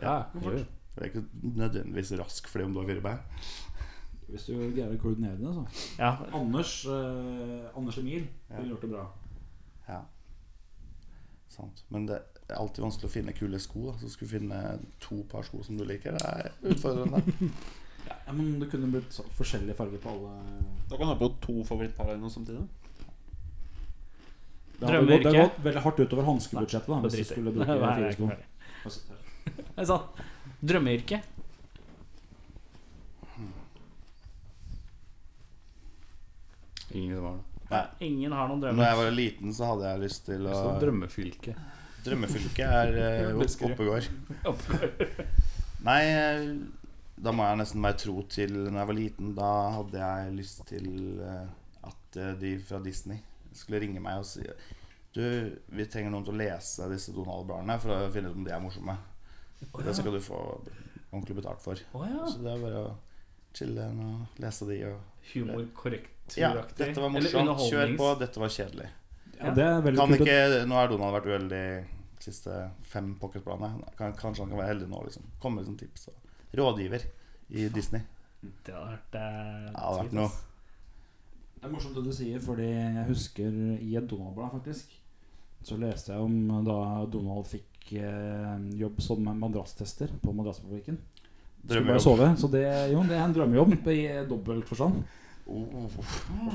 [SPEAKER 3] Ja, jo, jo.
[SPEAKER 4] Det er ikke nødvendigvis rask fordi om du har fire bein.
[SPEAKER 5] Hvis du greier å koordinere det, så.
[SPEAKER 2] Ja.
[SPEAKER 5] Anders, eh, Anders Emil
[SPEAKER 4] Ja.
[SPEAKER 5] ville gjort det bra.
[SPEAKER 4] Ja. Sant. Men det er alltid vanskelig å finne kule sko. Da. Så skulle du finne to par sko som du liker, det er
[SPEAKER 2] [LAUGHS]
[SPEAKER 4] utfordrende.
[SPEAKER 5] Ja, men det kunne blitt så, forskjellige farger på alle
[SPEAKER 6] Da kan du ha på to favorittpar eller noe samtidig.
[SPEAKER 5] Det hadde
[SPEAKER 2] Drømmer
[SPEAKER 5] gått, det hadde
[SPEAKER 2] ikke.
[SPEAKER 5] gått veldig hardt utover hanskebudsjettet da,
[SPEAKER 2] Nei,
[SPEAKER 5] hvis du
[SPEAKER 2] det
[SPEAKER 5] skulle
[SPEAKER 2] Nei,
[SPEAKER 5] bruke
[SPEAKER 2] det er
[SPEAKER 5] fire
[SPEAKER 2] ikke
[SPEAKER 5] sko.
[SPEAKER 2] ferdig. Det er sant. Drømmeyrke.
[SPEAKER 3] Ingen som har det.
[SPEAKER 2] Ingen har noen
[SPEAKER 4] Når
[SPEAKER 2] drømmer.
[SPEAKER 4] jeg var liten, så hadde jeg lyst til å
[SPEAKER 3] Så drømmefylke.
[SPEAKER 4] Drømmefylket er
[SPEAKER 2] [LAUGHS]
[SPEAKER 4] eh, opp-
[SPEAKER 3] Buskerud.
[SPEAKER 4] Oppegård. Nei, eh, da må jeg nesten være tro til Når jeg var liten, da hadde jeg lyst til eh, at eh, de fra Disney skulle ringe meg og si Du, vi trenger noen til å lese disse Donald-bladene for å finne ut om de er morsomme. Det skal du få ordentlig betalt for.
[SPEAKER 2] Å ja.
[SPEAKER 4] Så det er bare å chille og lese de og
[SPEAKER 2] Humorkorrekturaktig.
[SPEAKER 4] Ja, dette var morsomt. Kjør på. Dette var kjedelig.
[SPEAKER 5] Ja, det er veldig
[SPEAKER 4] Kan
[SPEAKER 5] kult.
[SPEAKER 4] ikke, nå har Donald vært uheldig de siste fem pocketplanene. Kan, kanskje han kan være heldig nå. liksom Komme med sånn tips. Og. Rådgiver i Disney.
[SPEAKER 2] Det hadde vært, eh,
[SPEAKER 4] Det hadde vært
[SPEAKER 2] sykt,
[SPEAKER 4] noe.
[SPEAKER 2] ass.
[SPEAKER 5] Det er morsomt det du sier, fordi jeg husker i et Donald-blad, faktisk, så leste jeg om eh, da Donald fikk eh, jobb som madrasstester på Madrassfabrikken. Skulle bare
[SPEAKER 4] Drømmejobb.
[SPEAKER 5] sove. Så det, jo, det er en drømmejobb i dobbelt forstand. [LAUGHS]
[SPEAKER 4] Oh, oh, oh.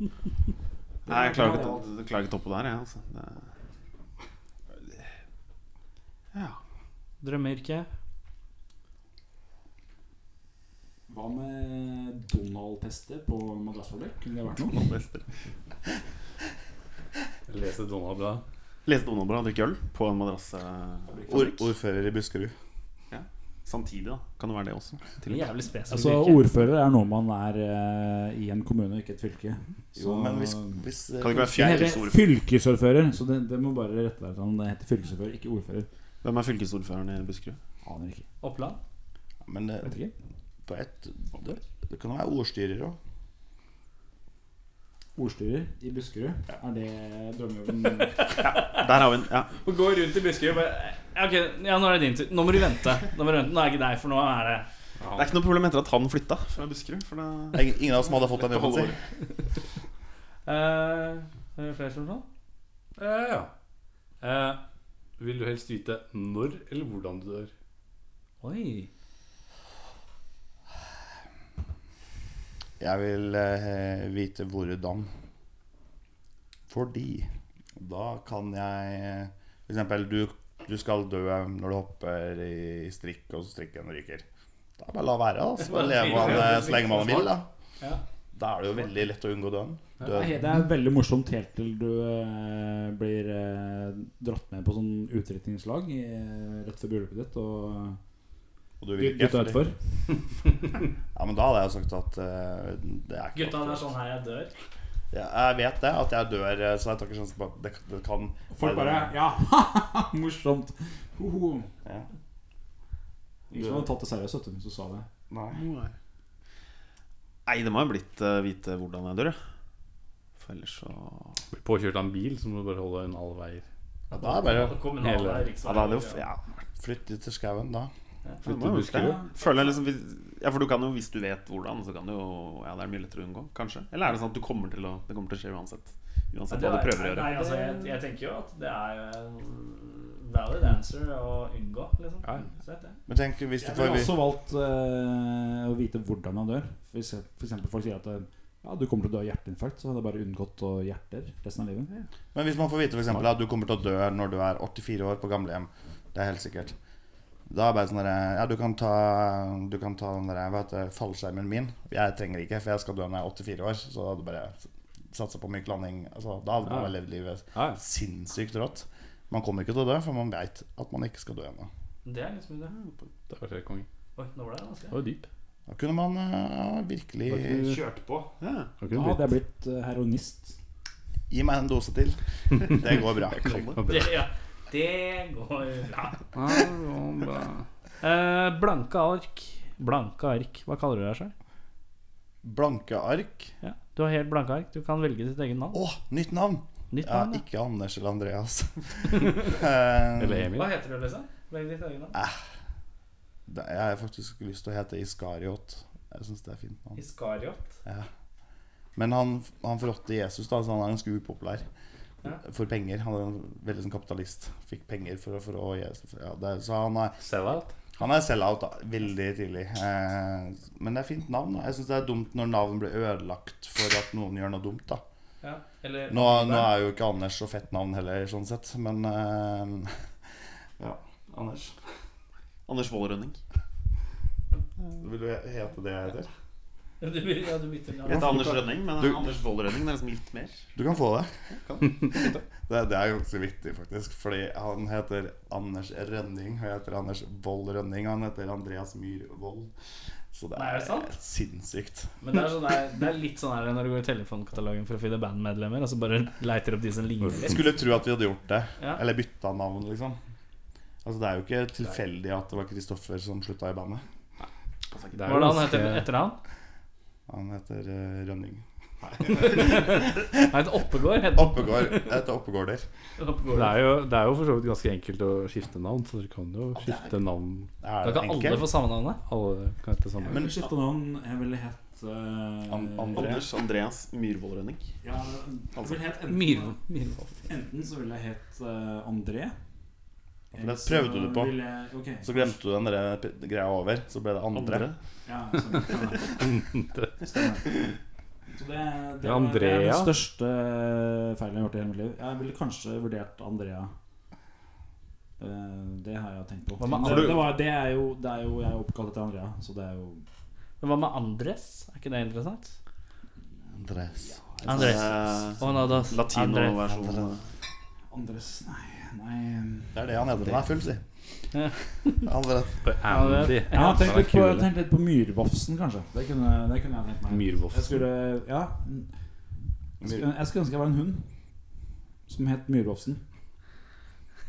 [SPEAKER 6] Nei, jeg klarer ikke, jeg klarer ikke toppe der, jeg. Altså. Det... Ja.
[SPEAKER 2] Drømmeyrke.
[SPEAKER 5] Hva med Donald-tester på madrassfabrikk? Kunne det vært noe?
[SPEAKER 3] Lese Donald-bladet.
[SPEAKER 6] Lese Donald-blad og drikke øl på en madrass eh,
[SPEAKER 4] Ord, ordfører i Buskerud.
[SPEAKER 6] samtidig. da Kan det være det også?
[SPEAKER 2] Det er Jævlig spesifikk
[SPEAKER 5] Altså,
[SPEAKER 2] yrke.
[SPEAKER 5] ordfører er noe man er eh, i en kommune, ikke et fylke.
[SPEAKER 4] Jo, men hvis, hvis eh,
[SPEAKER 6] Kan det ikke være
[SPEAKER 5] Det
[SPEAKER 6] fjerde
[SPEAKER 5] heter fylkesordfører, så det, det må bare rette deg til han. Det heter fylkesordfører, ikke ordfører.
[SPEAKER 6] Hvem er fylkesordføreren i Buskerud?
[SPEAKER 5] Aner ikke.
[SPEAKER 2] Oppland.
[SPEAKER 4] Men eh,
[SPEAKER 5] Vet ikke.
[SPEAKER 4] på ett det, det kan være ordstyrer òg.
[SPEAKER 5] Ordstyrer i Buskerud. Er det
[SPEAKER 6] [LAUGHS]
[SPEAKER 5] drømmejobben?
[SPEAKER 6] Der har vi den. Ja.
[SPEAKER 2] Å gå rundt i Buskerud og bare eh, Ok, ja, nå er det din tur. Nå må du vente. Nå, må du vente. nå er det ikke deg, for nå er det
[SPEAKER 6] Det er ikke noe problem etter at han flytta fra Buskerud. For det...
[SPEAKER 4] Ingen ingen av oss som hadde fått den jobben sin.
[SPEAKER 2] Eh, er det Flere spørsmål?
[SPEAKER 3] Ja, ja. Eh, vil du helst vite når eller hvordan du dør?
[SPEAKER 2] Oi.
[SPEAKER 4] Jeg vil eh, vite hvordan. Fordi da kan jeg eh, For eksempel, du, du skal dø når du hopper i, i strikk, og strikken ryker. Da bare la være, da. Så bare lever man eh, så lenge man vil, da.
[SPEAKER 5] Ja.
[SPEAKER 4] Da er det jo veldig lett å unngå døden.
[SPEAKER 5] Nei,
[SPEAKER 4] Døden.
[SPEAKER 5] Det er veldig morsomt helt til du eh, blir eh, dratt med på sånn utdrikningslag eh, rett før bryllupet ditt. Og
[SPEAKER 4] Og du
[SPEAKER 5] du,
[SPEAKER 4] vil
[SPEAKER 5] gutta
[SPEAKER 4] ikke.
[SPEAKER 5] utfor.
[SPEAKER 4] Ja, men da hadde jeg sagt at eh, det er ikke
[SPEAKER 2] Gutta, det er sånn her jeg dør.
[SPEAKER 4] Ja, jeg vet det, at jeg dør, eh, så jeg tar ikke sjansen på at det, det kan
[SPEAKER 5] Folk bare Ja, [LAUGHS] morsomt! Hoho.
[SPEAKER 4] Ja.
[SPEAKER 5] Ingen som hadde tatt det seriøst, vet du, hvis du sa det.
[SPEAKER 4] Nei.
[SPEAKER 6] Nei, det må ha blitt eh, vite hvordan jeg dør, jeg. For ellers så Ja,
[SPEAKER 3] Blir påkjørt av en bil, så må du bare holde en halv vei.
[SPEAKER 4] Ja, da er det bare å
[SPEAKER 2] Kommunale
[SPEAKER 3] Hele-
[SPEAKER 6] da hadde jo
[SPEAKER 2] riksveier.
[SPEAKER 6] ja,
[SPEAKER 4] flytte til skauen, da.
[SPEAKER 6] det må jo ha blitt det. Føler jeg liksom hvis- Ja, for du kan jo, hvis du vet hvordan, så kan du jo Ja, det er mye lettere å unngå, kanskje. Eller er det sånn at du kommer til å Det kommer til å skje uansett? Uansett hva du prøver å gjøre.
[SPEAKER 2] Nei, altså, jeg, jeg tenker jo at det er en valid answer å unngå, liksom.
[SPEAKER 3] Ja.
[SPEAKER 2] Så vet jeg.
[SPEAKER 4] Men tenk hvis du
[SPEAKER 5] Jeg
[SPEAKER 4] får
[SPEAKER 5] har også valgt eh, å vite hvordan man dør. Hvis jeg- For eksempel folk sier at eh, ja, du kommer til å dø av hjerteinfarkt, så hadde jeg bare unngått å hjerter resten av livet.
[SPEAKER 4] Men hvis man får vite for eksempel, at du kommer til å dø når du er 84 år på gamlehjem, det er helt sikkert. Da er det bare sånn derre Ja, du kan ta, du kan ta den derre, hva heter det, fallskjermen min. Jeg trenger ikke, for jeg skal dø når jeg er 84 år. Så da hadde du bare satsa på myk landing. Altså, da hadde man
[SPEAKER 3] Ja.
[SPEAKER 4] levd livet
[SPEAKER 3] Ja, ja.
[SPEAKER 4] sinnssykt rått. Man kommer ikke til å dø, for man veit at man ikke skal dø ennå.
[SPEAKER 2] Det er liksom det.
[SPEAKER 3] Det var helt konge.
[SPEAKER 2] Oi, nå ble det vanskelig.
[SPEAKER 3] Det var dyp.
[SPEAKER 4] Da kunne man eh, virkelig
[SPEAKER 3] Var ikke du-
[SPEAKER 6] Kjørt på. Ja.
[SPEAKER 3] var ikke
[SPEAKER 5] Da
[SPEAKER 3] du
[SPEAKER 5] hadde
[SPEAKER 3] blitt-
[SPEAKER 5] jeg blitt eh, heroinist.
[SPEAKER 4] Gi meg en dose til. Det går
[SPEAKER 3] [LAUGHS]
[SPEAKER 4] bra.
[SPEAKER 2] Det, ja. det går bra.
[SPEAKER 3] Ja, det var bra.
[SPEAKER 2] Eh, blanke ark. Blanke ark. Hva kaller du deg sjøl?
[SPEAKER 4] Blanke ark.
[SPEAKER 2] Ja. Du har helt blanke ark. Du kan velge ditt eget navn.
[SPEAKER 4] Å, nytt navn!
[SPEAKER 2] Nytt
[SPEAKER 4] Ja,
[SPEAKER 2] navn. da.
[SPEAKER 4] ikke Anders eller Andreas. Eh,
[SPEAKER 3] Eller Emil.
[SPEAKER 2] Hva heter du, liksom? Velg ditt eget navn.
[SPEAKER 4] det- jeg har faktisk lyst til å hete Iskariot. Jeg synes det er fint navn.
[SPEAKER 2] Iskariot.
[SPEAKER 4] Men han, han forrådte Jesus, da, så han er ganske upopulær.
[SPEAKER 2] Ja.
[SPEAKER 4] For penger. Han er en veldig sånn kapitalist. Fikk penger for å forrå Jesus. Ja, det, er- så han er,
[SPEAKER 3] Sell-out.
[SPEAKER 4] han er sell-out da, veldig tidlig. Eh, men det er fint navn. da. Jeg syns det er dumt når navn blir ødelagt for at noen gjør noe dumt. da
[SPEAKER 2] Ja. Eller
[SPEAKER 4] Nå, nå er jo ikke Anders så fett navn heller, sånn sett, men eh, [LAUGHS] Ja, Anders.
[SPEAKER 6] Anders Wold Rønning.
[SPEAKER 4] Vil du hete det jeg heter?
[SPEAKER 2] Du, ja, du bytter
[SPEAKER 6] Jeg
[SPEAKER 2] navn.
[SPEAKER 6] heter Anders Rønning, men
[SPEAKER 4] Du-
[SPEAKER 6] Anders Wold Rønning det er liksom litt mer.
[SPEAKER 4] Du kan få det. [LAUGHS] det. Det er ganske viktig, faktisk. Fordi han heter Anders Rønning, og jeg heter Anders Vold Rønning, og han heter Andreas Myhr Vold. Så det
[SPEAKER 2] Nei, er
[SPEAKER 4] er
[SPEAKER 2] det sant?
[SPEAKER 4] sinnssykt.
[SPEAKER 2] Men det er, sånn der, det er litt sånn her når du går i telefonkatalogen for å finne bandmedlemmer, og så bare leiter opp de som ligner
[SPEAKER 4] Jeg
[SPEAKER 2] litt.
[SPEAKER 4] skulle tro at vi hadde gjort det.
[SPEAKER 2] Ja.
[SPEAKER 4] Eller bytta navn, liksom. Altså Det er jo ikke tilfeldig at det var Kristoffer som slutta i bandet.
[SPEAKER 3] Det er jo
[SPEAKER 2] Hvordan
[SPEAKER 3] ganske-
[SPEAKER 2] heter etternavn?
[SPEAKER 4] Han heter eh, Rønning.
[SPEAKER 2] Han heter Oppegård. heter- [LAUGHS]
[SPEAKER 4] Oppegård. Jeg heter Oppegårder.
[SPEAKER 2] Oppegård.
[SPEAKER 3] Det er, jo, det er jo for så vidt ganske enkelt å skifte navn, så dere kan jo skifte navn.
[SPEAKER 2] Da
[SPEAKER 4] Er det
[SPEAKER 2] kan alle få
[SPEAKER 4] enkelt?
[SPEAKER 2] samme navnet.
[SPEAKER 3] Alle kan hete samme.
[SPEAKER 5] Men skifta navn. Jeg ville hett eh,
[SPEAKER 2] Mm.
[SPEAKER 4] An- Altså, Andre.
[SPEAKER 6] Anders Andreas Myhrvold Rønning.
[SPEAKER 5] Ja, jeg ville hett enten,
[SPEAKER 2] Myhrvold. Myhrvold.
[SPEAKER 5] enten så ville jeg hett eh, André.
[SPEAKER 4] For det prøvde du på.
[SPEAKER 5] Ville, jeg- ok.
[SPEAKER 4] Så glemte du den der p- greia over, så ble det andre.
[SPEAKER 6] Andre.
[SPEAKER 5] Ja, sånn, sånn, ja. Stemmer. Så det, det,
[SPEAKER 3] Ja,
[SPEAKER 5] var- det er
[SPEAKER 3] Andrea.
[SPEAKER 5] den største feilen jeg har gjort i hele mitt liv. Jeg ville kanskje vurdert Andrea. Eh, Det har jeg tenkt på.
[SPEAKER 2] Hva med
[SPEAKER 5] Men
[SPEAKER 2] Andrea?
[SPEAKER 5] det, det, var, det, er jo, det er jo Jeg er oppkalt etter Andrea, så det er jo
[SPEAKER 2] Men hva med Andres? Er ikke det interessant?
[SPEAKER 4] Andres.
[SPEAKER 2] Andres.
[SPEAKER 6] Eh,
[SPEAKER 2] Oh, no, da. Andres.
[SPEAKER 6] Latinoversjon.
[SPEAKER 5] Andres Nei, nei
[SPEAKER 4] Det er det han heter når han er full, si.
[SPEAKER 2] Ja.
[SPEAKER 4] Andres.
[SPEAKER 3] Andy.
[SPEAKER 5] Jeg har tenkt litt på,
[SPEAKER 3] Kule.
[SPEAKER 5] tenkt litt på Myrvafsen, kanskje. Det kunne, det kunne jeg tenkt meg.
[SPEAKER 3] Myrvofsen.
[SPEAKER 5] Jeg skulle, ja jeg skulle, jeg skulle ønske jeg var en hund som het Myrvofsen.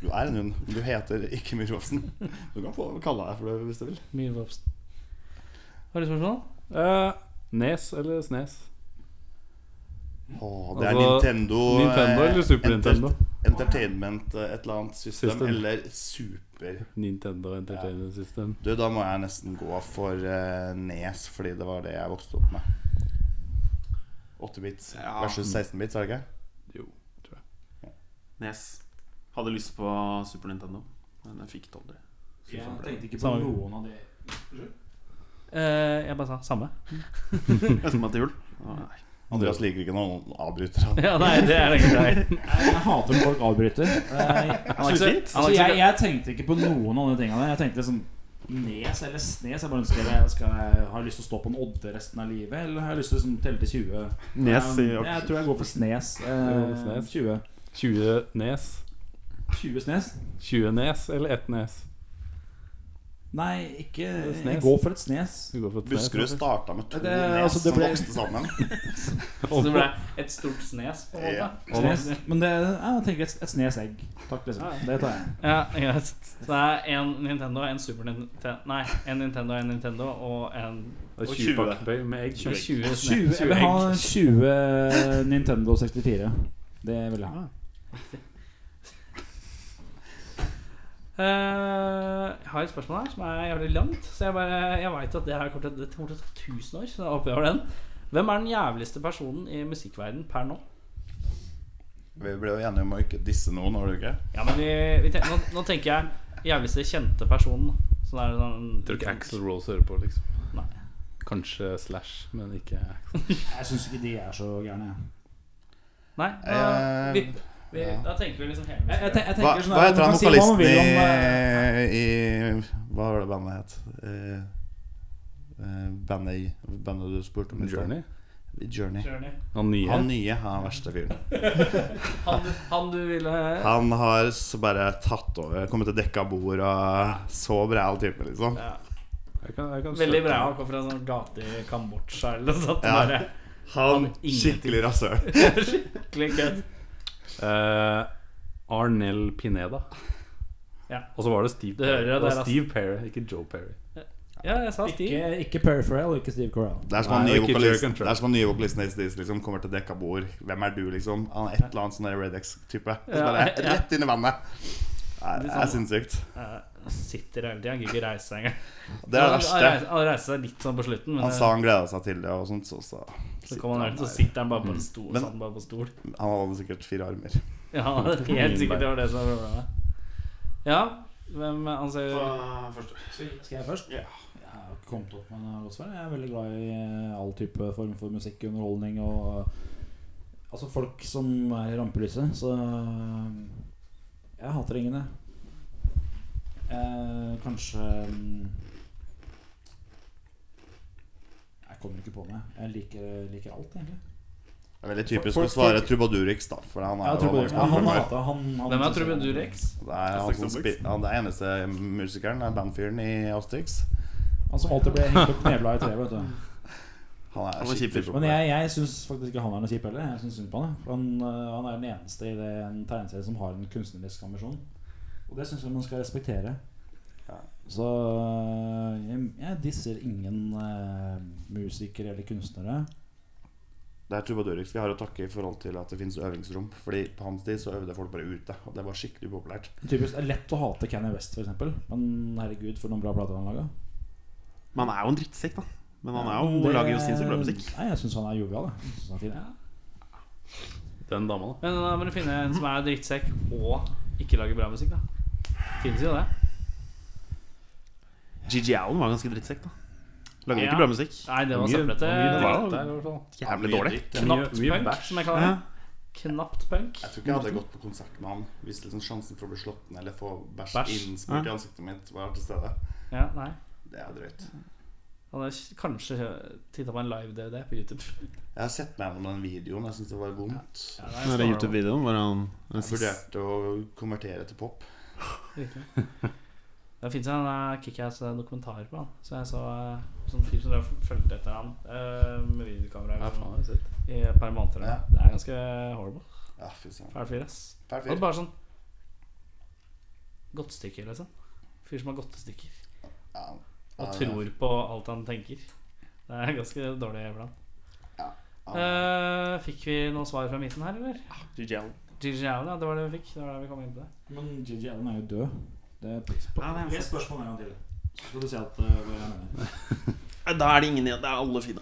[SPEAKER 4] Du er en hund. men Du heter ikke Myhrvofsen. Du kan få kalle deg for det hvis du vil.
[SPEAKER 2] Myhrvobsen. Har du spørsmål?
[SPEAKER 3] Eh, Nes eller Snes?
[SPEAKER 4] Å, det er
[SPEAKER 3] Altså,
[SPEAKER 4] Nintendo eh,
[SPEAKER 3] Nintendo eller Super
[SPEAKER 4] enter-
[SPEAKER 3] Nintendo?
[SPEAKER 4] Entertainment eh, et eller annet system,
[SPEAKER 3] System.
[SPEAKER 4] eller Super.
[SPEAKER 3] Nintendo Entertainment System.
[SPEAKER 4] Du, da må jeg nesten gå for eh, Nes, fordi det var det jeg vokste opp med. 8-bits
[SPEAKER 6] Ja.
[SPEAKER 4] versus 16-bits, er det ikke?
[SPEAKER 3] Jo.
[SPEAKER 6] Nes. Hadde lyst på Super Nintendo, men jeg fikk det aldri.
[SPEAKER 5] Jeg tenkte ikke på
[SPEAKER 2] Samme.
[SPEAKER 5] noen av de.
[SPEAKER 2] Eh, jeg bare sa samme.
[SPEAKER 6] Jeg ønsker meg til jul. Å, nei.
[SPEAKER 4] Andreas liker ikke når noen avbryter han.
[SPEAKER 2] [LAUGHS] Ja, nei, det er det ikke deg.
[SPEAKER 5] Jeg hater når folk avbryter. Eh,
[SPEAKER 2] Han er ikke så-
[SPEAKER 5] altså,
[SPEAKER 2] han er ikke
[SPEAKER 5] jeg,
[SPEAKER 2] så-
[SPEAKER 5] jeg tenkte ikke på noen av de tingene der. Jeg tenkte liksom Nes eller Snes. Jeg bare ønsker jeg skal jeg, Har jeg lyst til å stå på en Odde resten av livet, eller har jeg lyst til å liksom, telle til 20?
[SPEAKER 6] Nes i
[SPEAKER 5] Eh, jeg tror jeg går for Snes. Eh,
[SPEAKER 3] går for Snes.
[SPEAKER 5] 20.
[SPEAKER 3] 20 nes.
[SPEAKER 5] 20 Snes?
[SPEAKER 3] 20 nes eller ett nes?
[SPEAKER 5] Nei, ikke
[SPEAKER 3] Snes.
[SPEAKER 5] Jeg går for et Snes.
[SPEAKER 3] Du går for et nes,
[SPEAKER 4] Buskerud
[SPEAKER 3] altså.
[SPEAKER 4] starta med to
[SPEAKER 5] Ja, det-
[SPEAKER 4] nes
[SPEAKER 5] altså, det
[SPEAKER 4] som
[SPEAKER 5] ble-
[SPEAKER 4] vokste sammen.
[SPEAKER 2] [LAUGHS] Så det ble et stort snes, på en måte.
[SPEAKER 5] Snes. Men det, jeg tenker et, et Snes egg. Takk, liksom. Det tar jeg.
[SPEAKER 2] Ja, greit. Så det er en Nintendo, en Super Nintendo Nei, en Nintendo, en Nintendo og en
[SPEAKER 3] Det er
[SPEAKER 6] Og
[SPEAKER 3] 20
[SPEAKER 6] 20.
[SPEAKER 3] pakkebøy med egg.
[SPEAKER 2] 20 snes.
[SPEAKER 5] 20, jeg vil ha 20 Nintendo 64. Det vil jeg
[SPEAKER 3] Ah.
[SPEAKER 5] ha.
[SPEAKER 2] Eh, jeg har et spørsmål her som er jævlig langt. Så jeg bare, jeg vet at det her kommer til, det kommer til å ta 1000 år. Så jeg håper jeg har den Hvem er den jævligste personen i musikkverden per nå?
[SPEAKER 4] Vi ble jo enige om å ikke disse noen, var du ikke?
[SPEAKER 2] Ja, men vi, vi ten, nå, nå tenker jeg jævligste kjente personen. Så det er sånn
[SPEAKER 3] Jeg tror ikke Axel Rose hører på, liksom.
[SPEAKER 2] Nei.
[SPEAKER 3] Kanskje Slash, men ikke Axl.
[SPEAKER 5] Jeg syns ikke de er så gærne. jeg.
[SPEAKER 2] Nei, da,
[SPEAKER 4] Eh,
[SPEAKER 2] vi, vi,
[SPEAKER 4] ja.
[SPEAKER 2] da tenker vi liksom hele
[SPEAKER 5] Jeg, jeg,
[SPEAKER 2] musikken.
[SPEAKER 5] ten- jeg
[SPEAKER 4] Hva,
[SPEAKER 5] tenker sånn
[SPEAKER 4] hva
[SPEAKER 5] der,
[SPEAKER 4] heter han
[SPEAKER 5] man kan si hva man
[SPEAKER 4] vokalisten
[SPEAKER 5] vil om, eh,
[SPEAKER 4] i, i Hva var det bandet het? Eh, eh, bandet, i- bandet du spurte om? i sted.
[SPEAKER 3] Journey?
[SPEAKER 4] Journey.
[SPEAKER 2] Journey.
[SPEAKER 3] Han nye?
[SPEAKER 4] Han nye er den verste fyren.
[SPEAKER 2] Han, han du ville
[SPEAKER 4] Han har s- bare tatt over. Kommet til dekka bord og så bræl type, liksom.
[SPEAKER 2] ja.
[SPEAKER 3] Jeg kan, jeg kan
[SPEAKER 2] Veldig
[SPEAKER 3] søke.
[SPEAKER 2] bra. Han kom fra en sånn gate i Kambodsja eller noe sånt.
[SPEAKER 4] Ja.
[SPEAKER 2] Bare
[SPEAKER 4] Han
[SPEAKER 2] Han ingenting.
[SPEAKER 4] skikkelig rasshøl.
[SPEAKER 2] skikkelig kødd.
[SPEAKER 3] Eh, Arnell Pineda.
[SPEAKER 2] Ja.
[SPEAKER 3] Og så var det Steve
[SPEAKER 2] Du hører
[SPEAKER 3] Perry. Det
[SPEAKER 2] det
[SPEAKER 3] var
[SPEAKER 2] der, altså.
[SPEAKER 3] Steve Perry, ikke Joe Perry.
[SPEAKER 2] Ja, jeg sa
[SPEAKER 5] eh,
[SPEAKER 2] Steve.
[SPEAKER 5] Ikke, ikke Perry Farrell og ikke Steve Corell.
[SPEAKER 4] Det er som han
[SPEAKER 3] Nei,
[SPEAKER 4] nye
[SPEAKER 3] det er ikke Jerry
[SPEAKER 4] vokalisten
[SPEAKER 3] Cantrell.
[SPEAKER 4] Det er som han nye vokalisten i Ace Dizz, liksom kommer til dekka bord. Hvem er du, liksom? Han er et eller annet sånn der Red X-type. Og så
[SPEAKER 2] Ja,
[SPEAKER 4] bare
[SPEAKER 2] ja.
[SPEAKER 4] Rett inn i vannet. Nei, Det er sinnssykt.
[SPEAKER 2] Eh, sitter hele tida, han gidder ikke reise seg engang.
[SPEAKER 4] Det er det
[SPEAKER 2] Han- han
[SPEAKER 4] verste.
[SPEAKER 2] reiser- Han reiser seg litt sånn på slutten, men
[SPEAKER 4] Han
[SPEAKER 2] eh,
[SPEAKER 4] sa han gleda seg til det, og sånt, så, så.
[SPEAKER 2] så kommer han ut, så
[SPEAKER 4] der.
[SPEAKER 2] sitter han bare på en stol.
[SPEAKER 4] Men-
[SPEAKER 2] satt han bare på stol. [LAUGHS]
[SPEAKER 4] han hadde sikkert fire armer.
[SPEAKER 2] Ja, helt sikkert det var det som var problemet. Ja, hvem anser
[SPEAKER 6] Ta første.
[SPEAKER 5] Skal jeg først?
[SPEAKER 6] Ja.
[SPEAKER 5] Jeg har ikke kommet opp med noe godt svar. Jeg er veldig glad i eh, all type form for musikk, underholdning og Altså folk som er i rampelyset. Så eh, jeg hater ingen, jeg. Eh, kanskje mm, Jeg kommer ikke på meg. Jeg liker, liker alt, egentlig.
[SPEAKER 4] Det er veldig typisk
[SPEAKER 5] Folk-
[SPEAKER 4] å svare Trubadurix, da. For han er
[SPEAKER 5] Ja,
[SPEAKER 4] jo
[SPEAKER 5] Trubadurix.
[SPEAKER 4] han
[SPEAKER 5] Ja, han
[SPEAKER 4] er jo-
[SPEAKER 5] hater han, han
[SPEAKER 2] Hvem er Trubbe Durex?
[SPEAKER 4] Det er han
[SPEAKER 6] Asterix
[SPEAKER 4] som
[SPEAKER 6] og
[SPEAKER 4] spi- han det er eneste musikeren, det er bandfyren i Asterix.
[SPEAKER 5] Han som alltid ble hengt opp knebla i treet, vet du.
[SPEAKER 6] [LAUGHS]
[SPEAKER 4] Han er
[SPEAKER 6] Han var
[SPEAKER 4] skikkelig
[SPEAKER 6] kjip.
[SPEAKER 5] Men jeg, jeg syns faktisk ikke han er noe kjip heller. Jeg synes synd på Han jeg. For han, øh, han er den eneste i det, en tegneserie som har en kunstnerisk ambisjon. Og det syns jeg man skal respektere.
[SPEAKER 4] Ja.
[SPEAKER 5] Så øh, jeg, jeg disser ingen øh, musikere eller kunstnere.
[SPEAKER 4] Det er Trubadurix vi har å takke i forhold til at det finnes øvingsrom. Fordi på hans tid så øvde folk bare ute, og det var skikkelig populært.
[SPEAKER 5] Typisk det er lett å hate Kanye West, f.eks. Men herregud, for noen bra plater han laga.
[SPEAKER 6] Men han er jo en drittsekk, da. Men han er jo, lager jo sinnssykt bra musikk.
[SPEAKER 5] Nei, jeg syns han er jovial. jeg. Jeg synes han er fin, jeg.
[SPEAKER 3] Den dama, da.
[SPEAKER 2] Men da må du finne en som er drittsekk og ikke lager bra musikk, da. Finnes jo det.
[SPEAKER 6] GG Allen var ganske drittsekk, da. Lager
[SPEAKER 2] Ja.
[SPEAKER 6] ikke bra musikk.
[SPEAKER 2] Nei, det var
[SPEAKER 3] Mye- mye dritt
[SPEAKER 2] søppelete.
[SPEAKER 3] der, i hvert fall.
[SPEAKER 6] Jævlig dårlig.
[SPEAKER 2] Knapt
[SPEAKER 3] Mye- mye
[SPEAKER 2] punk,
[SPEAKER 3] bæsj.
[SPEAKER 2] som jeg kaller det. Knapt punk.
[SPEAKER 4] Jeg tror ikke jeg hadde gått på konsert med han hvis liksom sjansen for å bli slått ned eller få bæsj
[SPEAKER 2] Bæsj?
[SPEAKER 4] innsmurt
[SPEAKER 6] Ja.
[SPEAKER 4] i ansiktet mitt var til stede.
[SPEAKER 2] Ja, nei.
[SPEAKER 4] Det er drøyt.
[SPEAKER 2] Han har kanskje titta på en live-DVD på YouTube.
[SPEAKER 4] Jeg har sett meg gjennom den videoen. Jeg syns det var vondt.
[SPEAKER 2] Ja,
[SPEAKER 6] Den der YouTube-videoen hvor han den
[SPEAKER 4] Jeg
[SPEAKER 6] siste-
[SPEAKER 4] vurderte å konvertere til pop.
[SPEAKER 2] Virkelig. [LAUGHS] Det fins en eh, Kickass-dokumentar på han. Så jeg så eh, sånn fyr som drev og fulgte etter han eh, med videokamera
[SPEAKER 3] Ja, faen,
[SPEAKER 2] eller
[SPEAKER 3] har jeg sett.
[SPEAKER 2] sånn, i et par måneder. eller noe. Det er ganske horrible.
[SPEAKER 4] Ja, fy søren.
[SPEAKER 2] Fæl fyr, ass.
[SPEAKER 4] Fæl
[SPEAKER 2] Og
[SPEAKER 4] fyr.
[SPEAKER 2] bare sånn godtestykker, liksom. Fyr som har godtestykker.
[SPEAKER 4] Ja,
[SPEAKER 2] Og
[SPEAKER 4] ja,
[SPEAKER 2] tror på alt han tenker. Det er ganske dårlig blant.
[SPEAKER 4] ja.
[SPEAKER 2] Eh, fikk vi noe svar fra midten her, eller?
[SPEAKER 6] GG Allen.
[SPEAKER 2] GG Allen, ja. Det var det vi fikk. Det var der vi kom inn på det.
[SPEAKER 5] Men GG Allen er jo død. Det er
[SPEAKER 6] Ja, det er
[SPEAKER 5] Les spørsmålet en gang til. Så skal du se at øh, hva jeg mener.
[SPEAKER 6] Nei, Da er det ingen igjen. Det er alle fine.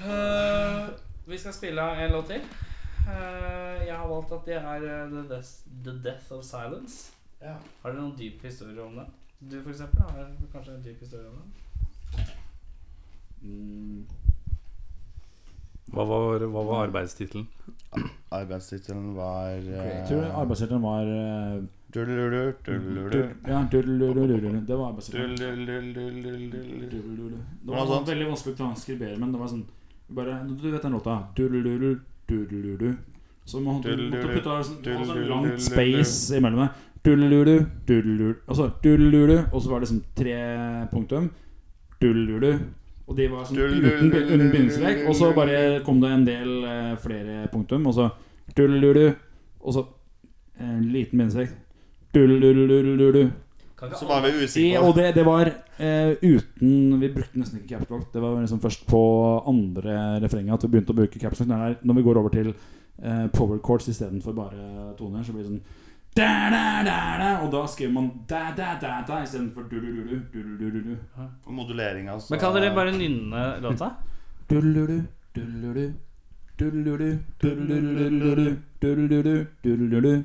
[SPEAKER 2] Eh, vi skal spille av en låt til. Eh, jeg har valgt at det er eh, The Death, The Death of Silence.
[SPEAKER 4] Ja.
[SPEAKER 2] Har dere noen dyp historie om det? Du, for eksempel, har kanskje en dyp historie om det?
[SPEAKER 3] Hva var, hva var arbeidstittelen?
[SPEAKER 5] Arbeidstittelen var eh,
[SPEAKER 4] Jeg tror arbeidsdeltiden var eh,
[SPEAKER 5] Dululululululu.
[SPEAKER 4] dur- Ja, dulululululu. Det var arbeidsdeltiden.
[SPEAKER 5] Dululululululu.
[SPEAKER 4] Dulululu. Det
[SPEAKER 5] Noe
[SPEAKER 4] var sånn
[SPEAKER 5] sånt.
[SPEAKER 4] veldig vanskelig å transkribere, men det var sånn bare, Du vet den låta? Dulululu, dulululu. Så man måtte
[SPEAKER 5] Dulululu,
[SPEAKER 4] måtte putte sånn, det var sånn
[SPEAKER 5] dulululu.
[SPEAKER 4] langt space imellom det. Dulululu, dulululu. Altså dulululu, og så var det liksom tre punktum. Dulululu. Og de var sånn uten,
[SPEAKER 5] Dulululu.
[SPEAKER 4] uten bindestrek. Og så bare kom det en del eh, flere punktum, og så dulululu. Og så en liten bindestrek. Dululululu.
[SPEAKER 5] Så var vi
[SPEAKER 4] I,
[SPEAKER 5] usikre
[SPEAKER 4] og
[SPEAKER 5] på
[SPEAKER 4] det, det var eh, uten Vi brukte nesten ikke caps lock. Det var liksom først på andre refrenget at vi begynte å bruke caps lock. Når, det er- når vi går over til eh, power chords istedenfor bare toner, så blir det sånn da, da, da, da, Og da skriver man da, da, da, da istedenfor du-du-du-du. Du-du-du-du-du.
[SPEAKER 5] moduleringa.
[SPEAKER 2] Men kan dere bare nynne låta?
[SPEAKER 4] Du-du-du, du-du-du. Du-du-du, du-du-du-du-du. Du-du-du, du-du-du.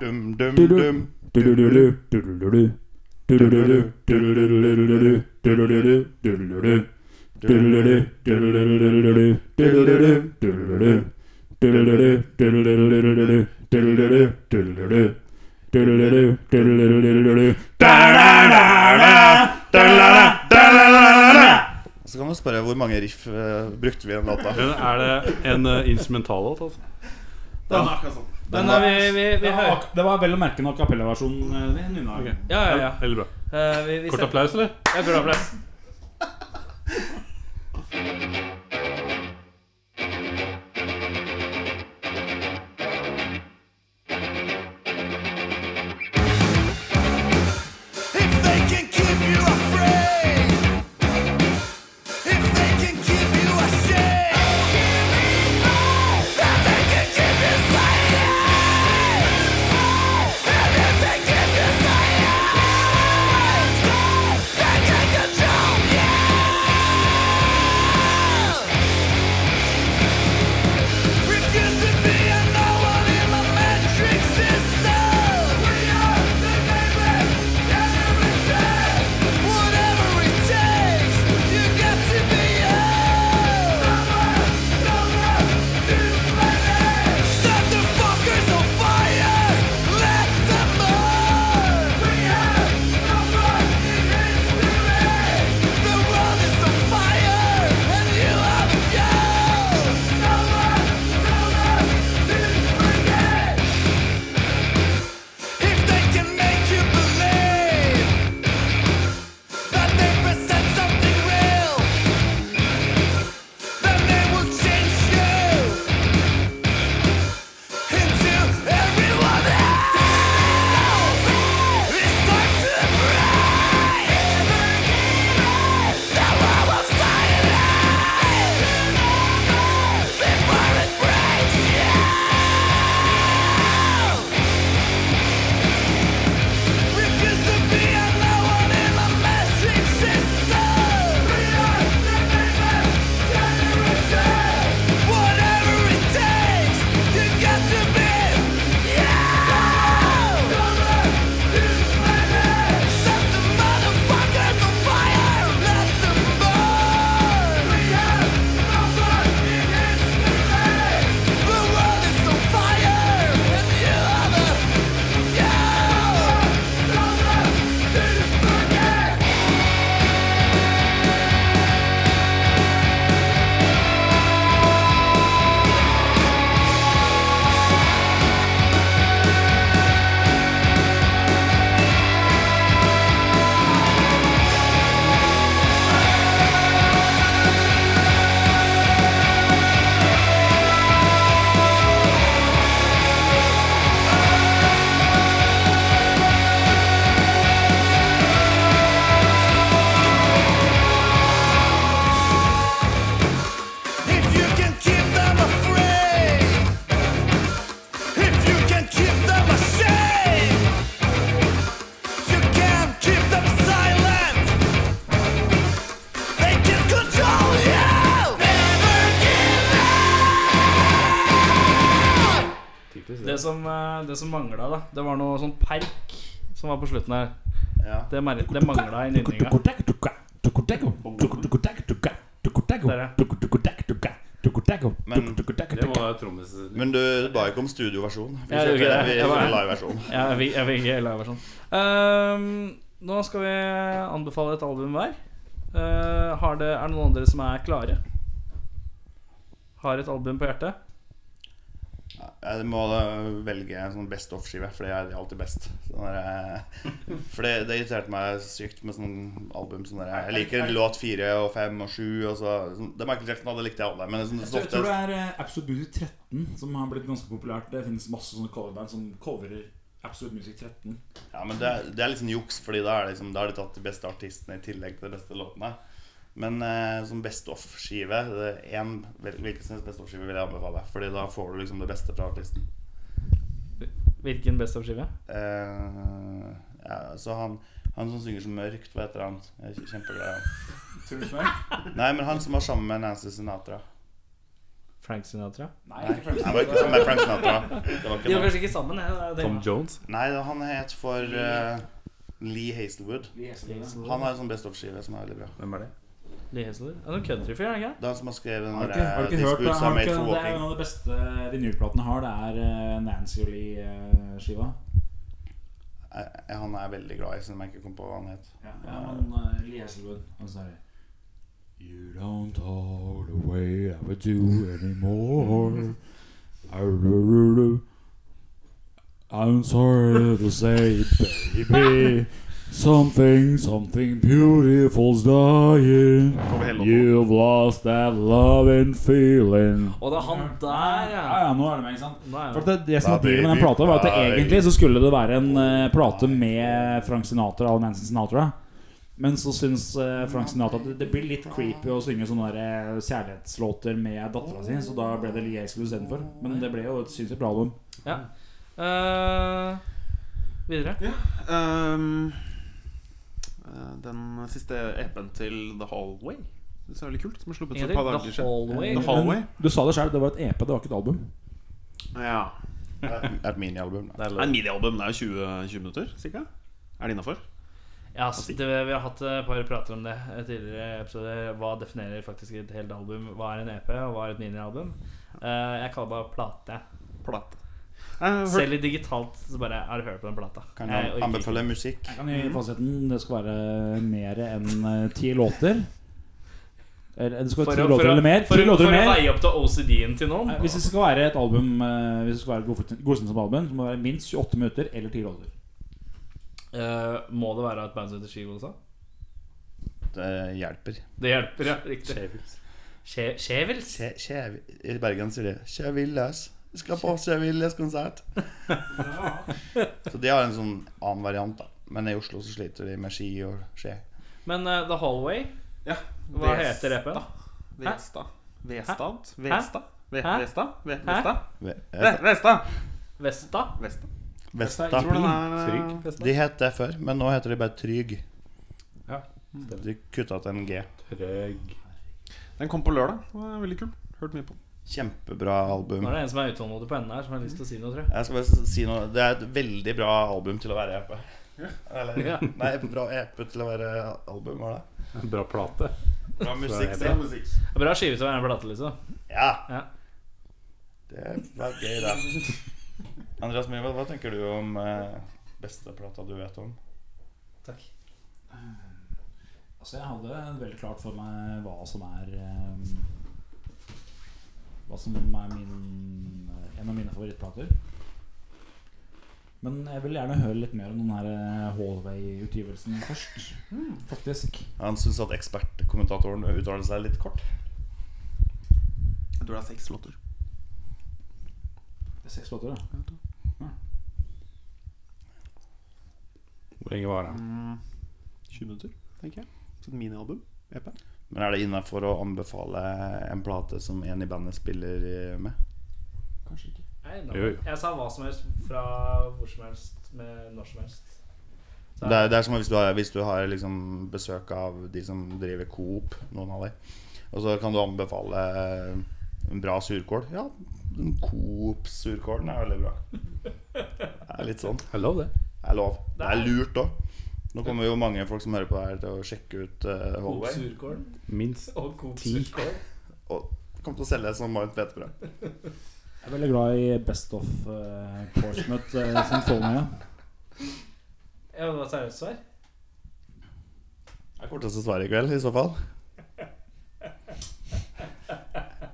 [SPEAKER 5] Dum, dum, dum. Så kan man spørre hvor mange riff eh, brukte vi i den låta.
[SPEAKER 2] [LAUGHS]
[SPEAKER 3] Er det en eh, instrumentallåt, altså?
[SPEAKER 2] Den har vi, vi, vi hører.
[SPEAKER 4] Det var vel å merke en a cappella-versjon. eh, Nina.
[SPEAKER 2] Ja, ja, ja.
[SPEAKER 3] Veldig bra.
[SPEAKER 2] Eh, vi, vi
[SPEAKER 3] Kort
[SPEAKER 2] setter-
[SPEAKER 3] applaus, eller?
[SPEAKER 2] Ja, kort applaus.
[SPEAKER 7] If they can keep you afraid, if they can keep you ashamed, if they can keep you silent, and if they keep you silent, they can control
[SPEAKER 2] som, eh, det som mangla, da, det var noe sånn perk som var på slutten her.
[SPEAKER 4] Ja.
[SPEAKER 2] Det, mer- det mangla i nynninga.
[SPEAKER 4] Men,
[SPEAKER 3] Det var trommis...
[SPEAKER 4] men du ba ikke om studioversjon. Vi
[SPEAKER 2] Jeg gjorde ikke
[SPEAKER 4] kjørte
[SPEAKER 2] det.
[SPEAKER 4] vi
[SPEAKER 2] Jeg bare-
[SPEAKER 4] kjørte liveversjon.
[SPEAKER 2] Ja, jeg fikk, jeg fikk hele versjonen. Ehm, nå skal vi anbefale et album hver. Eh, har det, er det noen andre som er klare? Har et album på hjertet?
[SPEAKER 4] Jeg må da velge sånn best off-skive, for det er alltid best. Sånn der, eh, [LAUGHS] for det, det irriterte meg sykt med sånn album. Sånn der, jeg liker en låt fire og fem og sju. Og så, sånn, det er Michael Jackson hadde likt jeg alle. Men sånn, så
[SPEAKER 5] Jeg tror det
[SPEAKER 4] ofte,
[SPEAKER 5] er eh, Absolute Music 13 som har blitt ganske populært. Det finnes masse sånne coverband som coverer Absolute Music 13.
[SPEAKER 4] ja, men det, er- det er litt sånn juks, Fordi da er det liksom, da har de tatt de beste artistene i tillegg til de beste låtene. Men eh, som best off-skive det er en- hvil- Hvilken som helst best off-skive vil jeg anbefale. Fordi da får du liksom det beste fra artisten.
[SPEAKER 2] Hvilken best av skive?
[SPEAKER 4] Eh, ja, så han, han som synger så mørkt, hva heter han? Jeg er Kjempeglad i han.
[SPEAKER 5] Truls Mørk?
[SPEAKER 4] Nei, men han som var sammen med Nancy Sinatra.
[SPEAKER 2] Frank Sinatra?
[SPEAKER 5] Nei,
[SPEAKER 4] Nei,
[SPEAKER 5] ikke
[SPEAKER 4] han
[SPEAKER 5] Frank
[SPEAKER 4] var ikke sammen med Frank Sinatra. Det var
[SPEAKER 2] De var
[SPEAKER 4] ikke noe.
[SPEAKER 2] kanskje ikke sammen? Jeg, jeg,
[SPEAKER 3] Tom
[SPEAKER 2] tenker-
[SPEAKER 3] Jones?
[SPEAKER 4] Nei, han het for eh, Lee Hazelwood.
[SPEAKER 5] Sinatra.
[SPEAKER 4] Han har en sånn Best of-skive som er veldig bra.
[SPEAKER 3] Hvem er det?
[SPEAKER 2] Lee Hazelwood? Er det noen countryfyr, er det ikke?
[SPEAKER 4] Det er han som har skrevet den
[SPEAKER 5] Har du
[SPEAKER 4] der,
[SPEAKER 5] ikke, har du ikke
[SPEAKER 4] These
[SPEAKER 5] hørt det?
[SPEAKER 4] Boots Are
[SPEAKER 5] Har du
[SPEAKER 4] Made
[SPEAKER 5] ikke,
[SPEAKER 4] for
[SPEAKER 5] det er
[SPEAKER 4] Walking.
[SPEAKER 5] en av de beste eh, vinylplatene har. Det er eh, Nancy eh, og Lee-skiva.
[SPEAKER 4] Jeg- jeg- eh, Han er veldig glad i, selv om jeg ikke kom på hva han het.
[SPEAKER 5] Ja, men eh, Lee Hasselwood. Han sa det. You don't talk the way I would do anymore. Arururu. I'm sorry to say, baby. Something, something beautiful's dying.
[SPEAKER 6] Får vi helle opp nå?
[SPEAKER 5] You've lost that loving feeling.
[SPEAKER 2] Å, det er han der,
[SPEAKER 5] Ja,
[SPEAKER 2] ja!
[SPEAKER 5] ja, nå er det meg, ikke sant?
[SPEAKER 2] Nå er
[SPEAKER 5] For
[SPEAKER 2] det.
[SPEAKER 5] det, det som var dealen med den plata, var at det egentlig så skulle det være en eh, plate med Frank Sinatra og Nancy Sinatra. Men så syns eh, Frank Sinatra at det, det blir litt creepy å synge sånne der, eh, kjærlighetslåter med dattera si, så da ble det Lee Hazel istedenfor. Men det ble jo et sinnssykt bra album.
[SPEAKER 2] Eh, videre.
[SPEAKER 6] Ehm, eh, den siste EP-en til The Hallway. Det er veldig kult. Som er sluppet for et
[SPEAKER 2] Erik,
[SPEAKER 6] par dager
[SPEAKER 2] The
[SPEAKER 6] siden.
[SPEAKER 2] Hallway.
[SPEAKER 6] The Hallway?
[SPEAKER 5] Men Du sa det sjøl, det var et EP, det var ikke et album.
[SPEAKER 6] Ja.
[SPEAKER 4] Det er et minialbum. da.
[SPEAKER 6] Det er en minialbum. Det er jo 20, 20 minutter, cirka. Er det innafor?
[SPEAKER 2] Ja, ass, det, vi har hatt et par prater om det eh, tidligere i episoder. Hva definerer faktisk et helt album? Hva er en EP, og hva er et minialbum? Eh, jeg kaller det bare plate.
[SPEAKER 6] Plate. Eh, hør-
[SPEAKER 2] Selv i digitalt så bare har du hørt på den plata. Eh,
[SPEAKER 4] Kan
[SPEAKER 2] Jeg
[SPEAKER 4] jeg
[SPEAKER 2] orker
[SPEAKER 4] anbefale musikk?
[SPEAKER 5] Jeg kan gi fasiten. Det skal være mer enn eh, ti låter. Eller det skal
[SPEAKER 2] For
[SPEAKER 5] være
[SPEAKER 2] å-
[SPEAKER 5] ti
[SPEAKER 2] for
[SPEAKER 5] låter
[SPEAKER 2] å-
[SPEAKER 5] eller mer.
[SPEAKER 2] For,
[SPEAKER 5] Ti
[SPEAKER 2] å-
[SPEAKER 5] låter
[SPEAKER 2] for
[SPEAKER 5] eller
[SPEAKER 2] å
[SPEAKER 5] mer.
[SPEAKER 2] veie opp til OCD-en til noen.
[SPEAKER 5] Nei, Eh, Hvis det skal være et album eh, Hvis det skal være godkjent godkjent som album, så må det være minst 28 minutter eller 10 låter.
[SPEAKER 2] Eh, må det være et band som heter Skive også?
[SPEAKER 4] Det hjelper.
[SPEAKER 2] Det hjelper, ja. Riktig. Skje- Skjevels?
[SPEAKER 4] Kje- Kjev- I Bergen sier de 'Kjevillas'. Vi skal på Kjevillas konsert. så de har en sånn annen variant, da. Men i Oslo så sliter de med ski og skje.
[SPEAKER 2] Men eh, The Hallway,
[SPEAKER 6] Ja.
[SPEAKER 2] hva
[SPEAKER 6] Ves-
[SPEAKER 2] heter EP-en?
[SPEAKER 6] Vestad. Vestad? Vestad? Ve-
[SPEAKER 2] Hæ?
[SPEAKER 6] Vestad? Ve- Vestad?
[SPEAKER 4] Ve-
[SPEAKER 6] Ve- Vestad?
[SPEAKER 2] Vesta?
[SPEAKER 6] Vestad?
[SPEAKER 4] Vesta.
[SPEAKER 6] Tror du den er
[SPEAKER 4] De het det før, men nå heter de bare Tryg.
[SPEAKER 3] Ja,
[SPEAKER 4] De kutta ut en G.
[SPEAKER 3] Trøgg
[SPEAKER 6] Den kom på lørdag. Den er Veldig kul. Hørte mye på den.
[SPEAKER 4] Kjempebra album.
[SPEAKER 2] Nå er det en som er utålmodig på enden her, som har lyst til å si noe, tror jeg.
[SPEAKER 4] Jeg skal bare s- si noe Det er et veldig bra album til å være EP. Eller,
[SPEAKER 2] Ja.
[SPEAKER 4] Nei, bra EP til å være album, var det?
[SPEAKER 3] Bra plate.
[SPEAKER 4] Bra musikk.
[SPEAKER 3] Bra
[SPEAKER 4] så.
[SPEAKER 2] Bra skive til å være en plate, liksom.
[SPEAKER 4] Ja.
[SPEAKER 2] Ja.
[SPEAKER 4] Det var gøy, da. Andreas Myhrvold, hva tenker du om eh, beste plata du vet om?
[SPEAKER 2] Takk.
[SPEAKER 5] Altså, jeg hadde veldig klart for meg hva som er eh, Hva som er min, eh, en av mine favorittplater. Men jeg vil gjerne høre litt mer om den her eh, Hallway-utgivelsen først. Faktisk.
[SPEAKER 4] Han syns at ekspertkommentatoren uttaler seg litt kort.
[SPEAKER 6] Jeg tror det er seks låter.
[SPEAKER 5] Det er seks låter, da.
[SPEAKER 3] Hvor lenge var den?
[SPEAKER 6] 20 minutter, tenker jeg. Så et minialbum. EP.
[SPEAKER 4] Men er det innafor å anbefale en plate som en i bandet spiller eh, med?
[SPEAKER 6] Kanskje ikke.
[SPEAKER 2] Nei,
[SPEAKER 3] Jo, jo.
[SPEAKER 2] Jeg sa hva som helst fra hvor som helst med når som helst. Så
[SPEAKER 4] Det er, det er som hvis du har, hvis du har liksom besøk av de som driver Coop, noen av de, og så kan du anbefale eh, En bra surkål? Ja, den Coop-surkålen er veldig bra. Det er litt sånn.
[SPEAKER 3] Jeg lov det.
[SPEAKER 4] Det er lov. Det er lurt òg. Nå kommer jo mange folk som hører på det her, til å sjekke ut uh, Hallway.
[SPEAKER 2] Surkål
[SPEAKER 3] Minst
[SPEAKER 2] og
[SPEAKER 3] ti.
[SPEAKER 4] Og kommer til å selge som varmt hvetebrød.
[SPEAKER 5] Jeg er veldig glad i Best of eh, Portsmouth uh, Sinfonia.
[SPEAKER 2] Ja, det var seriøst svar?
[SPEAKER 4] Det er korteste svaret i kveld, i så [LAUGHS] fall.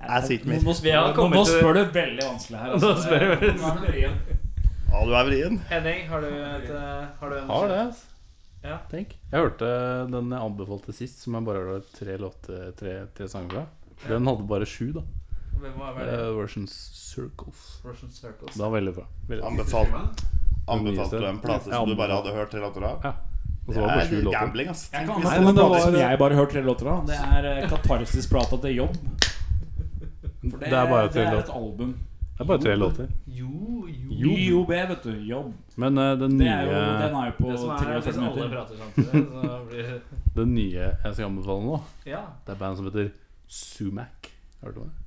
[SPEAKER 4] Jeg sier ikke
[SPEAKER 5] Nå,
[SPEAKER 4] mer.
[SPEAKER 2] Vi
[SPEAKER 5] nå
[SPEAKER 2] har
[SPEAKER 5] spør, nå,
[SPEAKER 2] kommet
[SPEAKER 5] nå
[SPEAKER 2] til-
[SPEAKER 5] spør du veldig vanskelig her. altså. Eh,
[SPEAKER 2] Nå spør du veldig-
[SPEAKER 5] Nå er det vrien.
[SPEAKER 4] Ja, du er vrien.
[SPEAKER 2] Henning, har du et eh, Har du en
[SPEAKER 3] Har det.
[SPEAKER 4] altså.
[SPEAKER 2] Ja.
[SPEAKER 3] Tenk. Jeg hørte den jeg anbefalte sist, som jeg bare har tre, låter, tre, tre sanger fra. Den hadde bare sju, da.
[SPEAKER 2] Hvem var det?
[SPEAKER 3] Uh, versions Circles.
[SPEAKER 2] Russian Circles.
[SPEAKER 3] Det var veldig bra. Veldig.
[SPEAKER 4] Anbefalte anbefalt du en plate
[SPEAKER 3] Jeg
[SPEAKER 4] som du
[SPEAKER 3] anbefalte.
[SPEAKER 4] bare hadde hørt tre låter av?
[SPEAKER 3] Ja. Og
[SPEAKER 4] Det
[SPEAKER 3] så var det bare sju
[SPEAKER 4] er
[SPEAKER 3] låter.
[SPEAKER 4] gambling, ass. Tenk
[SPEAKER 5] Nei,
[SPEAKER 4] hvis
[SPEAKER 5] men det
[SPEAKER 4] plater-
[SPEAKER 5] var som jeg bare hørte tre låter av. Det er eh, Katarsis-plata til jobb. For
[SPEAKER 3] Det er bare tre
[SPEAKER 5] det er
[SPEAKER 3] låter.
[SPEAKER 5] et album.
[SPEAKER 3] Det er bare tre låter.
[SPEAKER 2] Jo, jo.
[SPEAKER 5] IOB, vet du. Jobb.
[SPEAKER 3] Men eh, den
[SPEAKER 5] Det er jo,
[SPEAKER 3] nye
[SPEAKER 5] den er jo på
[SPEAKER 2] Det som er, er
[SPEAKER 5] 43
[SPEAKER 2] hvis alle
[SPEAKER 5] minutter.
[SPEAKER 2] prater samtidig, så blir det
[SPEAKER 3] Den nye jeg skal anbefale nå,
[SPEAKER 2] Ja.
[SPEAKER 3] det er et band som heter Sumac. Har du hørt om det?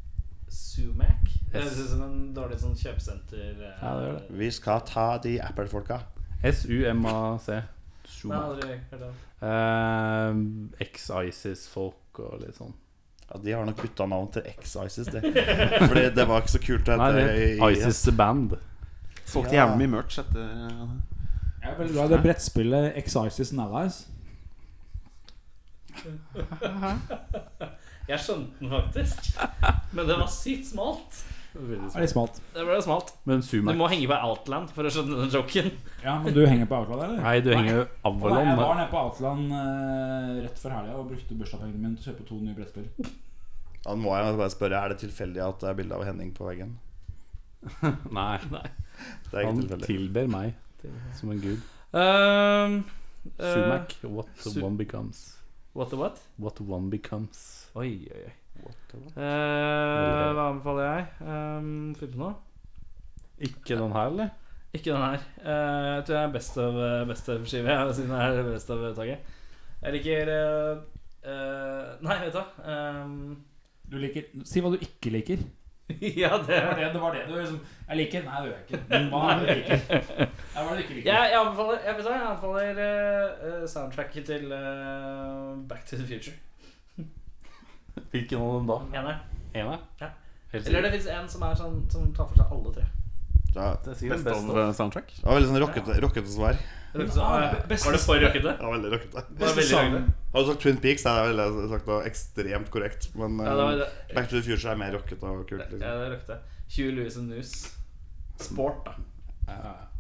[SPEAKER 2] Sumac. Det
[SPEAKER 3] Yes.
[SPEAKER 2] høres ut som en dårlig sånn kjøpesenter eh,
[SPEAKER 3] Ja, det gjør
[SPEAKER 4] Vi skal ta de Apple-folka.
[SPEAKER 3] S-U-M-A-C.
[SPEAKER 2] Nei,
[SPEAKER 3] Sumac.
[SPEAKER 2] aldri hørt om.
[SPEAKER 3] Eh, Ex-ISIS-folk og litt sånn.
[SPEAKER 4] Ja, de har nok bytta navn til X-ISIS, det. Fordi det var ikke så kult. at
[SPEAKER 3] Nei, det
[SPEAKER 4] det-
[SPEAKER 3] heter
[SPEAKER 4] i-
[SPEAKER 3] ISIS The Band.
[SPEAKER 6] Solgte
[SPEAKER 4] Ja.
[SPEAKER 6] jævlig mye merch etter eh,
[SPEAKER 5] Jeg er veldig glad i det brettspillet Exisis and Allies.
[SPEAKER 2] Jeg skjønte den
[SPEAKER 3] [LAUGHS]
[SPEAKER 2] faktisk, men det var sykt smalt.
[SPEAKER 5] Det er litt smalt.
[SPEAKER 2] Det ble smalt.
[SPEAKER 3] Men
[SPEAKER 2] Du
[SPEAKER 3] Sumac
[SPEAKER 2] må henge på Outland for å skjønne den joken.
[SPEAKER 5] Ja, men du henger på Outland, eller?
[SPEAKER 3] Nei, du henger jo
[SPEAKER 5] Nei,
[SPEAKER 3] Avalon. [LAUGHS]
[SPEAKER 5] jeg var
[SPEAKER 3] da.
[SPEAKER 5] nede på Outland eh, rett før helga og brukte bursdagspengene mine til å kjøpe to nye brettspill.
[SPEAKER 4] Da må jeg bare spørre, er det tilfeldig at det er bilde av Henning på veggen?
[SPEAKER 3] Nei, nei.
[SPEAKER 4] Det er
[SPEAKER 3] Han
[SPEAKER 4] ikke tilfeldig.
[SPEAKER 3] tilber meg som en gud.
[SPEAKER 2] Um, eh,
[SPEAKER 3] Sumac, what
[SPEAKER 2] Su-
[SPEAKER 3] one becomes.
[SPEAKER 2] What the what?
[SPEAKER 3] What one becomes.
[SPEAKER 2] Oi, oi, oi.
[SPEAKER 4] what?
[SPEAKER 2] Eh, hva anbefaler jeg? Um, Finn på noe.
[SPEAKER 3] Ikke den her, eller?
[SPEAKER 2] Ikke den her. Eh, jeg tror jeg er best av eh, best av skive, jeg, siden jeg er best av taket. Jeg liker eh, eh, Nei, vet du hva. Um,
[SPEAKER 5] Du liker Si hva du ikke liker.
[SPEAKER 2] [LAUGHS] ja, det
[SPEAKER 5] Det var det, det, var det du liksom Jeg liker Nei, det gjør jeg ikke. Men hva er det du liker? Nei, hva er det du ikke
[SPEAKER 2] Jeg,
[SPEAKER 5] liker?
[SPEAKER 2] jeg anbefaler, jeg vet hva, jeg anbefaler eh, eh, soundtracket til eh, Back to the Future.
[SPEAKER 3] Hvilken av dem da?
[SPEAKER 2] Eneren.
[SPEAKER 3] Ene?
[SPEAKER 2] Ja.
[SPEAKER 3] Helt
[SPEAKER 2] Eller
[SPEAKER 3] sikkert.
[SPEAKER 2] det fins en som, er sånn, som tar for seg alle tre.
[SPEAKER 4] Ja, det
[SPEAKER 3] Det er sikkert
[SPEAKER 6] Best
[SPEAKER 3] best
[SPEAKER 6] of
[SPEAKER 3] of.
[SPEAKER 6] eh, soundtrack.
[SPEAKER 4] var veldig sånn rockete, rockete svar.
[SPEAKER 2] Det er liksom, eh, var det for rockete?
[SPEAKER 4] Ja, veldig rockete.
[SPEAKER 2] Det var veldig rockete.
[SPEAKER 4] Har du sagt Twin Peaks, er det veldig sagt noe ekstremt korrekt. Men
[SPEAKER 2] Ja, det var
[SPEAKER 4] eh,
[SPEAKER 2] det.
[SPEAKER 4] Back to the Future er mer rockete og kult.
[SPEAKER 2] Ja,
[SPEAKER 4] Liksom.
[SPEAKER 2] det røkte. Hugh Lewis and News. Sport, da.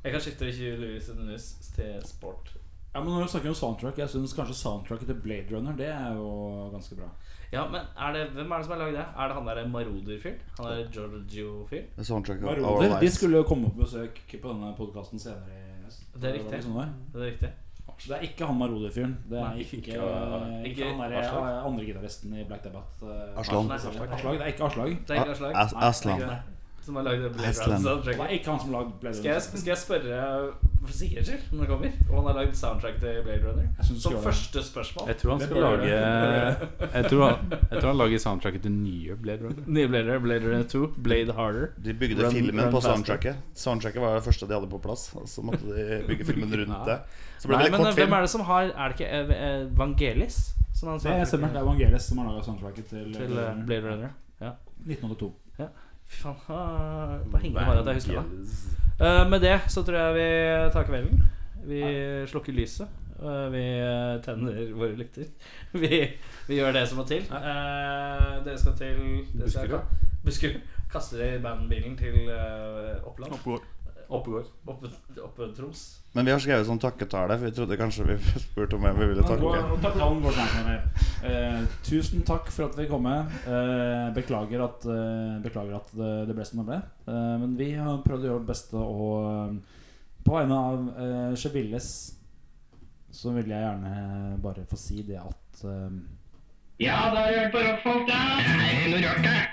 [SPEAKER 2] Jeg kan skifte Hugh Lewis and News til sport.
[SPEAKER 5] Ja, men når vi snakker om soundtrack, jeg syns kanskje soundtracket til Blade Runner Det er jo ganske bra.
[SPEAKER 2] Ja, men er det, Hvem er det som har lagd det? Er det han derre Maroder-fyren? Han derre Giorgio-fyren?
[SPEAKER 4] The Soundtrack of Our
[SPEAKER 5] Maroder, de
[SPEAKER 4] Lives.
[SPEAKER 5] skulle jo komme på besøk på denne podkasten senere i høst.
[SPEAKER 2] Det er riktig.
[SPEAKER 5] var liksom det var.
[SPEAKER 2] Er det riktig?
[SPEAKER 5] Så det er ikke han Maroder-fyren. Det er
[SPEAKER 2] Nei,
[SPEAKER 5] ikke,
[SPEAKER 3] ikke-
[SPEAKER 5] ikke,
[SPEAKER 2] ikke
[SPEAKER 5] han derre andre gitaristen i Black Debbath. eh,
[SPEAKER 4] Aslan.
[SPEAKER 2] Nei,
[SPEAKER 5] Aslag. Det er ikke Aslag.
[SPEAKER 2] Det er ikke Aslag.
[SPEAKER 4] As- Aslan.
[SPEAKER 2] Nei, Som har lagd det Blade
[SPEAKER 4] Aslan.
[SPEAKER 2] Runner
[SPEAKER 5] Det
[SPEAKER 2] soundtracket.
[SPEAKER 5] er ikke han som lagde Blade
[SPEAKER 2] Skal jeg,
[SPEAKER 5] Runner.
[SPEAKER 2] skal jeg spørre for sikkerhets skyld når det kommer? Om han har lagd soundtrack til Blade Runner?
[SPEAKER 5] Jeg synes du skal
[SPEAKER 2] Som
[SPEAKER 5] gjøre det.
[SPEAKER 2] første spørsmål.
[SPEAKER 3] Jeg tror han
[SPEAKER 5] Det
[SPEAKER 3] skal
[SPEAKER 5] bør
[SPEAKER 3] lage eh, jeg tror, han, jeg tror han lager soundtracket til nye Blade Runner.
[SPEAKER 2] Nye Blade Runner, Blade Runner 2, Blade Harder.
[SPEAKER 4] De bygde
[SPEAKER 3] Run-
[SPEAKER 4] filmen
[SPEAKER 3] Run
[SPEAKER 4] på
[SPEAKER 3] faster.
[SPEAKER 4] soundtracket. Soundtracket var det første de hadde på plass. Og så måtte de bygge filmen rundt det. Så ble
[SPEAKER 2] Nei,
[SPEAKER 4] det
[SPEAKER 2] men eh,
[SPEAKER 4] kort
[SPEAKER 2] hvem
[SPEAKER 4] film.
[SPEAKER 2] er det som har Er det ikke Ev- Evangelis? Som han
[SPEAKER 5] Det er stemmer. Det er Vangelis som har laga soundtracket til,
[SPEAKER 2] til
[SPEAKER 5] Blade
[SPEAKER 2] eh,
[SPEAKER 5] Runner.
[SPEAKER 2] Blade Runner.
[SPEAKER 5] 1902.
[SPEAKER 2] Fy faen, ah, bare henger det bare at jeg husker det. Eh, med det så tror jeg vi tar kvelden. Vi slukker lyset. eh, vi eh, tenner våre lykter. [LAUGHS] Vi, vi gjør det som må til. Eh, dere skal til dere skal-
[SPEAKER 3] Buskerud.
[SPEAKER 2] Buskerud. Kaster dere i bandbilen til eh, Oppland.
[SPEAKER 6] Oppegård.
[SPEAKER 3] Oppegård.
[SPEAKER 2] Oppe, oppe Troms.
[SPEAKER 4] Men vi har skrevet sånn takketale, for vi trodde kanskje vi [LAUGHS] spurte om hvem vi ville
[SPEAKER 5] Nå
[SPEAKER 4] takke.
[SPEAKER 5] går- nå tar talen vår snart ned. Eh, tusen takk for at vi kom med. Eh, beklager at, eh, beklager at det, det ble som det ble. Eh, men vi har prøvd å gjøre vårt beste, og eh, på vegne av eh, Chevilles så vil jeg gjerne bare få si det at eh,
[SPEAKER 8] Ja, da har du hørt på rockfolk, da. Det er noe rart, det.